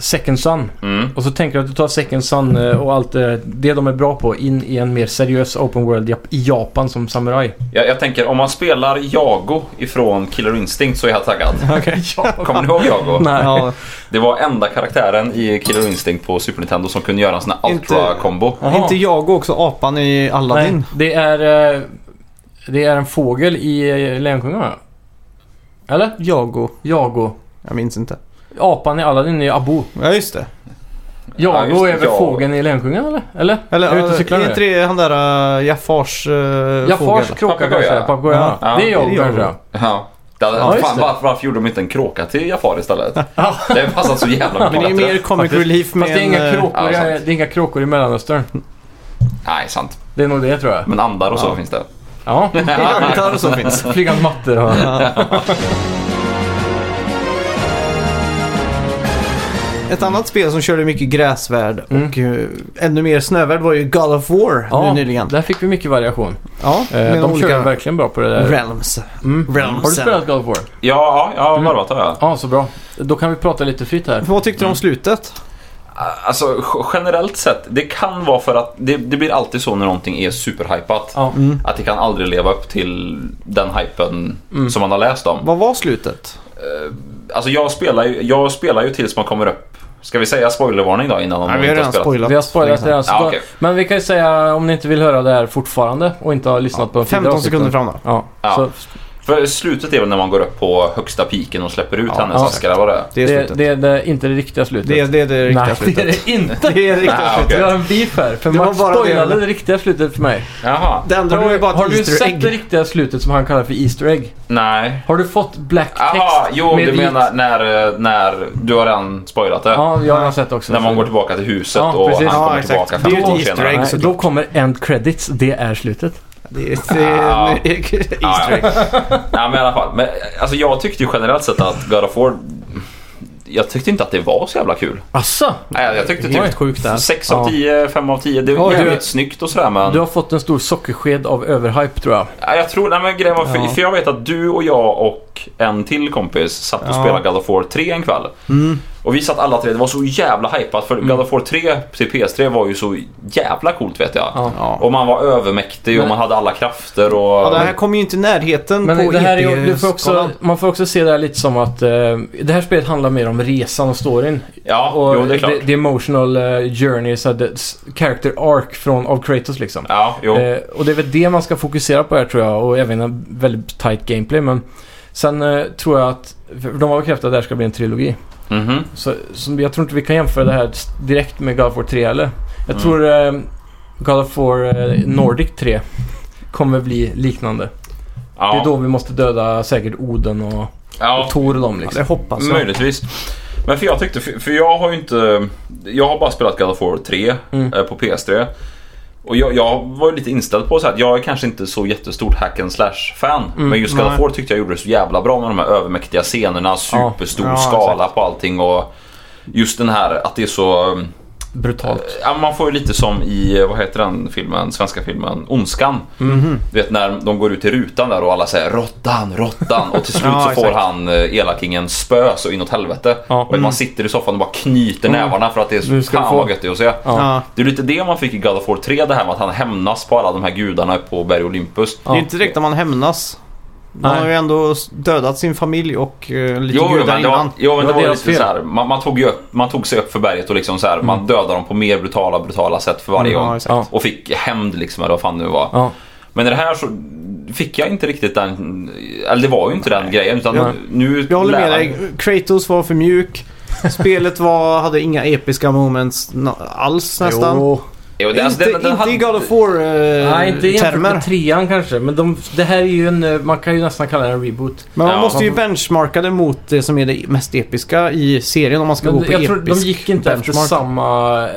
Speaker 2: Second Sun.
Speaker 3: Mm.
Speaker 2: Och så tänker du att du tar Second Sun eh, och allt eh, det de är bra på in i en mer seriös open world jap- i Japan som samurai.
Speaker 3: Jag, jag tänker, om man spelar Jago ifrån Killer Instinct så är jag taggad.
Speaker 1: Okej.
Speaker 3: Kommer ni ihåg Jago?
Speaker 2: Nej.
Speaker 1: Ja,
Speaker 3: Det var enda karaktären i Killer Instinct på Super Nintendo som kunde göra en sån här
Speaker 1: Inte-
Speaker 3: Ultra-kombo.
Speaker 2: Jaha.
Speaker 1: inte jag och också apan i Aladdin.
Speaker 2: Nej, det är... eh, Det är en fågel i eh, Lejonkungen va? Eller?
Speaker 1: Jago.
Speaker 2: Jago.
Speaker 1: Jag minns inte.
Speaker 2: Apan i Aladdin är ju Abu.
Speaker 1: Ja, just det.
Speaker 3: Ja,
Speaker 2: Jago
Speaker 3: just det,
Speaker 2: är väl
Speaker 3: Jago.
Speaker 2: fågeln i Lejonkungen eller? Eller?
Speaker 1: Eller
Speaker 2: jag är ute och
Speaker 1: eh,
Speaker 2: cyklar
Speaker 1: är inte
Speaker 2: nu.
Speaker 1: det han där uh, Jafars uh,
Speaker 2: Jafars kråka
Speaker 3: Papegoja.
Speaker 2: kanske? Papegojan.
Speaker 1: Ja.
Speaker 2: det är
Speaker 3: Ja,
Speaker 1: det är
Speaker 2: Jago
Speaker 1: Jago.
Speaker 2: kanske.
Speaker 3: Ja. Det hade,
Speaker 2: Ja, just
Speaker 3: fan,
Speaker 2: det.
Speaker 3: varför, varför gjorde de inte en kråka till Jafar istället?
Speaker 2: Ja.
Speaker 3: Det hade passat så jävla bra.
Speaker 1: Men det är
Speaker 3: tror jag.
Speaker 1: mer comic
Speaker 3: Faktiskt.
Speaker 1: relief med
Speaker 2: Fast det är,
Speaker 1: en,
Speaker 2: inga
Speaker 1: eh,
Speaker 2: kråkor,
Speaker 3: ja,
Speaker 2: i-
Speaker 3: sant.
Speaker 2: det är inga kråkor i Mellanöstern.
Speaker 3: Nej, sant.
Speaker 2: Det är nog det tror jag.
Speaker 3: Men andar och så
Speaker 2: Ja.
Speaker 3: finns det.
Speaker 2: Ja.
Speaker 1: Antar som finns.
Speaker 2: Flygande mattor och...
Speaker 1: Ett annat spel som körde mycket gräsvärd och eh, ännu mer snövärd var ju God of War
Speaker 2: Mm. Ja,
Speaker 1: nu nyligen.
Speaker 2: där fick vi mycket variation.
Speaker 1: Ja,
Speaker 2: Eh,
Speaker 1: med
Speaker 2: de körde
Speaker 1: olika
Speaker 2: verkligen bra på det där.
Speaker 1: realms.
Speaker 2: Mm.
Speaker 1: realmsen.
Speaker 2: Har du spelat God of War?
Speaker 3: Ja, ja, jag
Speaker 1: Mm.
Speaker 3: har varvat har jag.
Speaker 2: Ja, så bra. Då kan vi prata lite fritt här.
Speaker 1: Vad tyckte du om slutet?
Speaker 3: Alltså g- generellt sett, det kan vara för att det, det blir alltid så när någonting är superhypat.
Speaker 2: Ja.
Speaker 3: Att det kan aldrig leva upp till den hypen
Speaker 1: Mm.
Speaker 3: som man har läst om.
Speaker 1: Vad var slutet?
Speaker 3: Alltså jag spelar ju, jag spelar ju tills man kommer upp. Ska vi säga spoilervarning då innan de
Speaker 1: Nej, vi har
Speaker 3: inte
Speaker 1: redan spoilat.
Speaker 2: Vi har spoilat det här. Så
Speaker 3: Ja,
Speaker 2: då,
Speaker 3: okej.
Speaker 2: Men vi kan ju säga om ni inte vill höra det här fortfarande och inte har lyssnat på de tidigare
Speaker 1: 15 sekunder
Speaker 2: avsnitten.
Speaker 1: fram då.
Speaker 2: Ja,
Speaker 3: Ja.
Speaker 2: Så
Speaker 3: För slutet är väl när man går upp på högsta piken och släpper ut
Speaker 1: Ja,
Speaker 3: henne.
Speaker 2: ja.
Speaker 3: Så ska det vara det.
Speaker 1: Det är
Speaker 2: det,
Speaker 1: slutet.
Speaker 2: det är det, inte det riktiga slutet.
Speaker 1: Det är det, är det riktiga
Speaker 2: Nej,
Speaker 1: slutet.
Speaker 2: det är det inte.
Speaker 1: Det är det riktiga
Speaker 3: Nej,
Speaker 1: slutet.
Speaker 3: okej.
Speaker 2: Vi har en beef här, för
Speaker 1: Det var
Speaker 2: Max
Speaker 1: bara det.
Speaker 2: spoilade det riktiga slutet för mig.
Speaker 3: Jaha.
Speaker 1: Det andra var
Speaker 2: Har
Speaker 1: ju
Speaker 2: du,
Speaker 1: bara
Speaker 2: har
Speaker 1: ett
Speaker 2: du
Speaker 1: Easter
Speaker 2: sett det
Speaker 1: egg.
Speaker 2: riktiga slutet som han kallar för Easter egg?
Speaker 3: Nej.
Speaker 2: Har du fått black text
Speaker 3: Jaha, jo
Speaker 2: med
Speaker 3: du
Speaker 2: vit-
Speaker 3: menar när, eh, när du har redan spoilat det.
Speaker 2: Ja, jag har sett också.
Speaker 3: När man går tillbaka till huset
Speaker 2: Ja,
Speaker 3: och
Speaker 2: precis.
Speaker 3: han
Speaker 1: Ja,
Speaker 3: kommer
Speaker 1: exakt. Det
Speaker 3: tillbaka
Speaker 1: är ju
Speaker 3: 15 år
Speaker 1: ett easter
Speaker 3: senare.
Speaker 1: egg.
Speaker 2: Nej,
Speaker 1: så-
Speaker 2: då kommer end credits, det är slutet.
Speaker 1: Det är, det är
Speaker 3: Ja.
Speaker 1: en Easter
Speaker 3: Ja,
Speaker 1: egg.
Speaker 3: ja. Nej, men i alla fall. Men, alltså, jag tyckte ju generellt sett att God of War... Jag tyckte inte att det var så jävla kul.
Speaker 2: Asså?
Speaker 3: Nej, jag tyckte
Speaker 1: Det är
Speaker 3: typ
Speaker 1: helt sjukt där.
Speaker 3: 6
Speaker 2: Ja.
Speaker 3: av 10, 5 av 10. Det var
Speaker 2: Oj,
Speaker 3: jävligt
Speaker 2: du-
Speaker 3: snyggt och sådär men...
Speaker 2: Du har fått en stor sockersked av överhype tror jag.
Speaker 3: Nej, Jag tror, nej men grejen var, för,
Speaker 1: Ja.
Speaker 3: för jag vet att du och jag och en till kompis satt och
Speaker 1: Ja.
Speaker 3: spelade God of War 3 en kväll.
Speaker 1: Mm.
Speaker 3: Och vi satt alla tre, det var så jävla hypat för
Speaker 2: Mm.
Speaker 3: God of War 3 till PS3 var ju så jävla coolt vet jag.
Speaker 2: Ja.
Speaker 1: Ja.
Speaker 3: Och man var övermäktig och
Speaker 2: Men-
Speaker 3: man hade alla krafter och...
Speaker 1: Ja, det här kommer ju inte i närheten
Speaker 2: Men
Speaker 1: på E
Speaker 2: det här är, ju- du får också,
Speaker 1: EP-skalan.
Speaker 2: man får också se det här lite som att eh, det här spelet handlar mer om resan och storyn.
Speaker 3: Ja,
Speaker 2: Och
Speaker 3: jo det är klart.
Speaker 2: The, the emotional eh, journey, så här, the s- character arc från, av Kratos liksom.
Speaker 3: Ja, jo.
Speaker 2: Eh, och det är väl det man ska fokusera på här tror jag och även en väldigt tight gameplay. Men sen eh, tror jag att, för de har bekräftat att det här ska bli en trilogi.
Speaker 3: Mhm.
Speaker 2: Så, så jag tror inte vi kan jämföra det här s- direkt med God of War 3 eller? Jag
Speaker 3: Mm.
Speaker 2: tror eh, God of War eh, Nordic 3 kommer bli liknande.
Speaker 3: Ja.
Speaker 2: Det är då vi måste döda säkert Oden och,
Speaker 3: ja.
Speaker 2: och Tor och dem
Speaker 1: Ja,
Speaker 2: liksom.
Speaker 1: det hoppas jag.
Speaker 3: Möjligtvis. Men för jag tyckte, för för jag har ju inte... Jag har bara spelat God of War 3
Speaker 2: Mm.
Speaker 3: eh, på PS3. Och jag, jag var ju lite inställd på så här, att jag är kanske inte så jättestort hack and slash fan.
Speaker 2: Mm,
Speaker 3: men just God of
Speaker 1: nej.
Speaker 3: War tyckte jag gjorde det så jävla bra med de här övermäktiga scenerna, superstor
Speaker 1: Ja, ja,
Speaker 3: skala på allting och just den här att det är så...
Speaker 2: Brutalt.
Speaker 3: Ja, man får ju lite som i, vad heter den filmen, svenska filmen, Ondskan.
Speaker 2: Mm-hmm.
Speaker 3: Du vet när de går ut i rutan där och alla säger råttan, råttan och till slut
Speaker 1: Ja,
Speaker 3: så får
Speaker 1: exakt.
Speaker 3: han eh, elakingen spö så inåt helvete.
Speaker 2: Ja.
Speaker 3: Och man sitter i soffan och bara knyter
Speaker 2: Mm.
Speaker 3: nävarna för att det är
Speaker 2: Nu
Speaker 3: så
Speaker 2: ska du
Speaker 3: fan
Speaker 2: få.
Speaker 3: vad gött det är att se.
Speaker 2: Ja.
Speaker 1: Ja.
Speaker 3: Det är lite det man fick i God of War 3 det här med att han hämnas på alla de här gudarna på berg Olympus.
Speaker 1: Det är inte direkt när man hämnas. Man
Speaker 2: Nej.
Speaker 1: har ju ändå s- dödat sin familj och eh, lite
Speaker 3: Jo,
Speaker 1: gudar
Speaker 3: men det var,
Speaker 1: innan.
Speaker 3: jo,
Speaker 2: Det
Speaker 3: men det
Speaker 2: var
Speaker 3: var
Speaker 2: deras
Speaker 3: lite så
Speaker 2: fel. Mm.
Speaker 3: här, man, man, tog ju upp, man tog sig upp för berget och liksom så här, man dödade dem på mer brutala, brutala sätt för varje
Speaker 1: Ja,
Speaker 3: gång.
Speaker 1: exakt.
Speaker 2: Ja.
Speaker 3: Och fick hämnd liksom, eller vad fan det nu var.
Speaker 2: Ja.
Speaker 3: Men i det här så fick jag inte riktigt den... Eller det var ju inte den grejen utan
Speaker 2: Nej.
Speaker 3: nu...
Speaker 1: Jag håller med
Speaker 3: lär-
Speaker 1: dig. Kratos var för mjuk. Spelet var, hade inga episka moments na- alls nästan.
Speaker 2: Jo.
Speaker 3: Jo, det,
Speaker 1: Inte,
Speaker 3: alltså, den- den
Speaker 1: inte i
Speaker 3: hade-
Speaker 1: God of War eh,
Speaker 2: Nej, inte jämfört
Speaker 1: termer.
Speaker 2: med trean kanske. Men de, det här är ju en, eh, man kan ju nästan kalla det en reboot.
Speaker 1: Men man
Speaker 3: Ja.
Speaker 1: måste ju benchmarka det mot det som är det mest episka i serien om man ska
Speaker 2: Men
Speaker 1: gå på
Speaker 2: jag
Speaker 1: episk
Speaker 2: tror de gick inte efter
Speaker 1: benchmark.
Speaker 2: samma eh,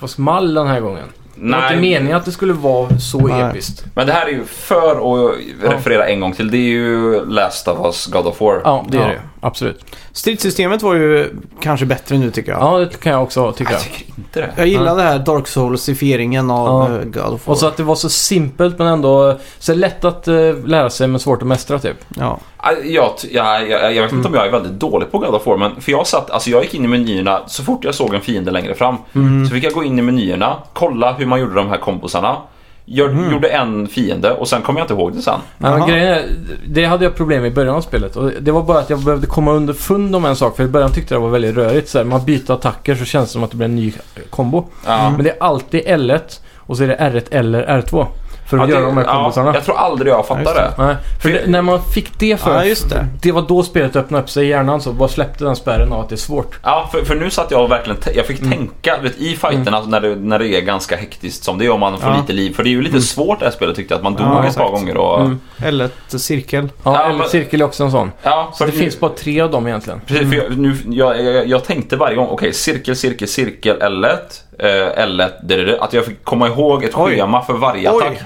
Speaker 2: fast mall den här gången. Det var inte
Speaker 3: Nej,
Speaker 2: meningen att det skulle vara så
Speaker 1: Nej.
Speaker 2: episkt.
Speaker 3: men det här är ju för att referera en gång till. Det är ju Last of Us God of War.
Speaker 2: Ja, det är
Speaker 1: Ja.
Speaker 2: det. Absolut.
Speaker 1: Stridssystemet var ju kanske bättre nu tycker jag.
Speaker 2: Ja, det kan jag också tycka.
Speaker 3: Jag tycker inte det.
Speaker 1: Jag gillar det här Dark Souls-ifieringen av
Speaker 2: Ja.
Speaker 1: eh, God of War.
Speaker 2: Och så att det var så simpelt men ändå så lätt att eh, lära sig men svårt att mästra typ.
Speaker 1: ja.
Speaker 3: Jag, jag, jag, jag, jag vet inte om
Speaker 2: Mm.
Speaker 3: jag är väldigt dålig på God of War, men för jag satt, alltså jag gick in i menyerna så fort jag såg en fiende längre fram.
Speaker 2: Mm.
Speaker 1: Mm.
Speaker 3: Så fick jag gå in i menyerna, kolla hur man gjorde de här kombosarna. Jag
Speaker 2: Mm.
Speaker 3: gjorde en fiende och sen kommer jag inte ihåg det sen.
Speaker 2: Nej, men
Speaker 1: Jaha.
Speaker 2: grejen är, det hade jag problem med i början av spelet. Och det var bara att jag behövde komma underfund om en sak för i början tyckte jag det var väldigt rörigt. Så här, man byter attacker så känns det som att det blir en ny kombo.
Speaker 3: Ja.
Speaker 2: Men det är alltid L1 och så är det R1 eller R2. För att
Speaker 3: Ja,
Speaker 2: göra de här kombosarna.
Speaker 3: Ja, jag tror aldrig jag fattar
Speaker 1: Ja,
Speaker 3: det.
Speaker 1: just
Speaker 2: Nej, för det, när man fick det för
Speaker 1: Ja, just det.
Speaker 2: det var då spelet öppnade upp sig i hjärnan så bara släppte den spärren av att det är svårt.
Speaker 3: Ja, för, för nu satt jag och verkligen te- jag fick
Speaker 2: Mm.
Speaker 3: tänka du vet, i fighterna när, det, när det är ganska hektiskt som det är om man får
Speaker 1: Ja.
Speaker 3: lite liv. För det är ju lite svårt det här spelet tyckte jag, att man dog
Speaker 1: Ja,
Speaker 3: ett
Speaker 1: exakt.
Speaker 3: par gånger. Och,
Speaker 2: Mm.
Speaker 1: Eller ett cirkel.
Speaker 2: Ja,
Speaker 3: Ja,
Speaker 2: eller
Speaker 3: men-
Speaker 2: cirkel är också en sån.
Speaker 3: ja,
Speaker 2: Så det
Speaker 3: för-
Speaker 2: finns Mm. bara tre av dem egentligen.
Speaker 3: Precis, för jag, nu, jag, jag, jag tänkte varje gång, okej cirkel, cirkel, cirkel, L1, eh, L1, det, det, det, att jag fick komma ihåg ett
Speaker 1: Oj.
Speaker 3: schema för varje
Speaker 1: Oj.
Speaker 3: attack.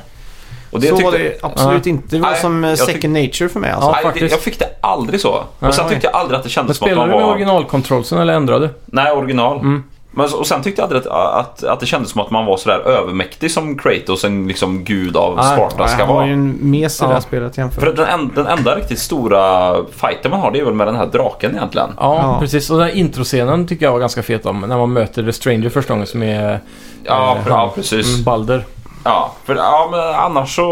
Speaker 3: Och det
Speaker 1: så
Speaker 3: tyckte,
Speaker 1: var det absolut inte. Det var
Speaker 3: Nej,
Speaker 1: som eh,
Speaker 3: jag tyck-
Speaker 1: second nature för mig alltså.
Speaker 2: Ja,
Speaker 3: nej, det,
Speaker 2: faktiskt.
Speaker 3: jag fick det aldrig så.
Speaker 2: Nej.
Speaker 3: Och sen tyckte jag aldrig att det
Speaker 2: Men
Speaker 3: kändes som att
Speaker 2: spelar
Speaker 3: man
Speaker 2: du med
Speaker 3: var...
Speaker 2: originalkontrollsen eller ändrade?
Speaker 3: Nej, original.
Speaker 2: Mm.
Speaker 3: Men, så- och sen tyckte jag aldrig att, att, att det kändes som att man var sådär övermäktig som Kratos, en liksom gud av
Speaker 2: Nej,
Speaker 3: Sparta
Speaker 1: Nej,
Speaker 3: ska
Speaker 1: han var
Speaker 3: vara.
Speaker 1: ju en mes i det
Speaker 2: Ja.
Speaker 1: här spelet jämfört
Speaker 3: För den, en, den enda riktigt stora fighten man har det är väl med den här draken egentligen.
Speaker 2: Ja,
Speaker 1: Ja.
Speaker 2: precis. Och den här introscenen tycker jag var ganska fet om. När man möter The Stranger första gången som är
Speaker 3: Ja,
Speaker 2: Eh,
Speaker 3: pre-
Speaker 2: han.
Speaker 3: ja precis.
Speaker 2: mm, Balder.
Speaker 3: Ja, för, ja, men annars så...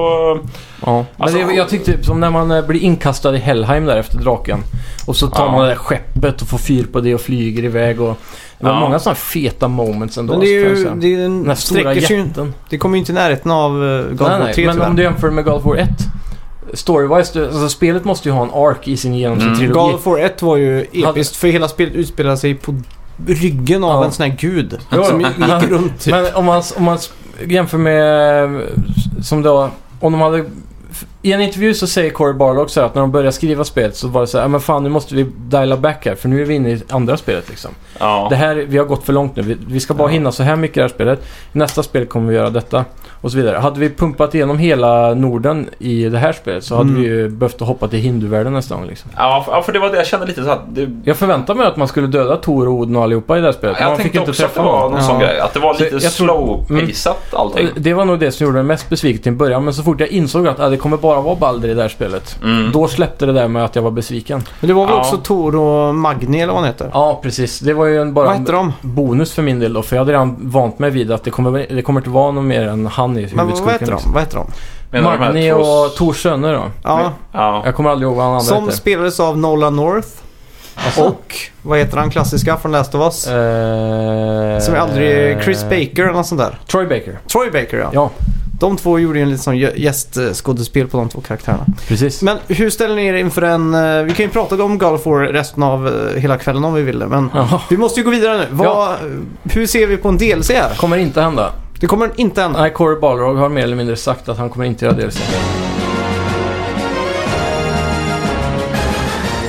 Speaker 2: Ja. Men
Speaker 3: Alltså-
Speaker 2: det, jag tyckte som när man eh, blir inkastad i Hellheim där efter draken. Och så tar
Speaker 3: Ja.
Speaker 2: man det där skeppet och får fyr på det och flyger iväg och... Det var
Speaker 3: Ja.
Speaker 2: många sådana feta moments ändå.
Speaker 1: Men det är
Speaker 2: kan jag
Speaker 1: ju,
Speaker 2: säga.
Speaker 1: det, är en,
Speaker 2: den här stora
Speaker 1: sträcker sig, ju-
Speaker 2: jätten.
Speaker 1: det kommer ju inte i närheten av eh, God
Speaker 2: Nej,
Speaker 1: of War
Speaker 2: nej,
Speaker 1: 3
Speaker 2: men
Speaker 1: tyvärr.
Speaker 2: om du jämför med God of War 1. Storywise, du- alltså spelet måste ju ha en ark i sin genom sin
Speaker 3: Mm.
Speaker 2: trilogi.
Speaker 1: God of War 1 var ju episkt
Speaker 2: Hade-
Speaker 1: för hela spelet utspelade sig på ryggen av
Speaker 2: Ja.
Speaker 1: en sån här gud.
Speaker 2: Jo,
Speaker 1: som
Speaker 2: jo.
Speaker 1: gick runt typ.
Speaker 2: Men om man, om man s- jämför med... eh, Som då... Om de hade... I en intervju så säger Corey Barlog så här att när de började skriva spelet så var det så här, "Ja, men fan nu måste vi diala back här för nu är vi inne i andra spelet liksom.
Speaker 3: Ja.
Speaker 2: Det här, vi har gått för långt nu. Vi, vi ska bara
Speaker 1: Ja.
Speaker 2: hinna så här mycket i det här spelet. I nästa spel kommer vi göra detta. Och så vidare. Hade vi pumpat igenom hela Norden i det här spelet så hade
Speaker 1: Mm.
Speaker 2: vi ju behövt hoppa till hinduvärlden nästa gång liksom.
Speaker 3: Ja, för, ja, för det var det jag kände lite så att det,
Speaker 2: Jag förväntade mig att man skulle döda Tor och Oden och allihopa i det här spelet. men
Speaker 3: Jag
Speaker 2: man fick
Speaker 3: tänkte
Speaker 2: inte
Speaker 3: också att det
Speaker 2: träffa
Speaker 3: var
Speaker 2: någon.
Speaker 3: någon
Speaker 1: Ja.
Speaker 3: sån grej. Att det var
Speaker 2: Så
Speaker 3: lite
Speaker 2: jag tror- mm.
Speaker 3: slow-paceat allting.
Speaker 2: Det var nog det som gjorde mig mest besviken till en början. Men så fort jag insåg att ah, det kommer bara vara Balder i det här spelet.
Speaker 3: Mm.
Speaker 2: Då släppte det där med att jag var besviken.
Speaker 1: Men det var väl
Speaker 3: Ja.
Speaker 1: också Tor och Magni eller vad han heter?
Speaker 2: Ja, precis. Det var ju en, bara
Speaker 1: vad
Speaker 2: en
Speaker 1: hette de?
Speaker 2: bonus för min del då. För jag hade redan vant mig vid att det kommer, det kommer inte vara någon mer än han i
Speaker 1: Men vad, vad
Speaker 2: huvudskurken.
Speaker 1: hette de?
Speaker 2: liksom.
Speaker 1: Vad hette de?
Speaker 3: Menar du de här
Speaker 2: Magni
Speaker 3: två-
Speaker 2: och Tors söner då.
Speaker 1: Ja,
Speaker 3: Ja.
Speaker 2: Jag kommer aldrig ihåg vad han andra
Speaker 1: som
Speaker 2: heter.
Speaker 1: spelades av Nolan North.
Speaker 2: Alltså.
Speaker 1: Och vad heter han klassiska från Last of Us?
Speaker 2: Eh,
Speaker 1: Som är aldrig... Chris Baker eller något sånt där.
Speaker 2: Troy Baker.
Speaker 1: Troy Baker ja.
Speaker 2: Ja.
Speaker 1: De två gjorde ju en liten sån gä- gästskådespel på de två karaktärerna.
Speaker 2: Precis.
Speaker 1: Men hur ställer ni er inför en... eh, Vi kan ju prata om God of War resten av eh, hela kvällen om vi vill det, men...
Speaker 2: Ja.
Speaker 1: Vi måste ju gå vidare nu. Vad, Hur ser vi på en DLC här?
Speaker 2: Kommer inte hända.
Speaker 1: Det kommer inte hända.
Speaker 2: Nej, Corey Balrog har mer eller mindre sagt att han kommer inte göra DLC.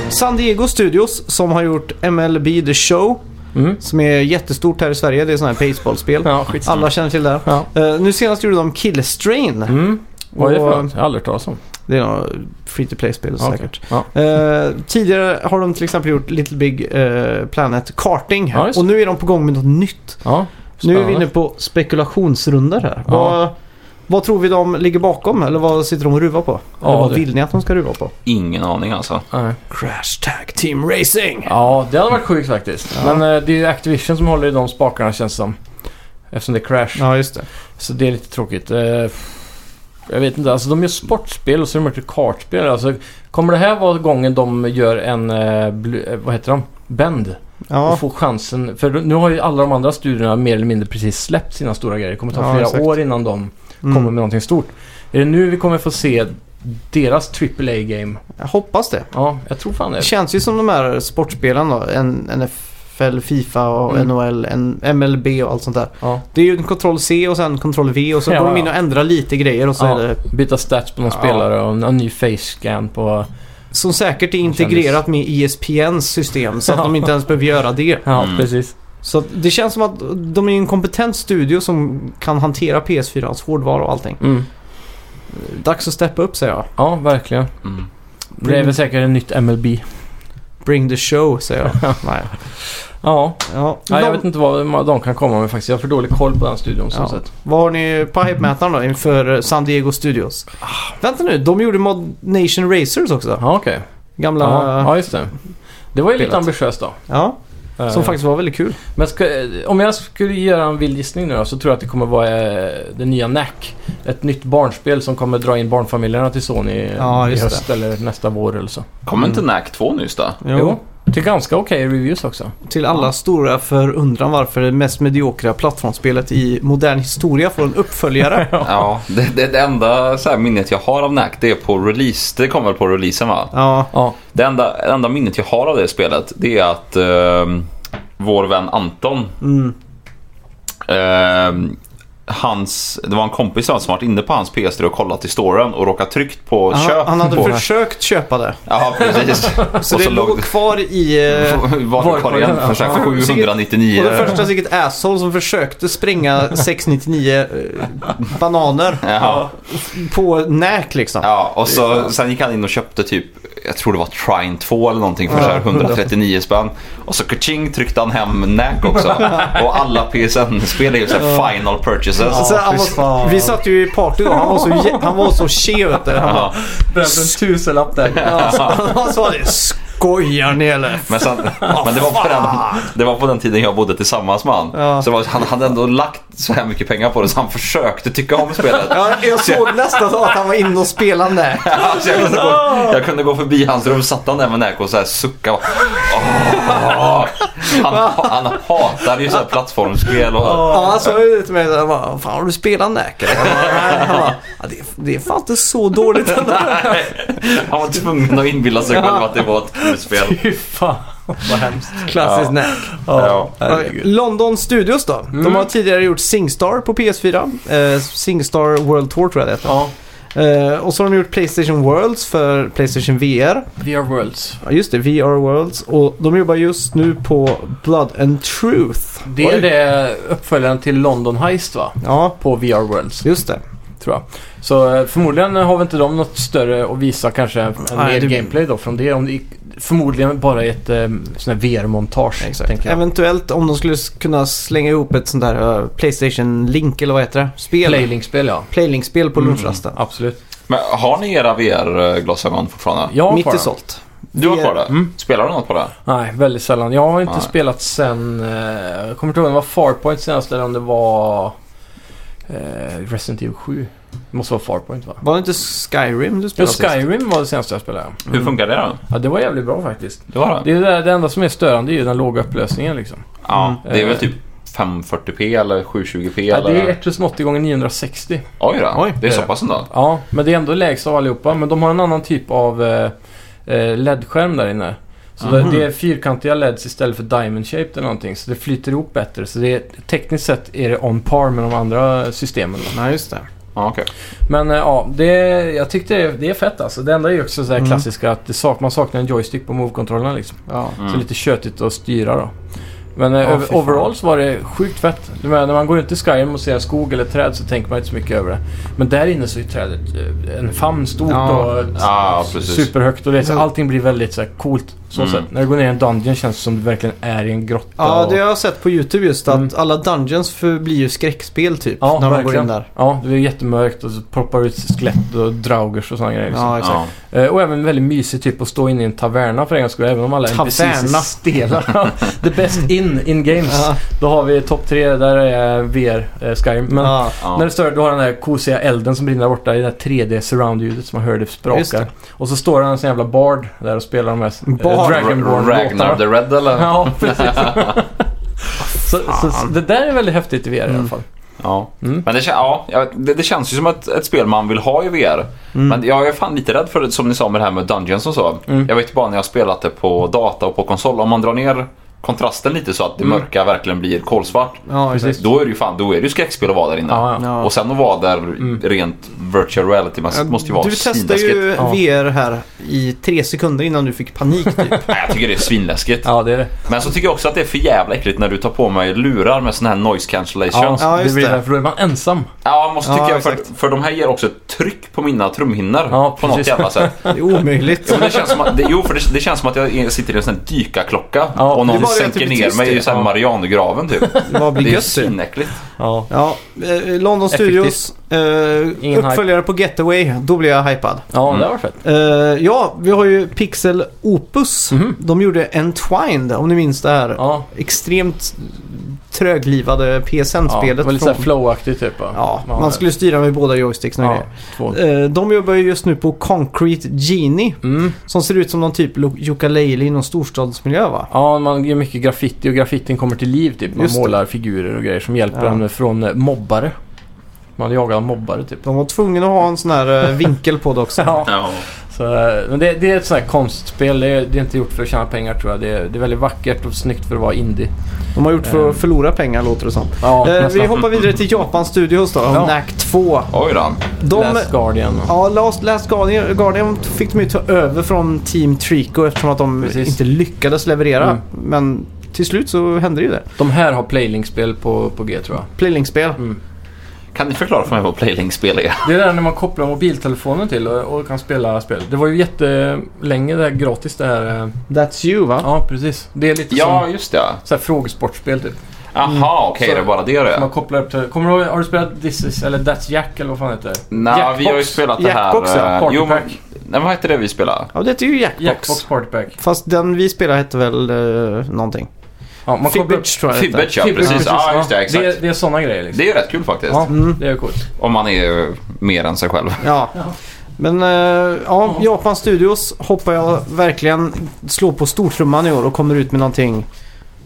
Speaker 1: San Diego Studios som har gjort MLB The Show.
Speaker 2: Mm.
Speaker 1: Som är jättestort här i Sverige. Det är sådana här baseballspel.
Speaker 2: Ja, skit.
Speaker 1: Alla känner till det här.
Speaker 2: Ja.
Speaker 1: Eh, nu senast gjorde de Killstrain.
Speaker 2: Mm. Vad är det för
Speaker 1: Och-
Speaker 2: något? Jag har aldrig hört talas om.
Speaker 1: Det är något free to play-spel
Speaker 2: Okej.
Speaker 1: säkert.
Speaker 2: Ja.
Speaker 1: Eh, tidigare har de till exempel gjort Little Big eh, Planet Karting här.
Speaker 2: Ja, just det.
Speaker 1: och nu är de på gång med något nytt.
Speaker 2: Ja.
Speaker 1: Nu är vi
Speaker 2: Spännande.
Speaker 1: inne på spekulationsrundor här.
Speaker 2: Ja.
Speaker 1: Vad, vad tror vi de ligger bakom eller vad sitter de och ruvar på?
Speaker 2: Ja,
Speaker 1: eller vad
Speaker 2: det-
Speaker 1: vill ni att de ska ruva på?
Speaker 3: Ingen aning alltså.
Speaker 2: Nej.
Speaker 1: Crash Tag Team Racing!
Speaker 2: Ja, det hade varit sjukt faktiskt.
Speaker 1: Ja.
Speaker 2: Men eh, det är ju Activision som håller i de spakarna känns det som. Eftersom det är Crash.
Speaker 1: Ja, just det.
Speaker 2: Så det är lite tråkigt. Eh, Jag vet inte, alltså de gör sportspel och så har de gjort kartspel. Alltså, kommer det här vara gången de gör en, eh, blu- eh, vad heter de? Bend.
Speaker 1: Ja,
Speaker 2: Och får chansen. För nu har ju alla de andra studierna mer eller mindre precis släppt sina stora grejer. Det kommer ta
Speaker 1: Ja,
Speaker 2: flera
Speaker 1: exakt.
Speaker 2: år innan de
Speaker 1: mm.
Speaker 2: kommer med någonting stort. Är det nu vi kommer få se deras AAA-game?
Speaker 1: jag hoppas det.
Speaker 2: Ja, jag tror fan det.
Speaker 1: Det känns ju som de här sportspelen då. N- NFL, Fifa och
Speaker 2: Mm.
Speaker 1: NHL, N- MLB och allt sånt där.
Speaker 2: Ja.
Speaker 1: Det är ju en kontroll C och sen kontroll V och så
Speaker 2: Ja,
Speaker 1: går de in
Speaker 2: ja.
Speaker 1: och ändrar lite grejer och så
Speaker 2: Ja.
Speaker 1: är det
Speaker 2: Byta stats på någon
Speaker 1: Ja.
Speaker 2: spelare och en en ny face scan på...
Speaker 1: Som säkert är integrerat med E ESPNs system så att de inte ens behöver göra det.
Speaker 2: Ja,
Speaker 3: Mm.
Speaker 2: precis.
Speaker 1: Så att det känns som att de är en kompetent studio som kan hantera PS4-ans hårdvara och allting.
Speaker 2: Mm.
Speaker 1: Dags att steppa upp säger jag.
Speaker 2: Ja, verkligen.
Speaker 3: Mm.
Speaker 2: Det är väl säkert ett nytt MLB.
Speaker 1: Bring the show säger jag. Nej.
Speaker 2: Ja.
Speaker 1: Ja.
Speaker 2: Nej, jag
Speaker 1: Lång-
Speaker 2: vet inte vad de kan komma med faktiskt. Jag har för dålig koll på den studion så
Speaker 1: Ja.
Speaker 2: sett.
Speaker 1: Vad har ni på hype-mätaren då inför eh, San Diego Studios? Vänta nu, de gjorde Mod Nation Racers också.
Speaker 2: Ja, okej.
Speaker 1: Gamla...
Speaker 2: Ja.
Speaker 1: Ja,
Speaker 2: ja, just det. Det var ju lite
Speaker 1: Spelat.
Speaker 2: ambitiöst då.
Speaker 1: som
Speaker 2: Eh,
Speaker 1: faktiskt var väldigt kul.
Speaker 2: Men ska, eh, om jag skulle göra en vild gissning nu då, så tror jag att det kommer vara eh, det nya Knack. Ett nytt barnspel som kommer dra in barnfamiljerna till Sony eh,
Speaker 1: Ja,
Speaker 2: i
Speaker 1: just
Speaker 2: höst eller nästa vår eller så.
Speaker 3: Kom inte NAC 2 nyss då?
Speaker 2: Jo. Till ganska okej reviews också.
Speaker 1: Till alla stora förundran varför det mest mediokra plattformsspelet i modern historia får en uppföljare.
Speaker 3: Ja, det, det, det enda så här minnet jag har av Knack det är på release. Det kommer väl på releasen va?
Speaker 1: Ja,
Speaker 2: Ja,
Speaker 3: Det enda, det enda minnet jag har av det spelet det är att eh, vår vän Anton
Speaker 1: mm.
Speaker 3: eh, Hans, det var en kompis som varit inne på hans PS3 och kollat i storen och råkat tryckt på
Speaker 1: han,
Speaker 3: köp
Speaker 1: han hade
Speaker 3: på.
Speaker 1: försökt köpa det.
Speaker 3: Ja, precis.
Speaker 1: Så
Speaker 3: och
Speaker 1: det
Speaker 3: så låg
Speaker 1: låg kvar i... eh,
Speaker 3: varukorgen för så här
Speaker 1: Ja.
Speaker 3: 799.
Speaker 1: Och den första säkert asshole som försökte spränga 699 eh, bananer
Speaker 3: Ja.
Speaker 1: på näk liksom.
Speaker 3: Ja, och så, sen gick han in och köpte typ, jag tror det var Trine 2 eller någonting för så här 139 spänn. Och så kaching tryckte han hem NAC också. Och alla PSN-spel är ju så här final purchases. Alltså,
Speaker 1: Så han
Speaker 4: fy
Speaker 1: var,
Speaker 4: fan.
Speaker 1: vi satt ju i party då, han var så, jä- han var så tje vet du. Han bara,
Speaker 3: Ja,
Speaker 4: Behövde en tusenlapp där.
Speaker 1: alltså, han sa det, skojar ni eller?
Speaker 3: men, sen, men det, var på den, det var på den tiden jag bodde tillsammans med han.
Speaker 1: Ja.
Speaker 3: Så det var, han hade ändå lagt så här mycket pengar på det så han försökte tycka om spelet.
Speaker 1: Ja, jag såg nästan så att han var inne och spelade näk.
Speaker 3: Alltså, jag, kunde gå, jag kunde gå förbi hans rum, satt han där med Näco och så här sucka. Och, Åh! han, han hatar ju så här plattformsspel och...
Speaker 1: Ja, han sa ju till mig jag bara, fan har du spelat näk eller? Jag bara, "Nej." Han bara, "Ja, det, är- det är fan inte så dåligt ändå.
Speaker 3: Han var tvungen att inbilla sig själv att det var ett fulspel.
Speaker 2: fy fan vad hemskt.
Speaker 1: Klassiskt
Speaker 3: Ja.
Speaker 1: näk.
Speaker 3: Ja.
Speaker 1: London Studios då.
Speaker 2: Mm.
Speaker 1: De har tidigare gjort Singstar på PS4. Eh, Singstar World Tour tror jag det heter.
Speaker 2: Ja,
Speaker 1: Eh, och så har de gjort Playstation Worlds för Playstation VR.
Speaker 2: VR Worlds.
Speaker 1: Ja, just det, VR Worlds. Och de jobbar just nu på Blood and Truth.
Speaker 2: Det är
Speaker 1: Oj.
Speaker 2: det uppföljaren till London Heist va?
Speaker 1: Ja,
Speaker 2: På VR Worlds,
Speaker 1: just det.
Speaker 2: tror jag. Så eh, förmodligen har väl inte de något större att visa kanske än
Speaker 1: Nej,
Speaker 2: mer
Speaker 1: det-
Speaker 2: gameplay då från det. Om det gick- förmodligen bara ett eh, sån här VR-montage, tänker jag.
Speaker 1: Eventuellt om de skulle s- kunna slänga ihop ett sånt där eh, Playstation Link eller vad heter det? Spel.
Speaker 2: Playlink-spel ja.
Speaker 1: Playlink-spel på lunchrasten.
Speaker 2: Absolut.
Speaker 3: Men har ni era VR-glasögon fortfarande?
Speaker 2: Jag har
Speaker 1: Mitt
Speaker 2: kvar
Speaker 1: i
Speaker 2: dem.
Speaker 1: sålt.
Speaker 3: Du har kvar det?
Speaker 2: Mm.
Speaker 3: Spelar du något på det?
Speaker 2: Nej, väldigt sällan. Jag har inte
Speaker 3: Nej.
Speaker 2: spelat sen... eh, Jag kommer inte ihåg om det var Farpoint senast eller om det var... Eh, Resident Evil 7. Det måste vara Farpoint va?
Speaker 1: Var det inte Skyrim du
Speaker 2: Ja,
Speaker 1: spelade sist?
Speaker 2: Skyrim var det senaste jag spelade.
Speaker 3: Hur funkar det då?
Speaker 2: Ja, det Mm. var jävligt bra faktiskt.
Speaker 3: Det var det?
Speaker 2: Det, är det, det enda som är störande är ju den låga upplösningen liksom.
Speaker 3: Ja, det är
Speaker 2: Eh.
Speaker 3: väl typ 540p eller 720p
Speaker 2: Ja, det är
Speaker 3: eller?
Speaker 2: 1080 gånger 960.
Speaker 3: Oj då,
Speaker 1: Oj.
Speaker 3: det är så pass ändå?
Speaker 2: Ja, men det är ändå lägst av allihopa. Men de har en annan typ av eh, eh, LED-skärm där inne. Så det,
Speaker 1: Mhm.
Speaker 2: det är fyrkantiga LEDs istället för diamond shaped eller någonting. Så det flyter ihop bättre. Så det är, tekniskt sett är det on par med de andra systemen. då.
Speaker 1: Nej, just det.
Speaker 3: Ja, okej.
Speaker 2: Men eh, ja, det, jag tyckte det, det är fett alltså. Det enda är ju också så här
Speaker 1: Mm.
Speaker 2: klassiska att det sak, man saknar en joystick på move-kontrollerna liksom.
Speaker 1: Ja.
Speaker 2: Så
Speaker 3: Mm.
Speaker 2: lite tjötigt att styra då. Men eh,
Speaker 1: Ja, fy
Speaker 2: över-
Speaker 1: fan.
Speaker 2: overall så var det sjukt fett. Du menar, när man går ut i Skyrim och ser skog eller träd så tänker man inte så mycket över det. Men där inne så är trädet eh, en famn stort
Speaker 1: Ja. Mm.
Speaker 2: och
Speaker 3: Ja, precis.
Speaker 2: superhögt. Och det, är så
Speaker 1: Ja.
Speaker 2: allting blir väldigt så här, coolt. Så
Speaker 3: Mm.
Speaker 2: sätt. När du går ner i en dungeon känns det som du verkligen är i en grotta.
Speaker 1: Ja,
Speaker 2: och-
Speaker 1: det har jag sett på YouTube just att
Speaker 2: Mm.
Speaker 1: alla dungeons för- blir ju skräckspel typ.
Speaker 2: Ja,
Speaker 1: när man går
Speaker 2: verkligen.
Speaker 1: in där.
Speaker 2: ja, det är jättemörkt och så poppar ut skelett och draugers och sådana grejer. Liksom.
Speaker 1: Ja, exakt.
Speaker 3: Ja.
Speaker 2: Eh, Och även väldigt mysigt typ att stå inne i en taverna för en gångs skull. Även om alla
Speaker 1: Taverna.
Speaker 2: NPCs stelar. The best in, in games.
Speaker 1: Ja.
Speaker 2: Då har vi topp tre, där är VR, eh, Skyrim. Men
Speaker 1: Ja.
Speaker 3: Ja.
Speaker 2: när det står, du har den här kosiga elden som brinner där borta i det här 3D surround-ljudet som man hörde
Speaker 1: Just det.
Speaker 2: sprakar. Och så står det en sån jävla bard där och spelar de här eh,
Speaker 1: Bard.
Speaker 3: Ragnar the
Speaker 2: Dragonborn-låtarna.
Speaker 3: Red eller?
Speaker 2: Ja, precis. så, så, så det där är väldigt häftigt i VR i alla fall.
Speaker 3: Ja.
Speaker 2: Mm.
Speaker 3: Men det, kän- ja, jag- det, det känns ju som ett, ett spel man vill ha i VR.
Speaker 1: Mm.
Speaker 3: Men jag är fan lite rädd för det som ni sa med det här med Dungeons och så.
Speaker 2: Mm.
Speaker 3: Jag vet bara när jag spelat det på data och på konsol. Om man drar ner kontrasten lite så att det mörka verkligen blir kolsvart.
Speaker 1: Ja, precis.
Speaker 3: Då är det ju fan, då är det ju skräckspel att vara där inne.
Speaker 2: Ja, ja.
Speaker 1: Ja.
Speaker 3: Och sen att vara där rent virtual reality man måste ju vara
Speaker 1: du testade
Speaker 3: svinläskigt.
Speaker 1: ju
Speaker 2: Ja.
Speaker 1: VR här i tre sekunder innan du fick panik typ.
Speaker 3: Nej, jag tycker det är svinläskigt.
Speaker 2: ja, det är det.
Speaker 3: Men så tycker jag också att det är för jävla äckligt när du tar på mig lurar med sån här noise cancellation.
Speaker 2: Ja,
Speaker 1: Ja,
Speaker 2: det
Speaker 1: just
Speaker 2: blir
Speaker 1: det.
Speaker 2: det. För då är man ensam.
Speaker 3: Ja, jag måste
Speaker 1: Ja,
Speaker 3: tycka för,
Speaker 1: exakt.
Speaker 3: för de här ger också ett tryck på mina trumhinnor
Speaker 2: Ja,
Speaker 3: på något
Speaker 2: precis.
Speaker 3: jävla sätt.
Speaker 1: Det är omöjligt.
Speaker 3: Men det känns som att, det, jo, för det, det känns som att jag sitter i en sån här dykarklocka
Speaker 2: Ja,
Speaker 3: och
Speaker 1: det är
Speaker 3: någon
Speaker 1: bara det att
Speaker 3: sänker
Speaker 1: det blir
Speaker 3: ner
Speaker 1: tyst
Speaker 3: mig
Speaker 1: i
Speaker 3: i
Speaker 1: det.
Speaker 3: så här
Speaker 2: Ja.
Speaker 3: Marianegraven typ.
Speaker 1: Vad blir
Speaker 3: Det är ju
Speaker 1: gött det?
Speaker 3: svinäckligt.
Speaker 2: Ja.
Speaker 1: Ja, eh, London Studios, eh,
Speaker 2: Ingen
Speaker 1: uppföljare på Getaway, då blir jag hypad.
Speaker 2: Ja,
Speaker 3: Mm.
Speaker 2: det var fett.
Speaker 1: Eh, ja, vi har ju Pixel Opus.
Speaker 2: Mhm.
Speaker 1: De gjorde Entwined, om ni minns det här.
Speaker 2: Ja.
Speaker 1: Extremt tröglivade
Speaker 2: Ja, det
Speaker 1: PSN-spelet.
Speaker 2: var lite såhär
Speaker 1: från-
Speaker 2: flow-aktigt typ. va?
Speaker 1: ja,
Speaker 2: Ja,
Speaker 1: man skulle styra med båda joysticksen och
Speaker 2: Ja,
Speaker 1: grejer.
Speaker 2: två.
Speaker 1: Eh, De jobbar ju just nu på Concrete Genie
Speaker 2: Mm.
Speaker 1: som ser ut som någon typ lo- ukulele i någon storstadsmiljö va?
Speaker 2: Ja, man gör mycket graffiti och graffitin kommer till liv typ. Man
Speaker 1: Just det.
Speaker 2: målar figurer och grejer som hjälper
Speaker 1: Ja.
Speaker 2: en från eh, mobbare. Man jagar mobbare typ.
Speaker 1: De var tvungna att ha en sån här eh, vinkel på det också.
Speaker 2: Ja.
Speaker 3: Ja.
Speaker 2: Så, eh, men det, det är ett sånt här konstspel. Det är, det är inte gjort för att tjäna pengar tror jag. Det är, det är väldigt vackert och snyggt för att vara indie.
Speaker 1: De har gjort för att förlora pengar låter det som.
Speaker 2: Ja,
Speaker 1: Eh,
Speaker 2: nästan.
Speaker 1: vi hoppar vidare till Japan Studios då,
Speaker 2: Ja.
Speaker 1: NAC 2.
Speaker 3: Oj då.
Speaker 1: De,
Speaker 2: Last Guardian. och-
Speaker 1: Ja, Last, Last Guardian, Guardian fick de ju ta över från Team Trico eftersom att de
Speaker 2: Precis.
Speaker 1: inte lyckades leverera.
Speaker 2: Mm.
Speaker 1: Men till slut så hände det ju det.
Speaker 2: De här har Playlink-spel på, på G tror jag.
Speaker 1: Playlink-spel.
Speaker 2: Mm.
Speaker 3: Kan ni förklara för mig vad Playlink-spel är?
Speaker 2: Det är där när man kopplar mobiltelefonen till och, och kan spela spel. Det var ju jättelänge det här gratis det här. eh.
Speaker 1: That's you va?
Speaker 2: Ja, precis. Det är lite
Speaker 3: Ja,
Speaker 2: som
Speaker 3: just det.
Speaker 2: så här frågesportspel typ.
Speaker 3: Aha, okej,
Speaker 2: Så-
Speaker 3: det är bara det det
Speaker 2: Som man
Speaker 3: är.
Speaker 2: kopplar upp till... Kommer du ihåg, har du spelat This is, eller That's Jack eller vad fan heter det?
Speaker 3: Nej, vi har ju
Speaker 2: Jackbox.
Speaker 3: spelat det här...
Speaker 1: Jackbox, ja.
Speaker 3: eh,
Speaker 2: Party
Speaker 3: jo, men,
Speaker 2: Pack.
Speaker 3: nej, men vad hette det vi spelade?
Speaker 1: Ja, det är ju Jackbox.
Speaker 2: Jackbox Party Pack.
Speaker 1: Fast den vi spelade hette väl eh, någonting.
Speaker 2: Ja, man kopplar upp...
Speaker 1: Fibbage tror jag det hette.
Speaker 3: Fibbage, ja. Precis. Ja, just det.
Speaker 2: Det,
Speaker 3: Exakt.
Speaker 2: är- det är sådana grejer liksom.
Speaker 3: Det är ju rätt kul faktiskt.
Speaker 2: ja,
Speaker 1: Mm.
Speaker 2: det är coolt.
Speaker 3: Om man är eh, mer än sig själv.
Speaker 1: Ja. Men eh, ja,
Speaker 2: Ja.
Speaker 1: Japan Studios hoppar jag verkligen slår på stortrumman i år och kommer ut med någonting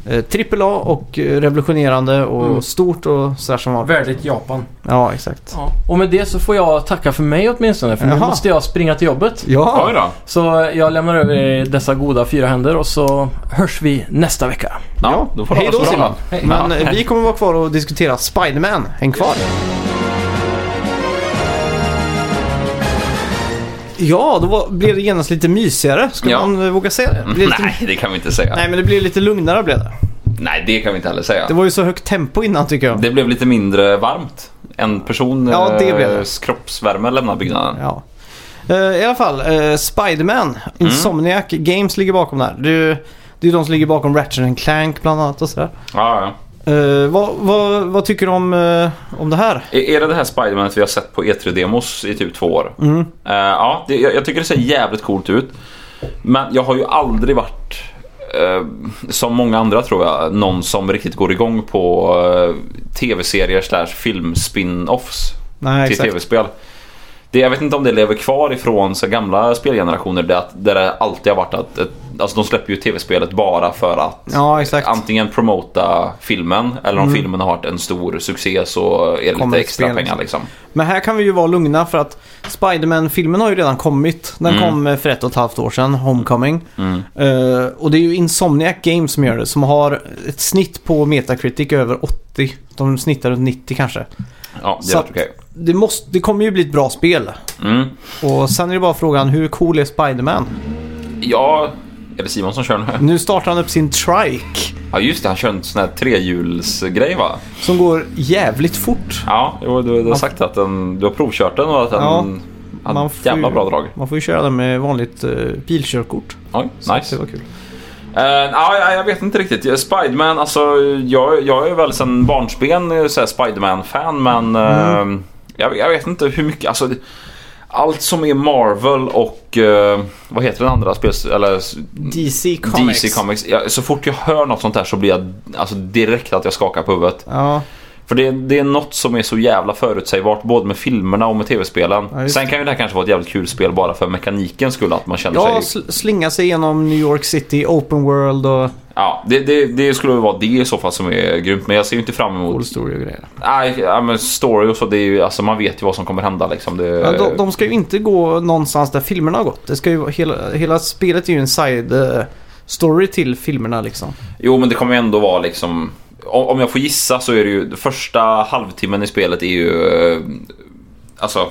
Speaker 1: eh, AAA och eh, revolutionerande och
Speaker 2: Mm.
Speaker 1: stort och sådär som var.
Speaker 2: Värdigt Japan.
Speaker 1: Ja, exakt.
Speaker 2: Och med det så får jag tacka för mig åtminstone för nu
Speaker 1: Jaha.
Speaker 2: måste jag springa till jobbet.
Speaker 1: Ja,
Speaker 3: Oj då.
Speaker 2: Så jag lämnar över er dessa goda fyra händer och så hörs vi nästa vecka.
Speaker 3: Ja, då får det
Speaker 1: Hej
Speaker 3: vara
Speaker 1: då,
Speaker 3: så bra.
Speaker 1: Simon.
Speaker 2: Hej.
Speaker 1: men eh, vi kommer vara kvar och diskutera Spiderman. Häng kvar. Ja, då var, blev det genast lite mysigare. Skulle
Speaker 3: Ja.
Speaker 1: man eh, våga säga det? det? blev lite,
Speaker 3: Nej, det kan vi inte säga.
Speaker 1: nej,
Speaker 3: Nej.
Speaker 1: men det blev lite lugnare blev det.
Speaker 3: det kan vi inte heller säga.
Speaker 1: Det var ju så högt tempo innan tycker jag.
Speaker 3: Det blev lite mindre varmt. En person
Speaker 1: Ja, det blev det.
Speaker 3: eh, kroppsvärme lämnar byggnaden.
Speaker 1: Ja. Eh, I alla fall, eh, Spiderman, Insomniac Games ligger bakom där. Det är ju det är ju de som ligger bakom Ratchet and Clank bland annat och sådär.
Speaker 3: Ja, ja.
Speaker 1: Eh, vad, vad, vad tycker du om, eh, om det här?
Speaker 3: Är är det det här Spidermanet vi har sett på E3-demos i typ två år?
Speaker 1: Mm.
Speaker 3: Eh, ja, det, jag, jag tycker det ser jävligt coolt ut. Men jag har ju aldrig varit, eh, som många andra tror jag, någon som riktigt går igång på eh, tv-serier slash film-spin-offs
Speaker 1: Nej,
Speaker 3: till
Speaker 1: exakt.
Speaker 3: tv-spel. Det, jag vet inte om det lever kvar ifrån så gamla spelgenerationer där, att- där det alltid har varit att ett, alltså de släpper ju tv-spelet bara för att
Speaker 1: Ja, exakt. Mm.
Speaker 3: antingen promota filmen eller om filmen har varit en stor succé så är det
Speaker 1: Kommer
Speaker 3: lite
Speaker 1: ett
Speaker 3: extra
Speaker 1: spel,
Speaker 3: pengar liksom.
Speaker 1: Men här kan vi ju vara lugna för att Spiderman-filmen har ju redan kommit. Den
Speaker 3: Mm.
Speaker 1: kom eh, för ett och ett halvt år sedan, Homecoming.
Speaker 3: Mm.
Speaker 1: Eh, och det är ju Insomniac Games som gör det, som har ett snitt på Metacritic över 80. De snittar runt 90 kanske.
Speaker 3: Ja, det är
Speaker 1: Så
Speaker 3: rätt okej.
Speaker 1: Det, måste, det kommer ju bli ett bra spel.
Speaker 3: Mm.
Speaker 1: Och sen är det bara frågan, hur cool är Spiderman?
Speaker 3: Ja, är det Simon som kör nu?
Speaker 1: Nu startar han upp sin trike
Speaker 3: Ja just det, han kör en sån här trehjulsgrej va?
Speaker 1: som går jävligt fort.
Speaker 3: Ja, jo, du, du har sagt att den, du har provkört den och att den
Speaker 1: Ja,
Speaker 3: hade
Speaker 1: man
Speaker 3: ett
Speaker 1: får
Speaker 3: jävla
Speaker 1: ju-
Speaker 3: bra drag.
Speaker 1: Man får ju köra den med vanligt eh, bilkörkort.
Speaker 3: Oj,
Speaker 1: Så
Speaker 3: nice.
Speaker 1: Det var kul.
Speaker 3: Eh, ja, ja, jag vet inte riktigt. Eh, Spiderman, alltså jag, jag är väl sedan barnsben eh, så här Spiderman-fan men
Speaker 1: Mm.
Speaker 3: eh, jag, jag vet inte hur mycket. Alltså, det- allt som är Marvel och eh, vad heter den andra spels... Eller s-
Speaker 1: DC Comics.
Speaker 3: DC Comics. Jag, så fort jag hör något sånt där så blir jag alltså, direkt att jag skakar på huvudet.
Speaker 1: Ja,
Speaker 3: För det, det är något som är så jävla förutsägbart både med filmerna och med tv-spelen.
Speaker 1: Ja, just
Speaker 3: Sen kan ju det här kanske vara ett jävligt kul spel bara för mekanikens skull. Att man känner
Speaker 1: ja
Speaker 3: sig...
Speaker 1: sl- slinga sig genom New York City, Open World och
Speaker 3: Ja, det, det, det skulle vara det i så fall som är grymt. Men jag ser ju inte fram emot
Speaker 1: cool story och grejer.
Speaker 3: Nej, ja, men story och så, det är ju, alltså, man vet ju vad som kommer hända liksom. Det,
Speaker 1: Ja, de, de ska ju inte gå någonstans där filmerna har gått. Det ska ju, vara- hela, hela spelet är ju en side eh, story till filmerna liksom.
Speaker 3: Jo, men det kommer ju ändå vara liksom... Om om jag får gissa så är det ju, första halvtimmen i spelet är ju... eh, Alltså...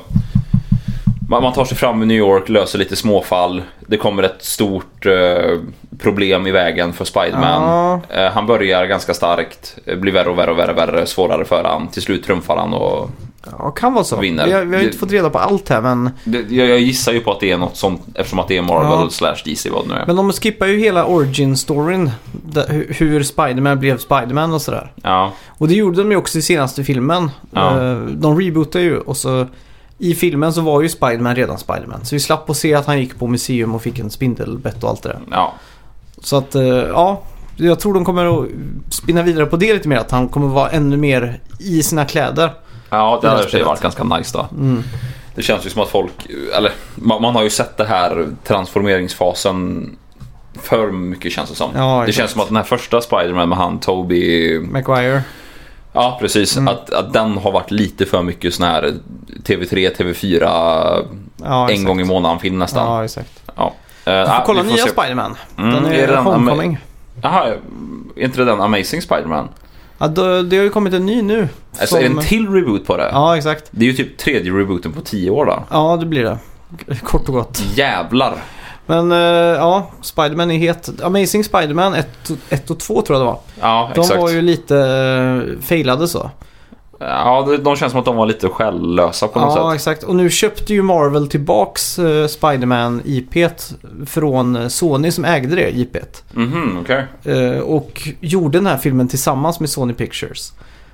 Speaker 3: Man, man tar sig fram i New York, löser lite småfall. Det kommer ett stort eh, problem i vägen för Spiderman.
Speaker 1: Ja.
Speaker 3: Eh, han börjar ganska starkt, eh, blir värre och värre och värre, värre svårare för han. Till slut trumfar han och...
Speaker 1: Ja, kan vara så. Vi
Speaker 3: Vinner.
Speaker 1: har, vi har ju
Speaker 3: Det-
Speaker 1: inte fått reda på allt här men
Speaker 3: Det, jag, jag gissar ju på att det är något sånt eftersom att det är Marvel
Speaker 1: Ja.
Speaker 3: slash DC vad det nu är.
Speaker 1: Men de skippar ju hela origin-storyn. där- hu- Hur Spiderman blev Spiderman och sådär.
Speaker 3: Ja.
Speaker 1: Och det gjorde de ju också i senaste filmen.
Speaker 3: Ja.
Speaker 1: Eh, De rebootade ju och så i filmen så var ju Spiderman redan Spiderman. Så vi slapp att se att han gick på museum och fick en spindelbett och allt det där.
Speaker 3: Ja,
Speaker 1: Så att, eh, ja. jag tror de kommer att spinna vidare på det lite mer. Att han kommer vara ännu mer i sina kläder.
Speaker 3: Ja,
Speaker 1: Det
Speaker 3: det hade i
Speaker 1: här
Speaker 3: och för sig
Speaker 1: spelet. Mm.
Speaker 3: varit ganska nice då. Det känns ju som att folk, eller man, man har ju sett det här transformeringsfasen för mycket känns det som.
Speaker 1: Ja,
Speaker 3: det
Speaker 1: exakt.
Speaker 3: känns som att den här första Spider-Man med han Toby,
Speaker 1: Maguire.
Speaker 3: ja precis,
Speaker 1: Mm.
Speaker 3: att, att den har varit lite för mycket sån här TV3, TV4
Speaker 1: Ja,
Speaker 3: en gång i månaden film nästan.
Speaker 1: Ja, exakt.
Speaker 3: Eh,
Speaker 1: Du får
Speaker 3: ja,
Speaker 1: kolla
Speaker 3: vi
Speaker 1: nya
Speaker 3: se.
Speaker 1: Spiderman.
Speaker 3: Mm,
Speaker 1: Den
Speaker 3: är
Speaker 1: är,
Speaker 3: det den-
Speaker 1: Homecoming.
Speaker 3: Jaha, är inte det den Amazing Spider-Man?
Speaker 1: Ja, det, det har ju kommit en ny nu.
Speaker 3: Alltså är det en till reboot på det?
Speaker 1: Ja, exakt.
Speaker 3: Det är ju typ tredje rebooten på tio år då.
Speaker 1: Ja, det blir det. Kort och gott.
Speaker 3: Jävlar!
Speaker 1: Men eh, ja, Spiderman är het. Amazing Spiderman 1 och 2 tror jag det var.
Speaker 3: Ja,
Speaker 1: De
Speaker 3: exakt.
Speaker 1: var ju lite eh, failade så.
Speaker 3: Ja, de- de känns som att de var lite själlösa på något
Speaker 1: Ja,
Speaker 3: sätt.
Speaker 1: exakt. Och nu köpte ju Marvel tillbaks eh, Spiderman IP't från eh, Sony som ägde det IP't.
Speaker 3: Mhm, okej.
Speaker 1: Eh, och gjorde den här filmen tillsammans med Sony Pictures.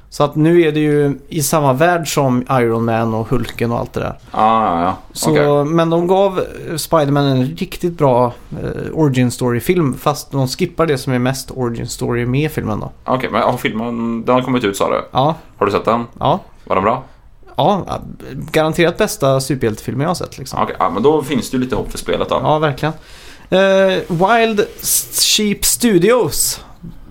Speaker 1: Så att nu är det ju i samma värld som Iron Man och Hulken och allt det där.
Speaker 3: Ah, ja,
Speaker 1: Så,
Speaker 3: okej.
Speaker 1: Men de gav eh, Spiderman en riktigt bra eh, origin story-film fast de skippar det som är mest origin story med filmen då.
Speaker 3: Okej, men har filmen, den har kommit ut sa du?
Speaker 1: Ja,
Speaker 3: Har du sett den?
Speaker 1: ja.
Speaker 3: Var den bra?
Speaker 1: Ja, garanterat bästa superhjältefilmen jag har sett liksom.
Speaker 3: Okej, ja, men då finns det ju lite hopp för spelet då.
Speaker 1: Ja, verkligen. Eh, Wild Sheep Studios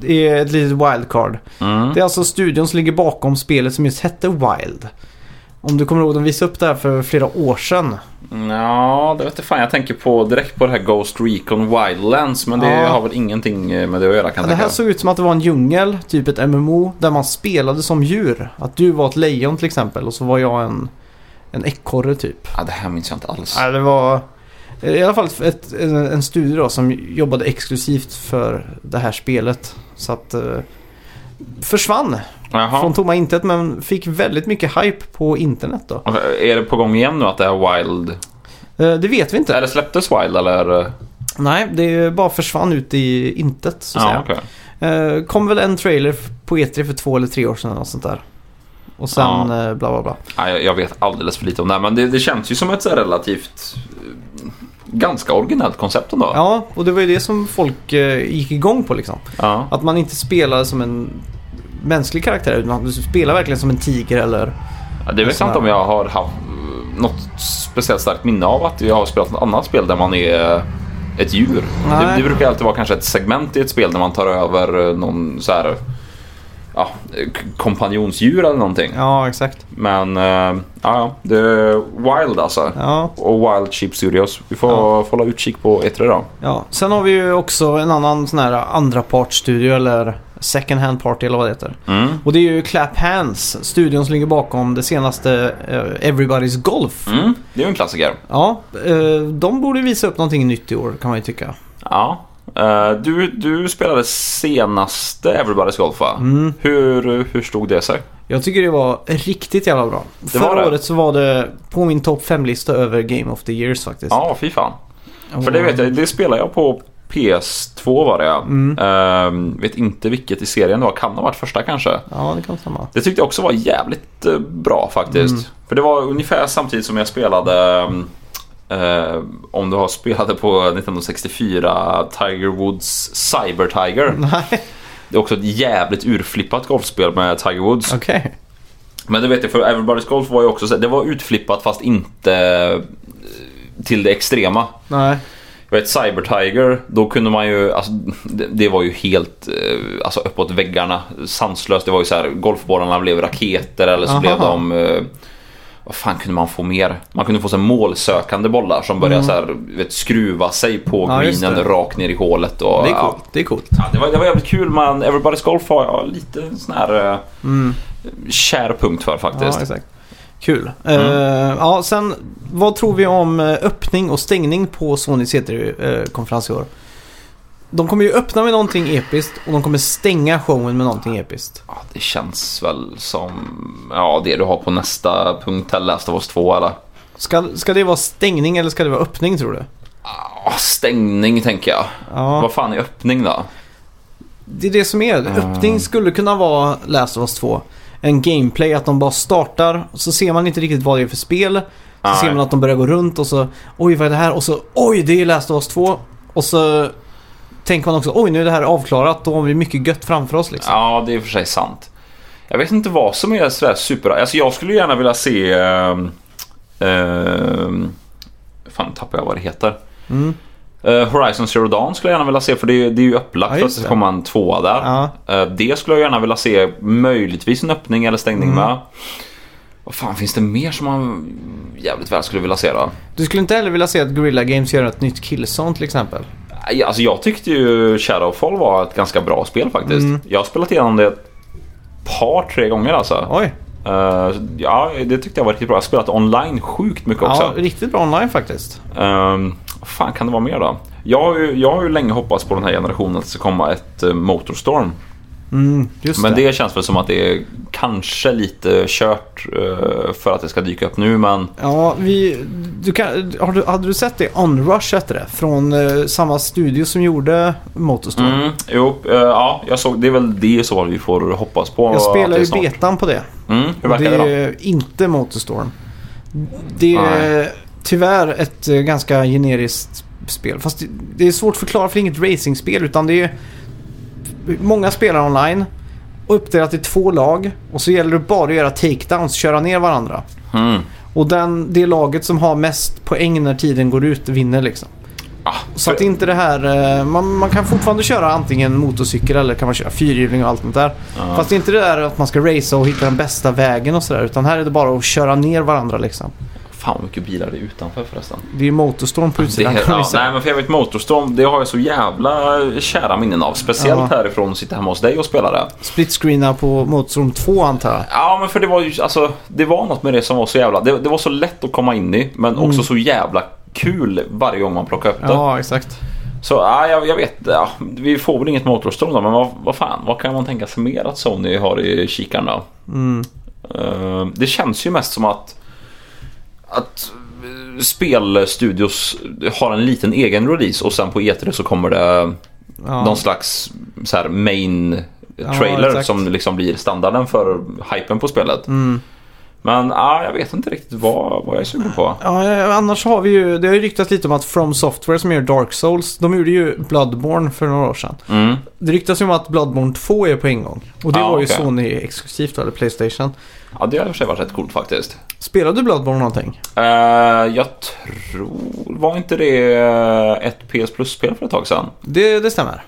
Speaker 1: är ett litet wildcard.
Speaker 3: Mm.
Speaker 1: Det är alltså studion som ligger bakom spelet som just hette Wild. Om du kommer ihåg, de visade upp det här för flera år sedan.
Speaker 3: Ja, det vet jag fan. Jag tänker på direkt på det här Ghost Recon Wildlands, men det
Speaker 1: Ja.
Speaker 3: har väl ingenting eh, med det att göra kan
Speaker 1: Ja,
Speaker 3: jag
Speaker 1: det här
Speaker 3: tänka.
Speaker 1: såg ut som att det var en djungel, typ ett MMO, där man spelade som djur. Att du var ett lejon till exempel och så var jag en, en ekorre typ.
Speaker 3: Ja, det här minns jag inte alls.
Speaker 1: Nej, det var i alla fall ett, en, en studio då, som jobbade exklusivt för det här spelet. Så att... Eh, försvann
Speaker 3: Jaha.
Speaker 1: från tomma intet men fick väldigt mycket hype på internet då.
Speaker 3: Okej, Är det på gång igen nu att det här Wild...
Speaker 1: Eh, Det vet vi inte.
Speaker 3: Eller släpptes Wild eller?
Speaker 1: Nej, det bara försvann ut i intet så att
Speaker 3: Ja,
Speaker 1: säga.
Speaker 3: okej.
Speaker 1: Eh, Kom väl en trailer på E3 för två eller tre år sedan eller något sånt där. Och sen
Speaker 3: Ja.
Speaker 1: eh, bla bla bla.
Speaker 3: Ja, jag, jag vet alldeles för lite om det här, men det, det känns ju som ett så här relativt... eh, Ganska originellt koncept ändå.
Speaker 1: Ja, och det var ju det som folk eh, gick igång på liksom.
Speaker 3: Ja.
Speaker 1: Att man inte spelar som en mänsklig karaktär utan att du spelar verkligen som en tiger eller...
Speaker 3: Ja, Det vet jag inte om jag har haft något speciellt starkt minne av att jag har spelat något annat spel där man är ett djur.
Speaker 1: Nej.
Speaker 3: Det, det brukar alltid vara kanske ett segment i ett spel där man tar över eh, någon så här ja, k- kompanjonsdjur eller någonting.
Speaker 1: Ja, exakt.
Speaker 3: Men eh, ja, ja, det är Wild alltså.
Speaker 1: Ja,
Speaker 3: Och Wild Sheep Studios. Vi får,
Speaker 1: Ja.
Speaker 3: får hålla utkik på E3 då.
Speaker 1: ja. Sen har vi ju också en annan sån här andrapartsstudio eller second hand party eller vad det heter.
Speaker 3: Mm.
Speaker 1: Och det är ju Clap Hands, studion som ligger bakom det senaste eh, Everybody's Golf.
Speaker 3: Mm. Det är ju en klassiker.
Speaker 1: Ja, eh, de borde visa upp någonting nytt i år kan man ju tycka.
Speaker 3: Ja. Eh, du, du spelade senaste Everybody's Golf va?
Speaker 1: Mm.
Speaker 3: Hur, hur stod det sig?
Speaker 1: Jag tycker det var riktigt jävla bra.
Speaker 3: var
Speaker 1: Förra
Speaker 3: det.
Speaker 1: året så var det på min topp 5-lista över Game of the Years faktiskt.
Speaker 3: Ja, fy fan.
Speaker 1: Och-
Speaker 3: För det vet jag, det spelar jag på PS2 var det ja.
Speaker 1: Mm.
Speaker 3: Ehm, vet inte vilket i serien det var, kan ha varit första kanske.
Speaker 1: Ja, det kan stämma.
Speaker 3: Det tyckte jag också var jävligt eh, bra faktiskt.
Speaker 1: Mm.
Speaker 3: För det var ungefär samtidigt som jag spelade mm, eh, om du har spelade på 1964 Tiger Woods Cyber Tiger.
Speaker 1: Nej,
Speaker 3: Det är också ett jävligt urflippat golfspel med Tiger Woods.
Speaker 1: okej.
Speaker 3: Men det vet jag för Everybody's Golf var ju också så, det var utflippat fast inte eh, till det extrema.
Speaker 1: Nej.
Speaker 3: Jag vet Cyber Tiger, då kunde man ju, alltså, det, det var ju helt eh, alltså, uppåt väggarna, sanslöst. Det var ju så här, golfbollarna blev raketer eller så
Speaker 1: Aha.
Speaker 3: blev de... Eh, vad fan kunde man få mer? Man kunde få så här, målsökande bollar som började så här, du vet, skruva sig på
Speaker 1: Mm. Ja, just
Speaker 3: greenen
Speaker 1: det.
Speaker 3: rakt ner i hålet. Och,
Speaker 1: Det är
Speaker 3: ja.
Speaker 1: coolt. Det är coolt.
Speaker 3: Ja, det, var, det var jävligt kul men Everybody's Golf har jag lite sån här eh,
Speaker 1: Mm.
Speaker 3: kär punkt för faktiskt.
Speaker 1: Ja, exakt. Kul. Eh, ja, sen vad tror vi om eh, öppning och stängning på Sonys E E3-konferens eh, i år? De kommer ju öppna med någonting episkt och de kommer stänga showen med någonting episkt.
Speaker 3: Ja, det känns väl som ja, det du har på nästa punkt här, Last of Us 2 eller?
Speaker 1: Ska, ska det vara stängning eller ska det vara öppning tror du?
Speaker 3: Ah, Stängning tänker jag.
Speaker 1: Ja,
Speaker 3: Vad fan är öppning då?
Speaker 1: det är det som är.
Speaker 3: Eh.
Speaker 1: Öppning skulle kunna vara Last of Us 2. En gameplay, att de bara startar, så ser man inte riktigt vad det är för spel. Så
Speaker 3: Nej.
Speaker 1: ser man att de börjar gå runt och så, oj vad är det här? Och så, oj det är Last of Us 2. Och så tänker man också oj nu är det här avklarat, då har vi mycket gött framför oss liksom.
Speaker 3: Ja, det är i och för sig sant. Jag vet inte vad som är sådär super... Alltså jag skulle gärna vilja se... ehm, ehm, fan, tappar jag vad det heter.
Speaker 1: Mm.
Speaker 3: Eh, Horizon Zero Dawn skulle jag gärna vilja se för det är, det är ju upplagt
Speaker 1: Ja,
Speaker 3: för
Speaker 1: just
Speaker 3: att det
Speaker 1: det.
Speaker 3: ska komma en tvåa där.
Speaker 1: Ja.
Speaker 3: Eh, Det skulle jag gärna vilja se möjligtvis en öppning eller stängning
Speaker 1: Mm.
Speaker 3: med. Vad fan finns det mer som man jävligt väl skulle vilja se då?
Speaker 1: Du skulle inte heller vilja se att Guerrilla Games gör ett nytt Killzone till exempel?
Speaker 3: Nej, Alltså jag tyckte ju Shadowfall var ett ganska bra spel faktiskt.
Speaker 1: Mm.
Speaker 3: Jag har spelat igenom det ett par, tre gånger alltså.
Speaker 1: Oj,
Speaker 3: Eh, ja, det tyckte jag var riktigt bra. Jag har spelat online sjukt mycket också.
Speaker 1: ja, riktigt bra online faktiskt.
Speaker 3: Ehm, vad fan kan det vara mer då? Jag har, ju, jag har ju länge hoppats på den här generationen att det ska komma ett eh, Motorstorm.
Speaker 1: Mm, just
Speaker 3: Men
Speaker 1: det.
Speaker 3: det känns väl som att det är kanske lite kört eh, för att det ska dyka upp nu men
Speaker 1: Ja, vi, du kan, har du, hade du sett det? Onrush hette det. Från eh, samma studio som gjorde Motorstorm.
Speaker 3: mm, jo, eh, ja, jag såg, det är väl det i så fall vi får hoppas på.
Speaker 1: Jag
Speaker 3: att
Speaker 1: spelar
Speaker 3: det
Speaker 1: ju
Speaker 3: snart-
Speaker 1: betan på det.
Speaker 3: Mm, hur
Speaker 1: Och
Speaker 3: verkar det,
Speaker 1: det är inte Motorstorm. Det är
Speaker 3: Nej.
Speaker 1: tyvärr ett eh, ganska generiskt spel. Fast det- det är svårt att förklara för det är inget racingspel utan det är många spelare online. Och uppdelat i två lag. Och så gäller det bara att göra takedowns, köra ner varandra.
Speaker 3: då? Mm.
Speaker 1: Och den, det laget som har mest poäng när tiden går ut vinner liksom.
Speaker 3: Ah,
Speaker 1: Så att
Speaker 3: för-
Speaker 1: inte det här... eh, Man, man kan fortfarande köra antingen motorcykel eller kan man köra fyrhjuling och allt sånt där.
Speaker 3: Ja.
Speaker 1: Fast det är inte det där att man ska racea och hitta den bästa vägen och sådär. Utan här är det bara att köra ner varandra liksom.
Speaker 3: Fan vad mycket bilar det är utanför förresten.
Speaker 1: Det är motorstorm på
Speaker 3: Det
Speaker 1: utsidan
Speaker 3: är,
Speaker 1: kan man
Speaker 3: ja,
Speaker 1: ju säga.
Speaker 3: nej men för jag vet Motorstorm, det har jag så jävla eh, kära minnen av. Speciellt
Speaker 1: Ja.
Speaker 3: härifrån och sitta hemma hos dig och spela det.
Speaker 1: Splitscreena på Motorstorm 2 antar jag.
Speaker 3: Ja men för det var ju, alltså det var något med det som var så jävla, det, det var så lätt att komma in i men också så jävla kul varje gång man plockade upp det.
Speaker 1: Mm. Ja, exakt.
Speaker 3: Så ja, jag, jag vet, ja, vi får väl inget motorstorm då, men vad, vad fan, vad kan man tänka sig mer att Sony har i kikaren då?
Speaker 1: Mm.
Speaker 3: Eh, det känns ju mest som att, att eh, spelstudios har en liten egen release och sen på E3 så kommer det
Speaker 1: Ja.
Speaker 3: någon slags så här, main
Speaker 1: Ja,
Speaker 3: trailer
Speaker 1: exakt. Mm.
Speaker 3: som liksom blir standarden för hypen på spelet. Men ja, jag vet inte riktigt vad, vad jag är sugen på.
Speaker 1: Ja, eh, annars har vi ju... Det har ju ryktats lite om att From Software som gör Dark Souls, de gjorde ju Bloodborne för några år sedan.
Speaker 3: Mm.
Speaker 1: Det ryktas ju om att Bloodborne 2 är på ingång. Och det
Speaker 3: Ja,
Speaker 1: var ju
Speaker 3: okej.
Speaker 1: Sony exklusivt, eller Playstation.
Speaker 3: Ja, det har i och för sig varit rätt coolt faktiskt.
Speaker 1: Spelade du Bloodborne någonting?
Speaker 3: Eh, jag tror... Var inte det eh, ett PS Plus-spel för ett tag sedan?
Speaker 1: Det, det stämmer.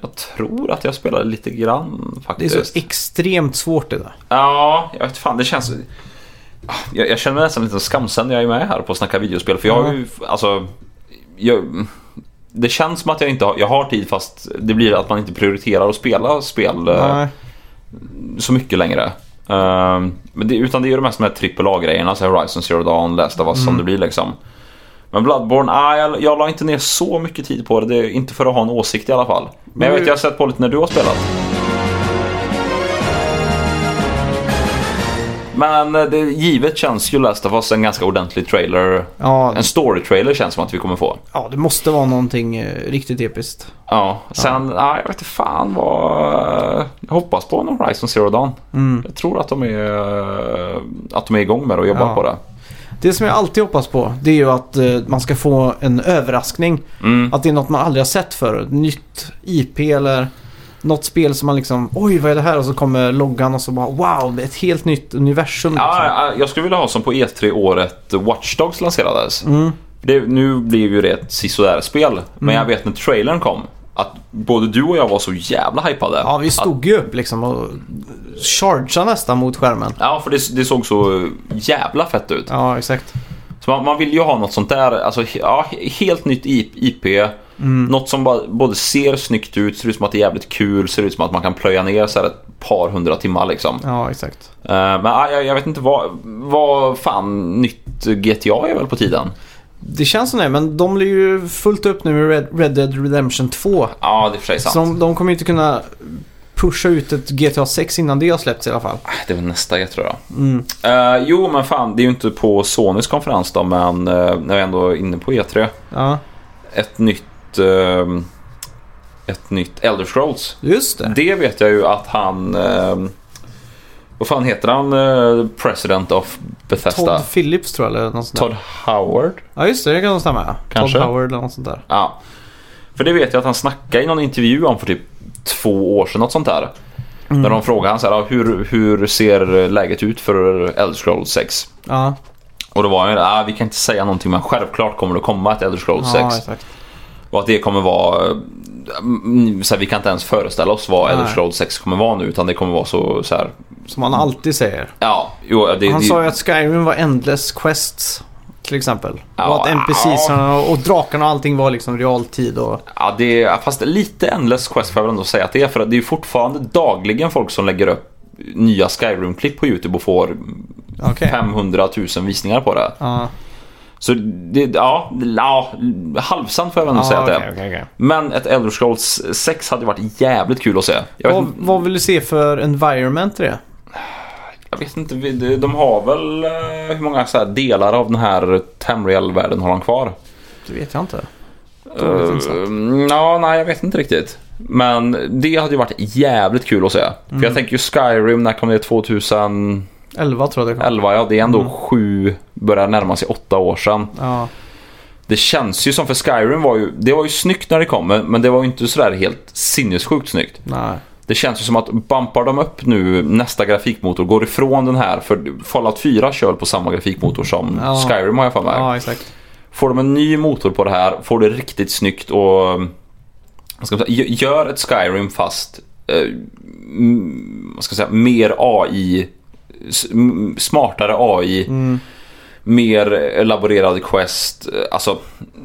Speaker 3: Jag tror att jag spelade lite grann
Speaker 1: Det är
Speaker 3: faktiskt.
Speaker 1: så extremt svårt det där.
Speaker 3: Ja, jag vet fan. Det känns... Ah, Jag, jag känner mig nästan lite skamsen när jag är med här på att snacka videospel. För jag har ju... Alltså... Jag, det känns som att jag inte har, jag har tid fast det blir att man inte prioriterar att spela spel eh,
Speaker 1: Nej.
Speaker 3: så mycket längre. Ehm, men det, utan det är ju de mest med AAA-grejerna, så Horizon Zero Dawn, Last of Us som det blir liksom. Men Bloodborne, ah, jag, jag la inte ner så mycket tid på det. det är inte för att ha en åsikt i alla fall. Men
Speaker 1: Men
Speaker 3: jag vet,
Speaker 1: du-
Speaker 3: jag har sett på lite när du har spelat. Men eh, det, givet känns ju Last of Us en ganska ordentlig trailer.
Speaker 1: Ja,
Speaker 3: En story-trailer känns som att vi kommer få.
Speaker 1: ja, det måste vara någonting eh, riktigt episkt.
Speaker 3: Ja, sen, ja. jag vet inte fan vad... Jag hoppas på en Horizon Zero Dawn.
Speaker 1: Mm.
Speaker 3: Jag tror att de är, att de är igång med det och jobbar
Speaker 1: Ja.
Speaker 3: på det.
Speaker 1: Det som jag alltid hoppas på det är ju att eh, man ska få en överraskning.
Speaker 3: Mm.
Speaker 1: Att det är något man aldrig har sett förut. Nytt IP eller något spel som man liksom oj vad är det här? Och så kommer loggan och så bara wow, det är ett helt nytt universum.
Speaker 3: Ja,
Speaker 1: liksom.
Speaker 3: ja, jag skulle vilja ha som på E3 året Watch Dogs lanserades.
Speaker 1: Mm.
Speaker 3: Det, nu blev ju det ett sisådär spel men jag vet när trailern kom att både du och jag var så jävla hypade.
Speaker 1: ja, vi
Speaker 3: Att,
Speaker 1: stod ju upp liksom och chargeade nästan mot skärmen.
Speaker 3: ja, för det, det såg så jävla fett ut.
Speaker 1: Ja, exakt.
Speaker 3: Så man, man vill ju ha något sånt där, alltså he- ja, he- helt nytt I- IP. Något som bara, både ser snyggt ut, ser ut som att det är jävligt kul, ser ut som att man kan plöja ner så här ett par hundra timmar liksom.
Speaker 1: Ja, exakt.
Speaker 3: Eh, men ja, jag, jag vet inte vad, vad fan nytt GTA är väl på tiden?
Speaker 1: Det känns som det, men de blir ju fullt upp nu med Red, Red Dead Redemption 2.
Speaker 3: Ja, det är för sig sant.
Speaker 1: Så de, de kommer ju inte kunna pusha ut ett GTA 6 innan det har släppts i alla fall.
Speaker 3: Ah, Det var nästa E tror jag. Eh, jo, men fan, det är ju inte på Sonys konferens då, men eh, när vi ändå är inne på E3.
Speaker 1: Ja,
Speaker 3: Ett nytt, eh, ett nytt Elder Scrolls
Speaker 1: just det.
Speaker 3: Det vet jag ju att han... ehm, vad fan heter han? eh, President of Bethesda?
Speaker 1: Todd Phillips tror jag eller något sånt där.
Speaker 3: Todd Howard?
Speaker 1: Ja, just det. Det kan nog stämma. ja.
Speaker 3: Kanske.
Speaker 1: Todd Howard eller något sånt där.
Speaker 3: Ja. För det vet jag att han snackade i någon intervju om för typ två år sedan, något sånt där.
Speaker 1: Mm.
Speaker 3: När de frågade han så här, "Ah, hur, hur ser läget ut för Elder Scrolls 6?
Speaker 1: Ja,
Speaker 3: Och då var han ju ah, vi kan inte säga någonting men självklart kommer det komma ett Elder Scrolls 6.
Speaker 1: ja exakt.
Speaker 3: Och att det kommer vara... mm, Så här, vi kan inte ens föreställa oss vad Elder
Speaker 1: Nej.
Speaker 3: Scrolls 6 kommer vara nu utan det kommer vara så, så här...
Speaker 1: Som han alltid säger.
Speaker 3: Ja, jo, Mm. det,
Speaker 1: Han
Speaker 3: det,
Speaker 1: sa ju att Skyrim var endless quests. Till exempel.
Speaker 3: Ja,
Speaker 1: och att NPCs och drakarna och allting var liksom realtid och...
Speaker 3: Ja, det är, fast lite endless quest får jag väl ändå säga att det är. För att det är ju fortfarande dagligen folk som lägger upp nya Skyrim-klipp på YouTube och får
Speaker 1: Okej.
Speaker 3: 500 000 visningar på det.
Speaker 1: Ja,
Speaker 3: Så det, ja, ja halvsant får jag väl ändå
Speaker 1: ja
Speaker 3: säga att det
Speaker 1: okej,
Speaker 3: är.
Speaker 1: okej, okej.
Speaker 3: Men ett Elder Scrolls 6 hade ju varit jävligt kul att se. Jag vet,
Speaker 1: Vad, vad vill du se för environment i det?
Speaker 3: jag vet inte, vi- de har väl eh, hur många så här delar av den här Tamriel-världen har de kvar?
Speaker 1: Det vet jag inte. Dåligt insatt.
Speaker 3: Uh, ja, nej, jag vet inte riktigt. Men det hade ju varit jävligt kul att se. För
Speaker 1: Mm.
Speaker 3: jag tänker ju Skyrim, när kom det? 2011?
Speaker 1: 11 tror jag det kom.
Speaker 3: Ja, det är ändå
Speaker 1: Mm.
Speaker 3: sju, börjar närma sig åtta år sedan.
Speaker 1: Ja,
Speaker 3: Det känns ju som, för Skyrim var ju, det var ju snyggt när det kom, men det var ju inte sådär helt sinnessjukt snyggt.
Speaker 1: nej.
Speaker 3: Det känns ju som att bumpar de upp nu nästa grafikmotor, går ifrån den här, för Fallout 4 kör på samma grafikmotor som
Speaker 1: Ja.
Speaker 3: Skyrim har jag för mig.
Speaker 1: Ja, exakt.
Speaker 3: Får de en ny motor på det här, får det riktigt snyggt och... um, Vad ska man säga, gö- gör ett Skyrim fast... Eh, mm, vad ska jag säga? Mer AI. s- m- Smartare AI.
Speaker 1: Mm.
Speaker 3: Mer elaborerade quest. eh, Alltså,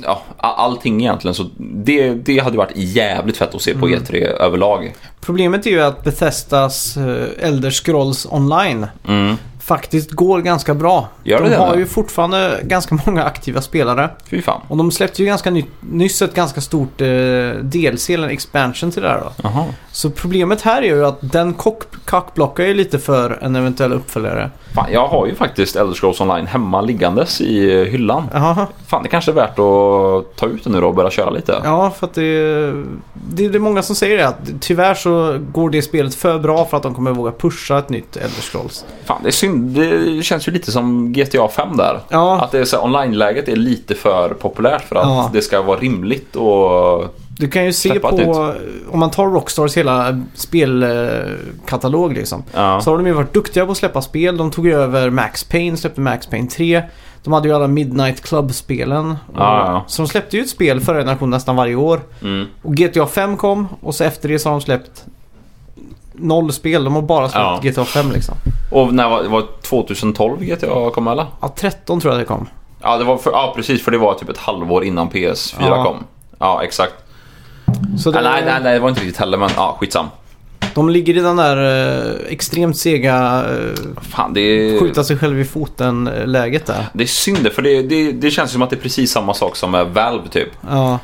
Speaker 3: ja, a- allting egentligen. Så det, det hade varit jävligt fett att se på E3 överlag.
Speaker 1: Problemet är ju att Bethesdas eh, Elder Scrolls Online
Speaker 3: Mm.
Speaker 1: faktiskt går ganska bra.
Speaker 3: Gör det
Speaker 1: de
Speaker 3: det?
Speaker 1: har ju fortfarande ganska många aktiva spelare.
Speaker 3: Fy fan.
Speaker 1: Och de släppte ju ganska ny- nyss ett ganska stort eh, DLC, eller en expansion till det här då.
Speaker 3: Jaha.
Speaker 1: Så problemet här är ju att den kock- kackblockar ju lite för en eventuell uppföljare.
Speaker 3: Fan, jag har ju faktiskt Elder Scrolls Online hemma liggandes i eh, hyllan.
Speaker 1: Jaha.
Speaker 3: Fan, det kanske är värt att ta ut den nu då och börja köra lite.
Speaker 1: Ja, för att det, det, det är många som säger det att tyvärr så går det spelet för bra för att de kommer våga pusha ett nytt Elder Scrolls.
Speaker 3: Fan, det är synd. Det känns ju lite som GTA 5 där.
Speaker 1: Ja,
Speaker 3: Att det är så här, online-läget är lite för populärt för att
Speaker 1: Ja.
Speaker 3: det ska vara rimligt och...
Speaker 1: du kan ju se
Speaker 3: släppa ett
Speaker 1: på, om man tar Rockstars hela spelkatalog liksom.
Speaker 3: Ja.
Speaker 1: Så har de ju varit duktiga på att släppa spel. De tog ju över Max Payne, släppte Max Payne 3. De hade ju alla Midnight Club-spelen.
Speaker 3: Ja, ja.
Speaker 1: Så de släppte ju ett spel förra generationen nästan varje år.
Speaker 3: Mm.
Speaker 1: Och GTA 5 kom och så efter det så har de släppt noll spel. De har bara
Speaker 3: Ja.
Speaker 1: släppt GTA 5 liksom.
Speaker 3: Och när var, var det 2012 GTA kom eller?
Speaker 1: Ja, 13 tror jag det kom.
Speaker 3: Ja, det var för, ja, precis. För det var typ ett halvår innan PS4
Speaker 1: Ja.
Speaker 3: kom. Ja, exakt.
Speaker 1: Så det,
Speaker 3: Ja, nej, nej, nej, det var inte riktigt heller, men ja, skitsam.
Speaker 1: de ligger i den där eh, extremt sega
Speaker 3: Fan, det är...
Speaker 1: eh, skjuta sig själv i foten-läget där.
Speaker 3: Det är synd, för det, det, det känns ju som att det är precis samma sak som med Valve typ.
Speaker 1: Ja,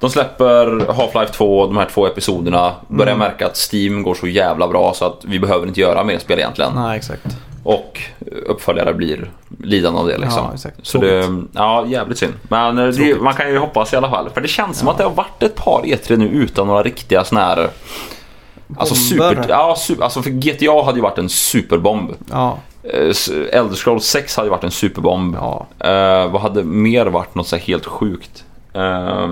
Speaker 3: De släpper Half-Life 2, de här två episoderna. Börjar
Speaker 1: Mm.
Speaker 3: märka att Steam går så jävla bra så att vi behöver inte göra mer spel egentligen.
Speaker 1: nej exakt.
Speaker 3: Och uppföljare blir lidande av det liksom.
Speaker 1: Ja, exakt.
Speaker 3: Så det, ja, jävligt synd. Men eh, det, man kan ju hoppas i alla fall. För det känns som att det har varit ett par E3 nu utan några riktiga sådana här... eh, Alltså,
Speaker 1: Bomber.
Speaker 3: super, ja, super, alltså för GTA hade ju varit en superbomb.
Speaker 1: Ja,
Speaker 3: Eh, s- Elder Scrolls 6 hade ju varit en superbomb.
Speaker 1: ja.
Speaker 3: Eh, vad hade mer varit något så här helt sjukt? Eh,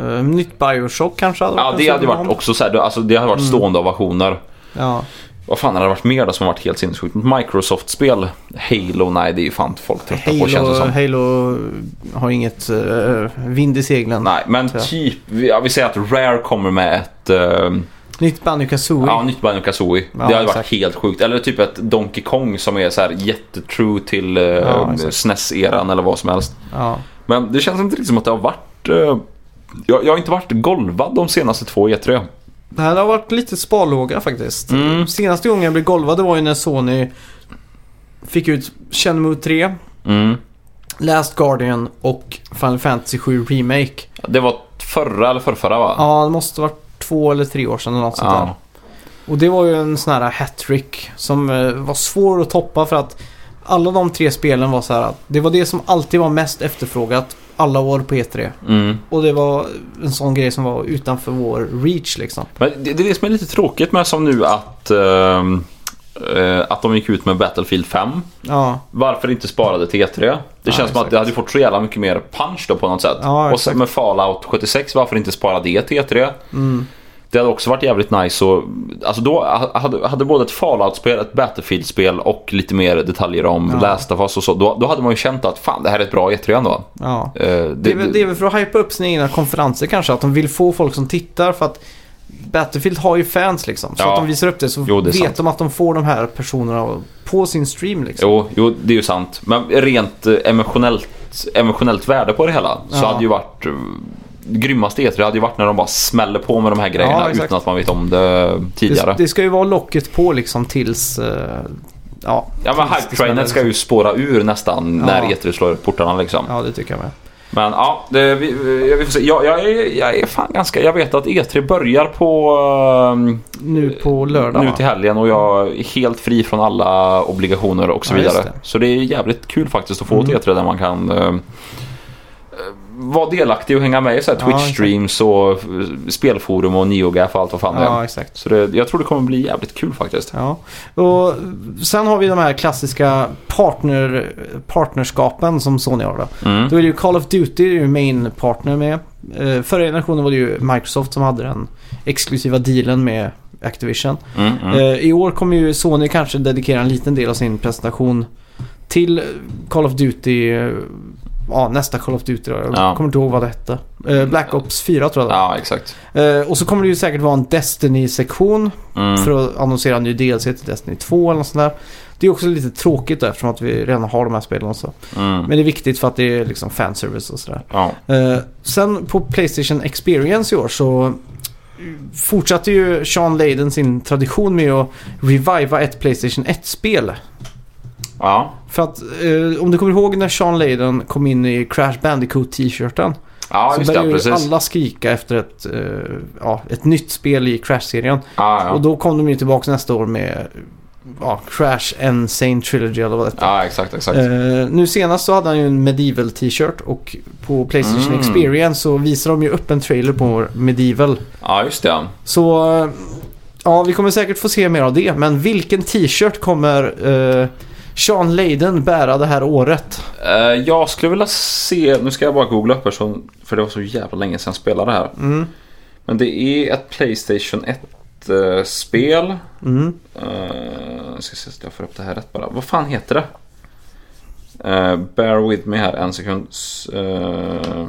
Speaker 1: Eh, nytt Bioshock kanske hade
Speaker 3: ja,
Speaker 1: en
Speaker 3: det hade ju
Speaker 1: sån
Speaker 3: varit
Speaker 1: bomb.
Speaker 3: också så här, alltså det hade varit
Speaker 1: Mm.
Speaker 3: stående ovationer.
Speaker 1: Ja,
Speaker 3: Vad fan har det varit mer då som har varit helt sinnessjukt? Microsoft-spel? Halo? Nej, det är ju fan folk trötta på känns det
Speaker 1: Halo,
Speaker 3: som.
Speaker 1: Halo har inget eh, vind i seglen.
Speaker 3: Nej, men
Speaker 1: Tror jag.
Speaker 3: typ. vi- Ja, vi säger att Rare kommer med ett eh,
Speaker 1: Nytt Banjo Kazooie.
Speaker 3: ja, nytt Banjo Kazooie.
Speaker 1: Ja,
Speaker 3: det hade varit
Speaker 1: exakt.
Speaker 3: helt sjukt. Eller typ ett Donkey Kong som är så här jättetrue till eh,
Speaker 1: Ja, exakt.
Speaker 3: SNES-eran eller vad som helst.
Speaker 1: Ja.
Speaker 3: Men det känns inte riktigt som att det har varit... Eh, jag, jag har inte varit golvad de senaste två E E3.
Speaker 1: Det här har varit lite sparlåga faktiskt.
Speaker 3: Mm.
Speaker 1: Senaste gången jag blev golvad det var ju när Sony fick ut Shenmue 3,
Speaker 3: Mm.
Speaker 1: Last Guardian och Final Fantasy 7 Remake.
Speaker 3: Det var förra eller förrförra va?
Speaker 1: Ja, det måste ha varit två eller tre år sedan eller något sånt
Speaker 3: Ja.
Speaker 1: där. Och det var ju en sån här hattrick som eh, var svår att toppa för att alla de tre spelen var så här att det var det som alltid var mest efterfrågat alla år på E3.
Speaker 3: Mm.
Speaker 1: Och det var en sån grej som var utanför vår reach liksom.
Speaker 3: Men det, det är det som är lite tråkigt med som nu att, eh, ehm, eh, att de gick ut med Battlefield 5.
Speaker 1: Ja,
Speaker 3: Varför inte spara det till E3? Det
Speaker 1: Ja,
Speaker 3: känns som att
Speaker 1: exakt.
Speaker 3: det hade fått så jävla mycket mer punch då på något sätt.
Speaker 1: Ja,
Speaker 3: och sen med Fallout 76, varför inte spara det till E3?
Speaker 1: Mm.
Speaker 3: Det hade också varit jävligt nice och, alltså då hade, hade både ett Fallout-spel, ett Battlefield-spel och lite mer detaljer om
Speaker 1: Ja.
Speaker 3: Last of Us och så. Då, då hade man ju känt att fan det här är ett bra E3 ändå.
Speaker 1: Ja.
Speaker 3: Eh, det,
Speaker 1: Det är, väl, det är väl för att hypa upp sina egna konferenser kanske, att de vill få folk som tittar för att Battlefield har ju fans liksom. Så
Speaker 3: Ja.
Speaker 1: att de visar upp det så
Speaker 3: Jo, det är
Speaker 1: vet
Speaker 3: sant.
Speaker 1: de att de får de här personerna på sin stream liksom.
Speaker 3: Jo, jo, det är ju sant. Men rent eh, emotionellt, emotionellt värde på det hela så
Speaker 1: Ja.
Speaker 3: hade ju varit eh, Grymmaste E3 hade ju varit när de bara smäller på med de här
Speaker 1: Ja,
Speaker 3: grejerna
Speaker 1: exakt.
Speaker 3: utan att man vet om det tidigare.
Speaker 1: det, det ska ju vara locket på liksom tills... eh, ja,
Speaker 3: Ja men
Speaker 1: tills det smäller,
Speaker 3: hype-trainen ska ju spåra ur nästan
Speaker 1: Ja.
Speaker 3: när E3 slår upp portarna liksom.
Speaker 1: Ja, det tycker jag med.
Speaker 3: Men ja, det, vi, vi vi får se. Jag, jag, är, jag är fan ganska... Jag vet att E3 börjar på... ehm,
Speaker 1: Nu på lördag
Speaker 3: nu
Speaker 1: va? Mm.
Speaker 3: till helgen och jag är helt fri från alla obligationer och så
Speaker 1: Ja, just
Speaker 3: vidare.
Speaker 1: det.
Speaker 3: Så det är jävligt kul faktiskt att få
Speaker 1: Mm.
Speaker 3: ett E3 där man kan... ehm, eh, vara delaktig och hänga med i så här
Speaker 1: Ja,
Speaker 3: Twitch-streams och eh, spelforum och NeoGaf och allt vad fan det
Speaker 1: Ja,
Speaker 3: är.
Speaker 1: exakt.
Speaker 3: Så det, jag tror det kommer bli jävligt kul faktiskt.
Speaker 1: Ja, och sen har vi de här klassiska partner, partnerskapen som Sony har då.
Speaker 3: Mm.
Speaker 1: Då är det ju Call of Duty är ju main partner med. Eh, förra generationen var det ju Microsoft som hade den exklusiva dealen med Activision.
Speaker 3: Mm, mm.
Speaker 1: Eh, I år kommer ju Sony kanske dedikera en liten del av sin presentation till Call of Duty. eh, Ja, nästa Call of Duty då. Jag
Speaker 3: Ja.
Speaker 1: kommer inte ihåg vad det hette. Eh, Black Ops 4 tror jag det
Speaker 3: Ja, exakt.
Speaker 1: var. eh, Och så kommer det ju säkert vara en Destiny-sektion
Speaker 3: Mm.
Speaker 1: för att annonsera en ny DLC till Destiny 2 eller något sånt där. Det är också lite tråkigt då, eftersom att vi redan har de här spelen och så.
Speaker 3: Mm.
Speaker 1: Men det är viktigt för att det är liksom fanservice och sådär.
Speaker 3: Ja.
Speaker 1: Eh, sen på Playstation Experience i år så fortsatte ju Sean Layden sin tradition med att reviva ett Playstation 1-spel.
Speaker 3: Ja.
Speaker 1: För att eh, om du kommer ihåg när Sean Layden kom in i Crash Bandicoot t-shirten.
Speaker 3: Ja,
Speaker 1: så
Speaker 3: just det.
Speaker 1: började ju
Speaker 3: Precis.
Speaker 1: alla skrika efter ett, eh, ja, ett nytt spel i Crash-serien.
Speaker 3: Ja, ja.
Speaker 1: Och då kom de ju tillbaka nästa år med ja, Crash Insane Trilogy eller vad det
Speaker 3: ja, exakt, exakt.
Speaker 1: Eh, nu senast så hade han ju en Medieval t-shirt och på Playstation
Speaker 3: Mm.
Speaker 1: Experience så visar de ju upp en trailer på Medieval.
Speaker 3: Ja, just det.
Speaker 1: Så eh, ja, vi kommer säkert få se mer av det. Men vilken t-shirt kommer eh, Sean Layden bära det här året?
Speaker 3: Eh, jag skulle vilja se, nu ska jag bara googla upp här så, för det var så jävla länge sedan jag spelade här.
Speaker 1: Mm.
Speaker 3: Men det är ett Playstation 1-spel.
Speaker 1: Mm.
Speaker 3: Uh, ska se så att jag får upp det här rätt bara. Vad fan heter det? Eh, bear with me här en sekund. Eh,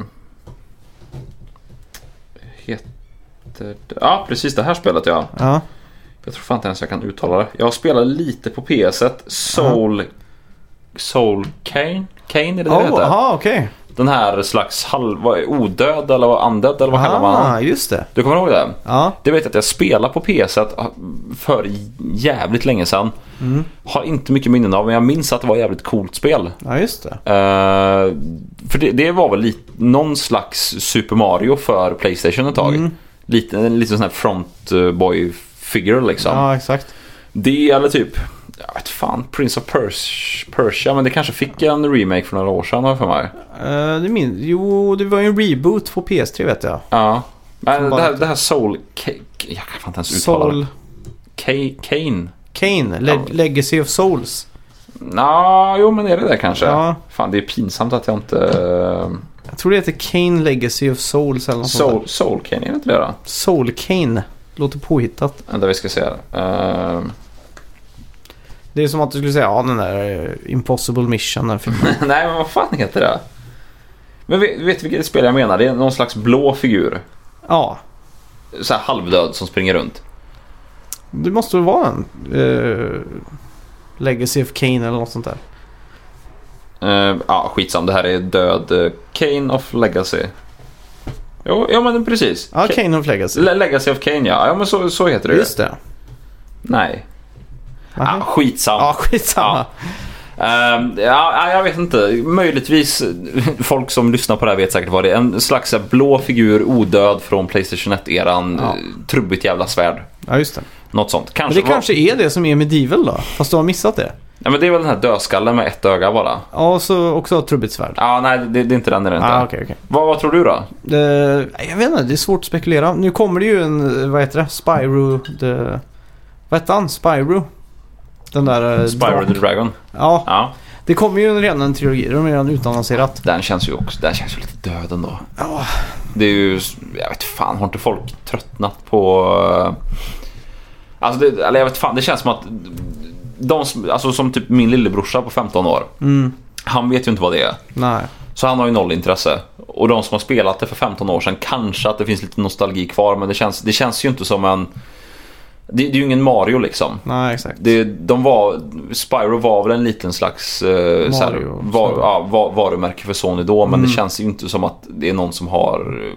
Speaker 3: heter det? Ja, precis det här spelet ja.
Speaker 1: Ja.
Speaker 3: Jag tror fan inte ens jag kan uttala det. Jag spelar lite på PS1. Soul... Soul Kane? Kane är det det
Speaker 1: Oh,
Speaker 3: heter?
Speaker 1: aha, okej.
Speaker 3: Den här slags halv... vad är- Odöd eller vad undead eller vad kallar man honom?
Speaker 1: Ah, just det.
Speaker 3: Du kommer ihåg det?
Speaker 1: Ja.
Speaker 3: Det vet jag att jag spelade på PS1 ah, för jävligt länge sedan.
Speaker 1: Mm.
Speaker 3: Har inte mycket minnen av men jag minns att det var ett jävligt coolt spel.
Speaker 1: ja, just det.
Speaker 3: Eh, för det, det var väl lite, någon slags Super Mario för Playstation ett tag.
Speaker 1: Mm.
Speaker 3: Lite, en liten sån här frontboy figure liksom.
Speaker 1: Ja, exakt.
Speaker 3: Det eller typ, jag vet fan, Prince of Pers- Persia, men det kanske fick en remake för några år sedan har jag för mig.
Speaker 1: Eh, det min- jo, det var ju en reboot på PS3 vet jag.
Speaker 3: Ja. Men
Speaker 1: Som bara
Speaker 3: det, här,
Speaker 1: heter-
Speaker 3: det här Soul... Ka- jag kan fan inte ens uttala
Speaker 1: Soul
Speaker 3: det. Ka- Kane?
Speaker 1: Kane, Le-
Speaker 3: Ja.
Speaker 1: Legacy of Souls.
Speaker 3: Nja, jo men är det det kanske?
Speaker 1: Ja.
Speaker 3: Fan, det är pinsamt att jag inte... eh,
Speaker 1: Jag tror det heter Kane Legacy of Souls eller något sånt
Speaker 3: Soul, Soul Kane, är det inte det då?
Speaker 1: där. Soul Kane. Låter påhittat.
Speaker 3: Vänta, vi ska se här. Eh,
Speaker 1: Det är som att du skulle säga ja den där eh, Impossible Mission. Den filmen.
Speaker 3: nej, men vad fan heter det? Men vet, vet du vilket spel jag menar? Det är någon slags blå figur.
Speaker 1: ja,
Speaker 3: Så här halvdöd som springer runt.
Speaker 1: det måste väl vara en eh, Legacy of Kane eller något sånt där.
Speaker 3: Eh, ja, skitsam. Det här är död eh, Kane of Legacy. Jo, ja men precis.
Speaker 1: Ja,
Speaker 3: Ka-
Speaker 1: Kane of Legacy.
Speaker 3: Le- Legacy of Kane ja. Ja men så, så heter det ju.
Speaker 1: Just det.
Speaker 3: Nej.
Speaker 1: Aha.
Speaker 3: Ah, skitsam.
Speaker 1: Ja, skitsamma.
Speaker 3: Ehm, ja, ja, jag vet inte. Möjligtvis folk som lyssnar på det här vet säkert vad det är. En slags så här blå figur, odöd från Playstation 1-eran.
Speaker 1: Ja.
Speaker 3: Trubbigt jävla svärd.
Speaker 1: Ja, just det.
Speaker 3: Något sånt.
Speaker 1: Men
Speaker 3: Kanske
Speaker 1: det
Speaker 3: var...
Speaker 1: kanske är det som är Medieval då? Fast du har missat det?
Speaker 3: Ja, men det är väl den här dödskallen med ett öga bara.
Speaker 1: Ja, och så också ett trubbigt svärd.
Speaker 3: Ja, nej det, det är inte den. Är det inte.
Speaker 1: Ah, okej, okej.
Speaker 3: vad, vad tror du då?
Speaker 1: Eh, jag vet inte, det är svårt att spekulera. Nu kommer det ju en, eh, vad heter det, Spyro the... Vad hette han? Spyro? Den där... eh,
Speaker 3: Spyro the Dragon?
Speaker 1: Ja,
Speaker 3: Ja.
Speaker 1: Det kommer ju redan en trilogi, de har redan utannonserat.
Speaker 3: Den känns ju också, den känns ju lite död ändå.
Speaker 1: Ja.
Speaker 3: Det är ju, jag vet fan, har inte folk tröttnat på... eh, Alltså, det, eller jag vet fan, det känns som att de som, alltså som typ min lillebrorsa på 15 år.
Speaker 1: Mm,
Speaker 3: Han vet ju inte vad det är.
Speaker 1: nej.
Speaker 3: Så han har ju noll intresse. Och de som har spelat det för 15 år sedan kanske att det finns lite nostalgi kvar men det känns, det känns ju inte som en... Det, det är ju ingen Mario liksom.
Speaker 1: Nej, exakt.
Speaker 3: Det, de var, Spyro var väl en liten slags eh, så här,
Speaker 1: Mario.
Speaker 3: var, ja, var, varumärke för Sony då men
Speaker 1: Mm.
Speaker 3: det känns ju inte som att det är någon som har eh,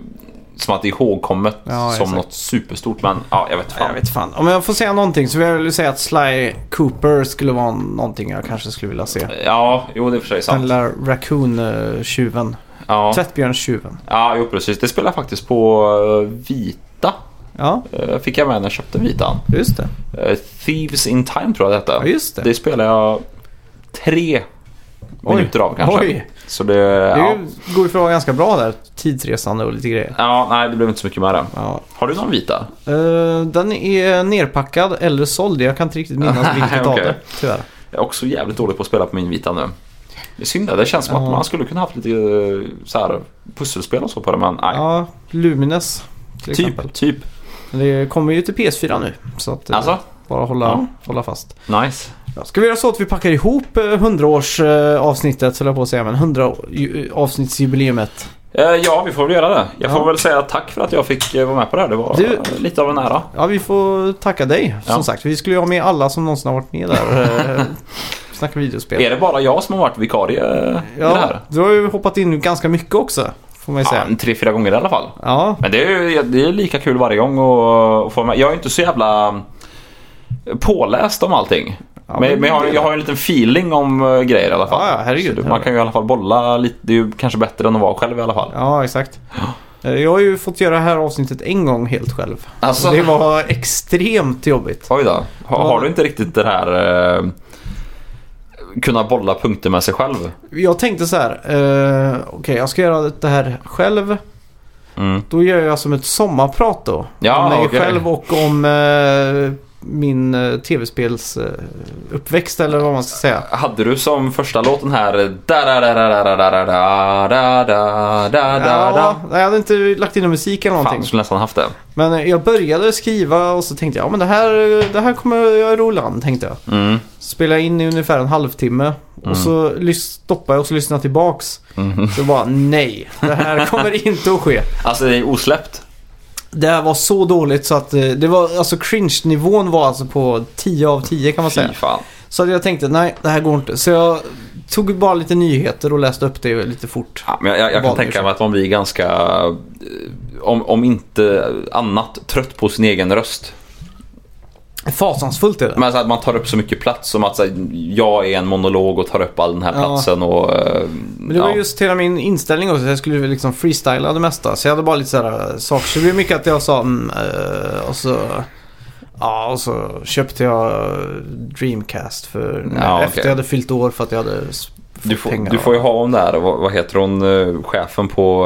Speaker 3: som att det är ihågkommet
Speaker 1: Ja,
Speaker 3: som
Speaker 1: exakt.
Speaker 3: något superstort men ja, jag vet
Speaker 1: Ja, Jag
Speaker 3: fan.
Speaker 1: vet fan. Om jag får säga någonting så vill jag väl säga att Sly Cooper skulle vara någonting jag kanske skulle vilja se.
Speaker 3: Ja, jo det är för sig
Speaker 1: Den
Speaker 3: sant.
Speaker 1: lilla Raccoon-tjuven.
Speaker 3: Ja,
Speaker 1: Tvättbjörnstjuven.
Speaker 3: ja jo, precis. Det spelar jag faktiskt på eh, vita.
Speaker 1: Ja,
Speaker 3: Eh, Fick jag med när jag köpte vitan.
Speaker 1: just det.
Speaker 3: Eh, Thieves in Time tror jag det
Speaker 1: Ja,
Speaker 3: hette.
Speaker 1: just det.
Speaker 3: Det spelar jag tre
Speaker 1: Oj.
Speaker 3: minuter av kanske.
Speaker 1: Oj,
Speaker 3: Så det...
Speaker 1: det
Speaker 3: ja.
Speaker 1: går ju för att vara ganska bra där. Tidsresande och lite grejer.
Speaker 3: ja, nej det blev inte så mycket med det.
Speaker 1: Ja.
Speaker 3: Har du någon vita?
Speaker 1: Eh, den är nerpackad eller såld. Jag kan inte riktigt minnas vilket av
Speaker 3: Okej.
Speaker 1: det, tyvärr.
Speaker 3: Jag är också jävligt dålig på att spela på min vita nu. Det är synd det. Det känns som
Speaker 1: Ja.
Speaker 3: att man skulle kunna haft lite eh, så här, pusselspel och så på det men nej.
Speaker 1: Ja, Lumines till exempel.
Speaker 3: typ, typ.
Speaker 1: Men Det kommer ju till PS4 nu. Så att eh,
Speaker 3: Alltså,
Speaker 1: bara hålla,
Speaker 3: Ja.
Speaker 1: hålla fast.
Speaker 3: nice.
Speaker 1: Ja, ska vi göra så att vi packar ihop eh, 100-års eh, avsnittet, höll jag på att säga, men 100 ju- eh, avsnittsjubileumet.
Speaker 3: Eh, ja, vi får väl göra det. Jag
Speaker 1: Ja.
Speaker 3: får väl säga tack för att jag fick eh, vara med på det här. Det var
Speaker 1: Du-
Speaker 3: eh, lite av en ära.
Speaker 1: Ja, vi får tacka dig. Som
Speaker 3: Ja.
Speaker 1: sagt, vi skulle ju ha med alla som någonsin har varit med där. eh, Snacka videospel.
Speaker 3: Är det bara jag som har varit vikarie eh, i det
Speaker 1: Ja,
Speaker 3: här?
Speaker 1: du har ju hoppat in ganska mycket också, får man ju
Speaker 3: Ja,
Speaker 1: säga.
Speaker 3: en tre, fyra gånger i alla fall.
Speaker 1: Ja,
Speaker 3: Men det är ju det är lika kul varje gång att, att få med. Jag är inte så jävla eh, påläst om allting.
Speaker 1: Ja,
Speaker 3: men
Speaker 1: men
Speaker 3: men jag, har,
Speaker 1: det-
Speaker 3: jag har en liten feeling om eh, grejer i alla fall.
Speaker 1: Ja, ja, herregud.
Speaker 3: Så det- Man kan ju i alla fall bolla lite. Det är ju kanske bättre än att vara själv i alla fall.
Speaker 1: ja exakt. Eh, Jag har ju fått göra det här avsnittet en gång helt själv.
Speaker 3: Alltså,
Speaker 1: Det var extremt jobbigt.
Speaker 3: Oj då. Har,
Speaker 1: Ja.
Speaker 3: har du inte riktigt det här... Eh, kunna bolla punkter med sig själv?
Speaker 1: Jag tänkte så här, eh, okej jag ska göra det här själv.
Speaker 3: Mm.
Speaker 1: Då gör jag som ett sommarprat då.
Speaker 3: Ja,
Speaker 1: om mig
Speaker 3: okej.
Speaker 1: själv och om eh, min eh, tv-spels eh, uppväxt eller vad man ska säga.
Speaker 3: Hade du som första låten här... eh, Da, da, da, da, da, da, da, da, da, da, da, da,
Speaker 1: Ja,
Speaker 3: da.
Speaker 1: nej, jag hade inte lagt in någon musik eller
Speaker 3: Fan,
Speaker 1: någonting.
Speaker 3: skulle nästan haft det.
Speaker 1: Men eh, jag började skriva och så tänkte jag, ja men det här, det här kommer jag ro i land tänkte jag.
Speaker 3: Mm.
Speaker 1: Spelade in i ungefär en halvtimme. Och så lys- stoppade jag och så lyssnade jag tillbaks.
Speaker 3: Mhm.
Speaker 1: Så bara nej, det här kommer inte att ske.
Speaker 3: Alltså det är osläppt.
Speaker 1: Det här var så dåligt så att eh, det var alltså cringe-nivån var alltså på 10 av 10 kan man säga.
Speaker 3: Fy fan.
Speaker 1: Så att jag tänkte nej, det här går inte. Så jag tog bara lite nyheter och läste upp det lite fort.
Speaker 3: Ja, men jag, jag, jag kan
Speaker 1: Vanlig
Speaker 3: tänka
Speaker 1: sak.
Speaker 3: mig att man blir ganska, eh, om, om inte annat, trött på sin egen röst.
Speaker 1: Fasansfullt är det.
Speaker 3: Men så att man tar upp så mycket plats som att så här, jag är en monolog och tar upp all den här
Speaker 1: Ja.
Speaker 3: platsen och... eh,
Speaker 1: Men det var
Speaker 3: ja.
Speaker 1: just hela min inställning också. Jag skulle väl liksom freestyla det mesta. Så jag hade bara lite sådär saker. Så det blev mycket att jag sa mm, eh, och så... Ja, och så köpte jag eh, Dreamcast för...
Speaker 3: Ja,
Speaker 1: efter
Speaker 3: okej.
Speaker 1: jag hade fyllt år för att jag hade s- fått
Speaker 3: Du får,
Speaker 1: pengar.
Speaker 3: du får ju ha om det här, vad, vad heter hon, eh, chefen på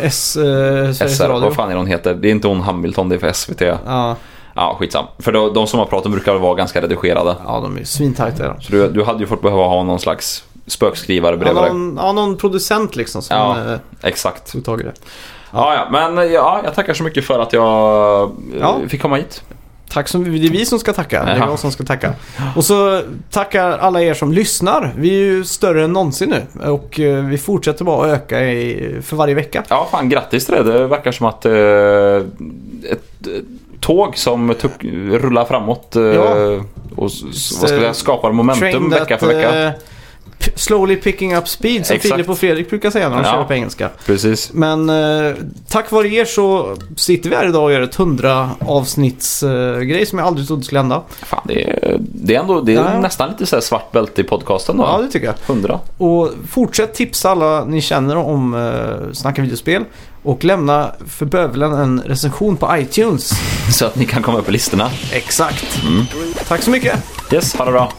Speaker 1: S, eh,
Speaker 3: eh,
Speaker 1: Sveriges
Speaker 3: SR,
Speaker 1: Radio.
Speaker 3: vad fan är hon heter? Det är inte hon Hamilton, det är för SVT.
Speaker 1: Ja,
Speaker 3: Ja, skitsam. För de, de som har pratat brukar väl vara ganska redigerade.
Speaker 1: ja, de är ju svintajta. är de.
Speaker 3: Så du, du hade ju fått behöva ha någon slags spökskrivare
Speaker 1: Ja,
Speaker 3: bredvid dig.
Speaker 1: någon, ja, någon producent liksom som
Speaker 3: Ja.
Speaker 1: eh,
Speaker 3: Exakt.
Speaker 1: tog tag i det.
Speaker 3: Ja, ja, men ja, jag tackar så mycket för att jag eh,
Speaker 1: Ja.
Speaker 3: fick komma hit.
Speaker 1: Tack som, det är vi som ska tacka. Det är
Speaker 3: Ja.
Speaker 1: jag som ska tacka. Och så tackar alla er som lyssnar. Vi är ju större än någonsin nu och eh, vi fortsätter bara att öka i, för varje vecka.
Speaker 3: Ja, fan grattis till det. Det verkar som att eh, ett, ett tåg som tuck, rullar framåt eh,
Speaker 1: Ja.
Speaker 3: och s- s- vad ska jag säga, skapar momentum
Speaker 1: Trained
Speaker 3: vecka
Speaker 1: at,
Speaker 3: för vecka.
Speaker 1: eh, p- slowly picking up speed som
Speaker 3: Exakt.
Speaker 1: Filip och Fredrik brukar säga när de
Speaker 3: Ja.
Speaker 1: kör på engelska.
Speaker 3: Precis.
Speaker 1: Men eh, tack vare er så sitter vi här idag och gör ett 100 avsnitts eh, grej som jag aldrig trodde skulle hända.
Speaker 3: Fan, det är, det är, ändå, det är
Speaker 1: Ja.
Speaker 3: nästan lite så här svart bälte i podcasten då.
Speaker 1: Ja, det tycker jag.
Speaker 3: 100.
Speaker 1: Och fortsätt tipsa alla ni känner om eh, Snacka videospel. Och lämna för bövelen en recension på iTunes.
Speaker 3: Så att ni kan komma upp på listorna.
Speaker 1: Exakt. Tack så mycket.
Speaker 3: Yes, ha det bra.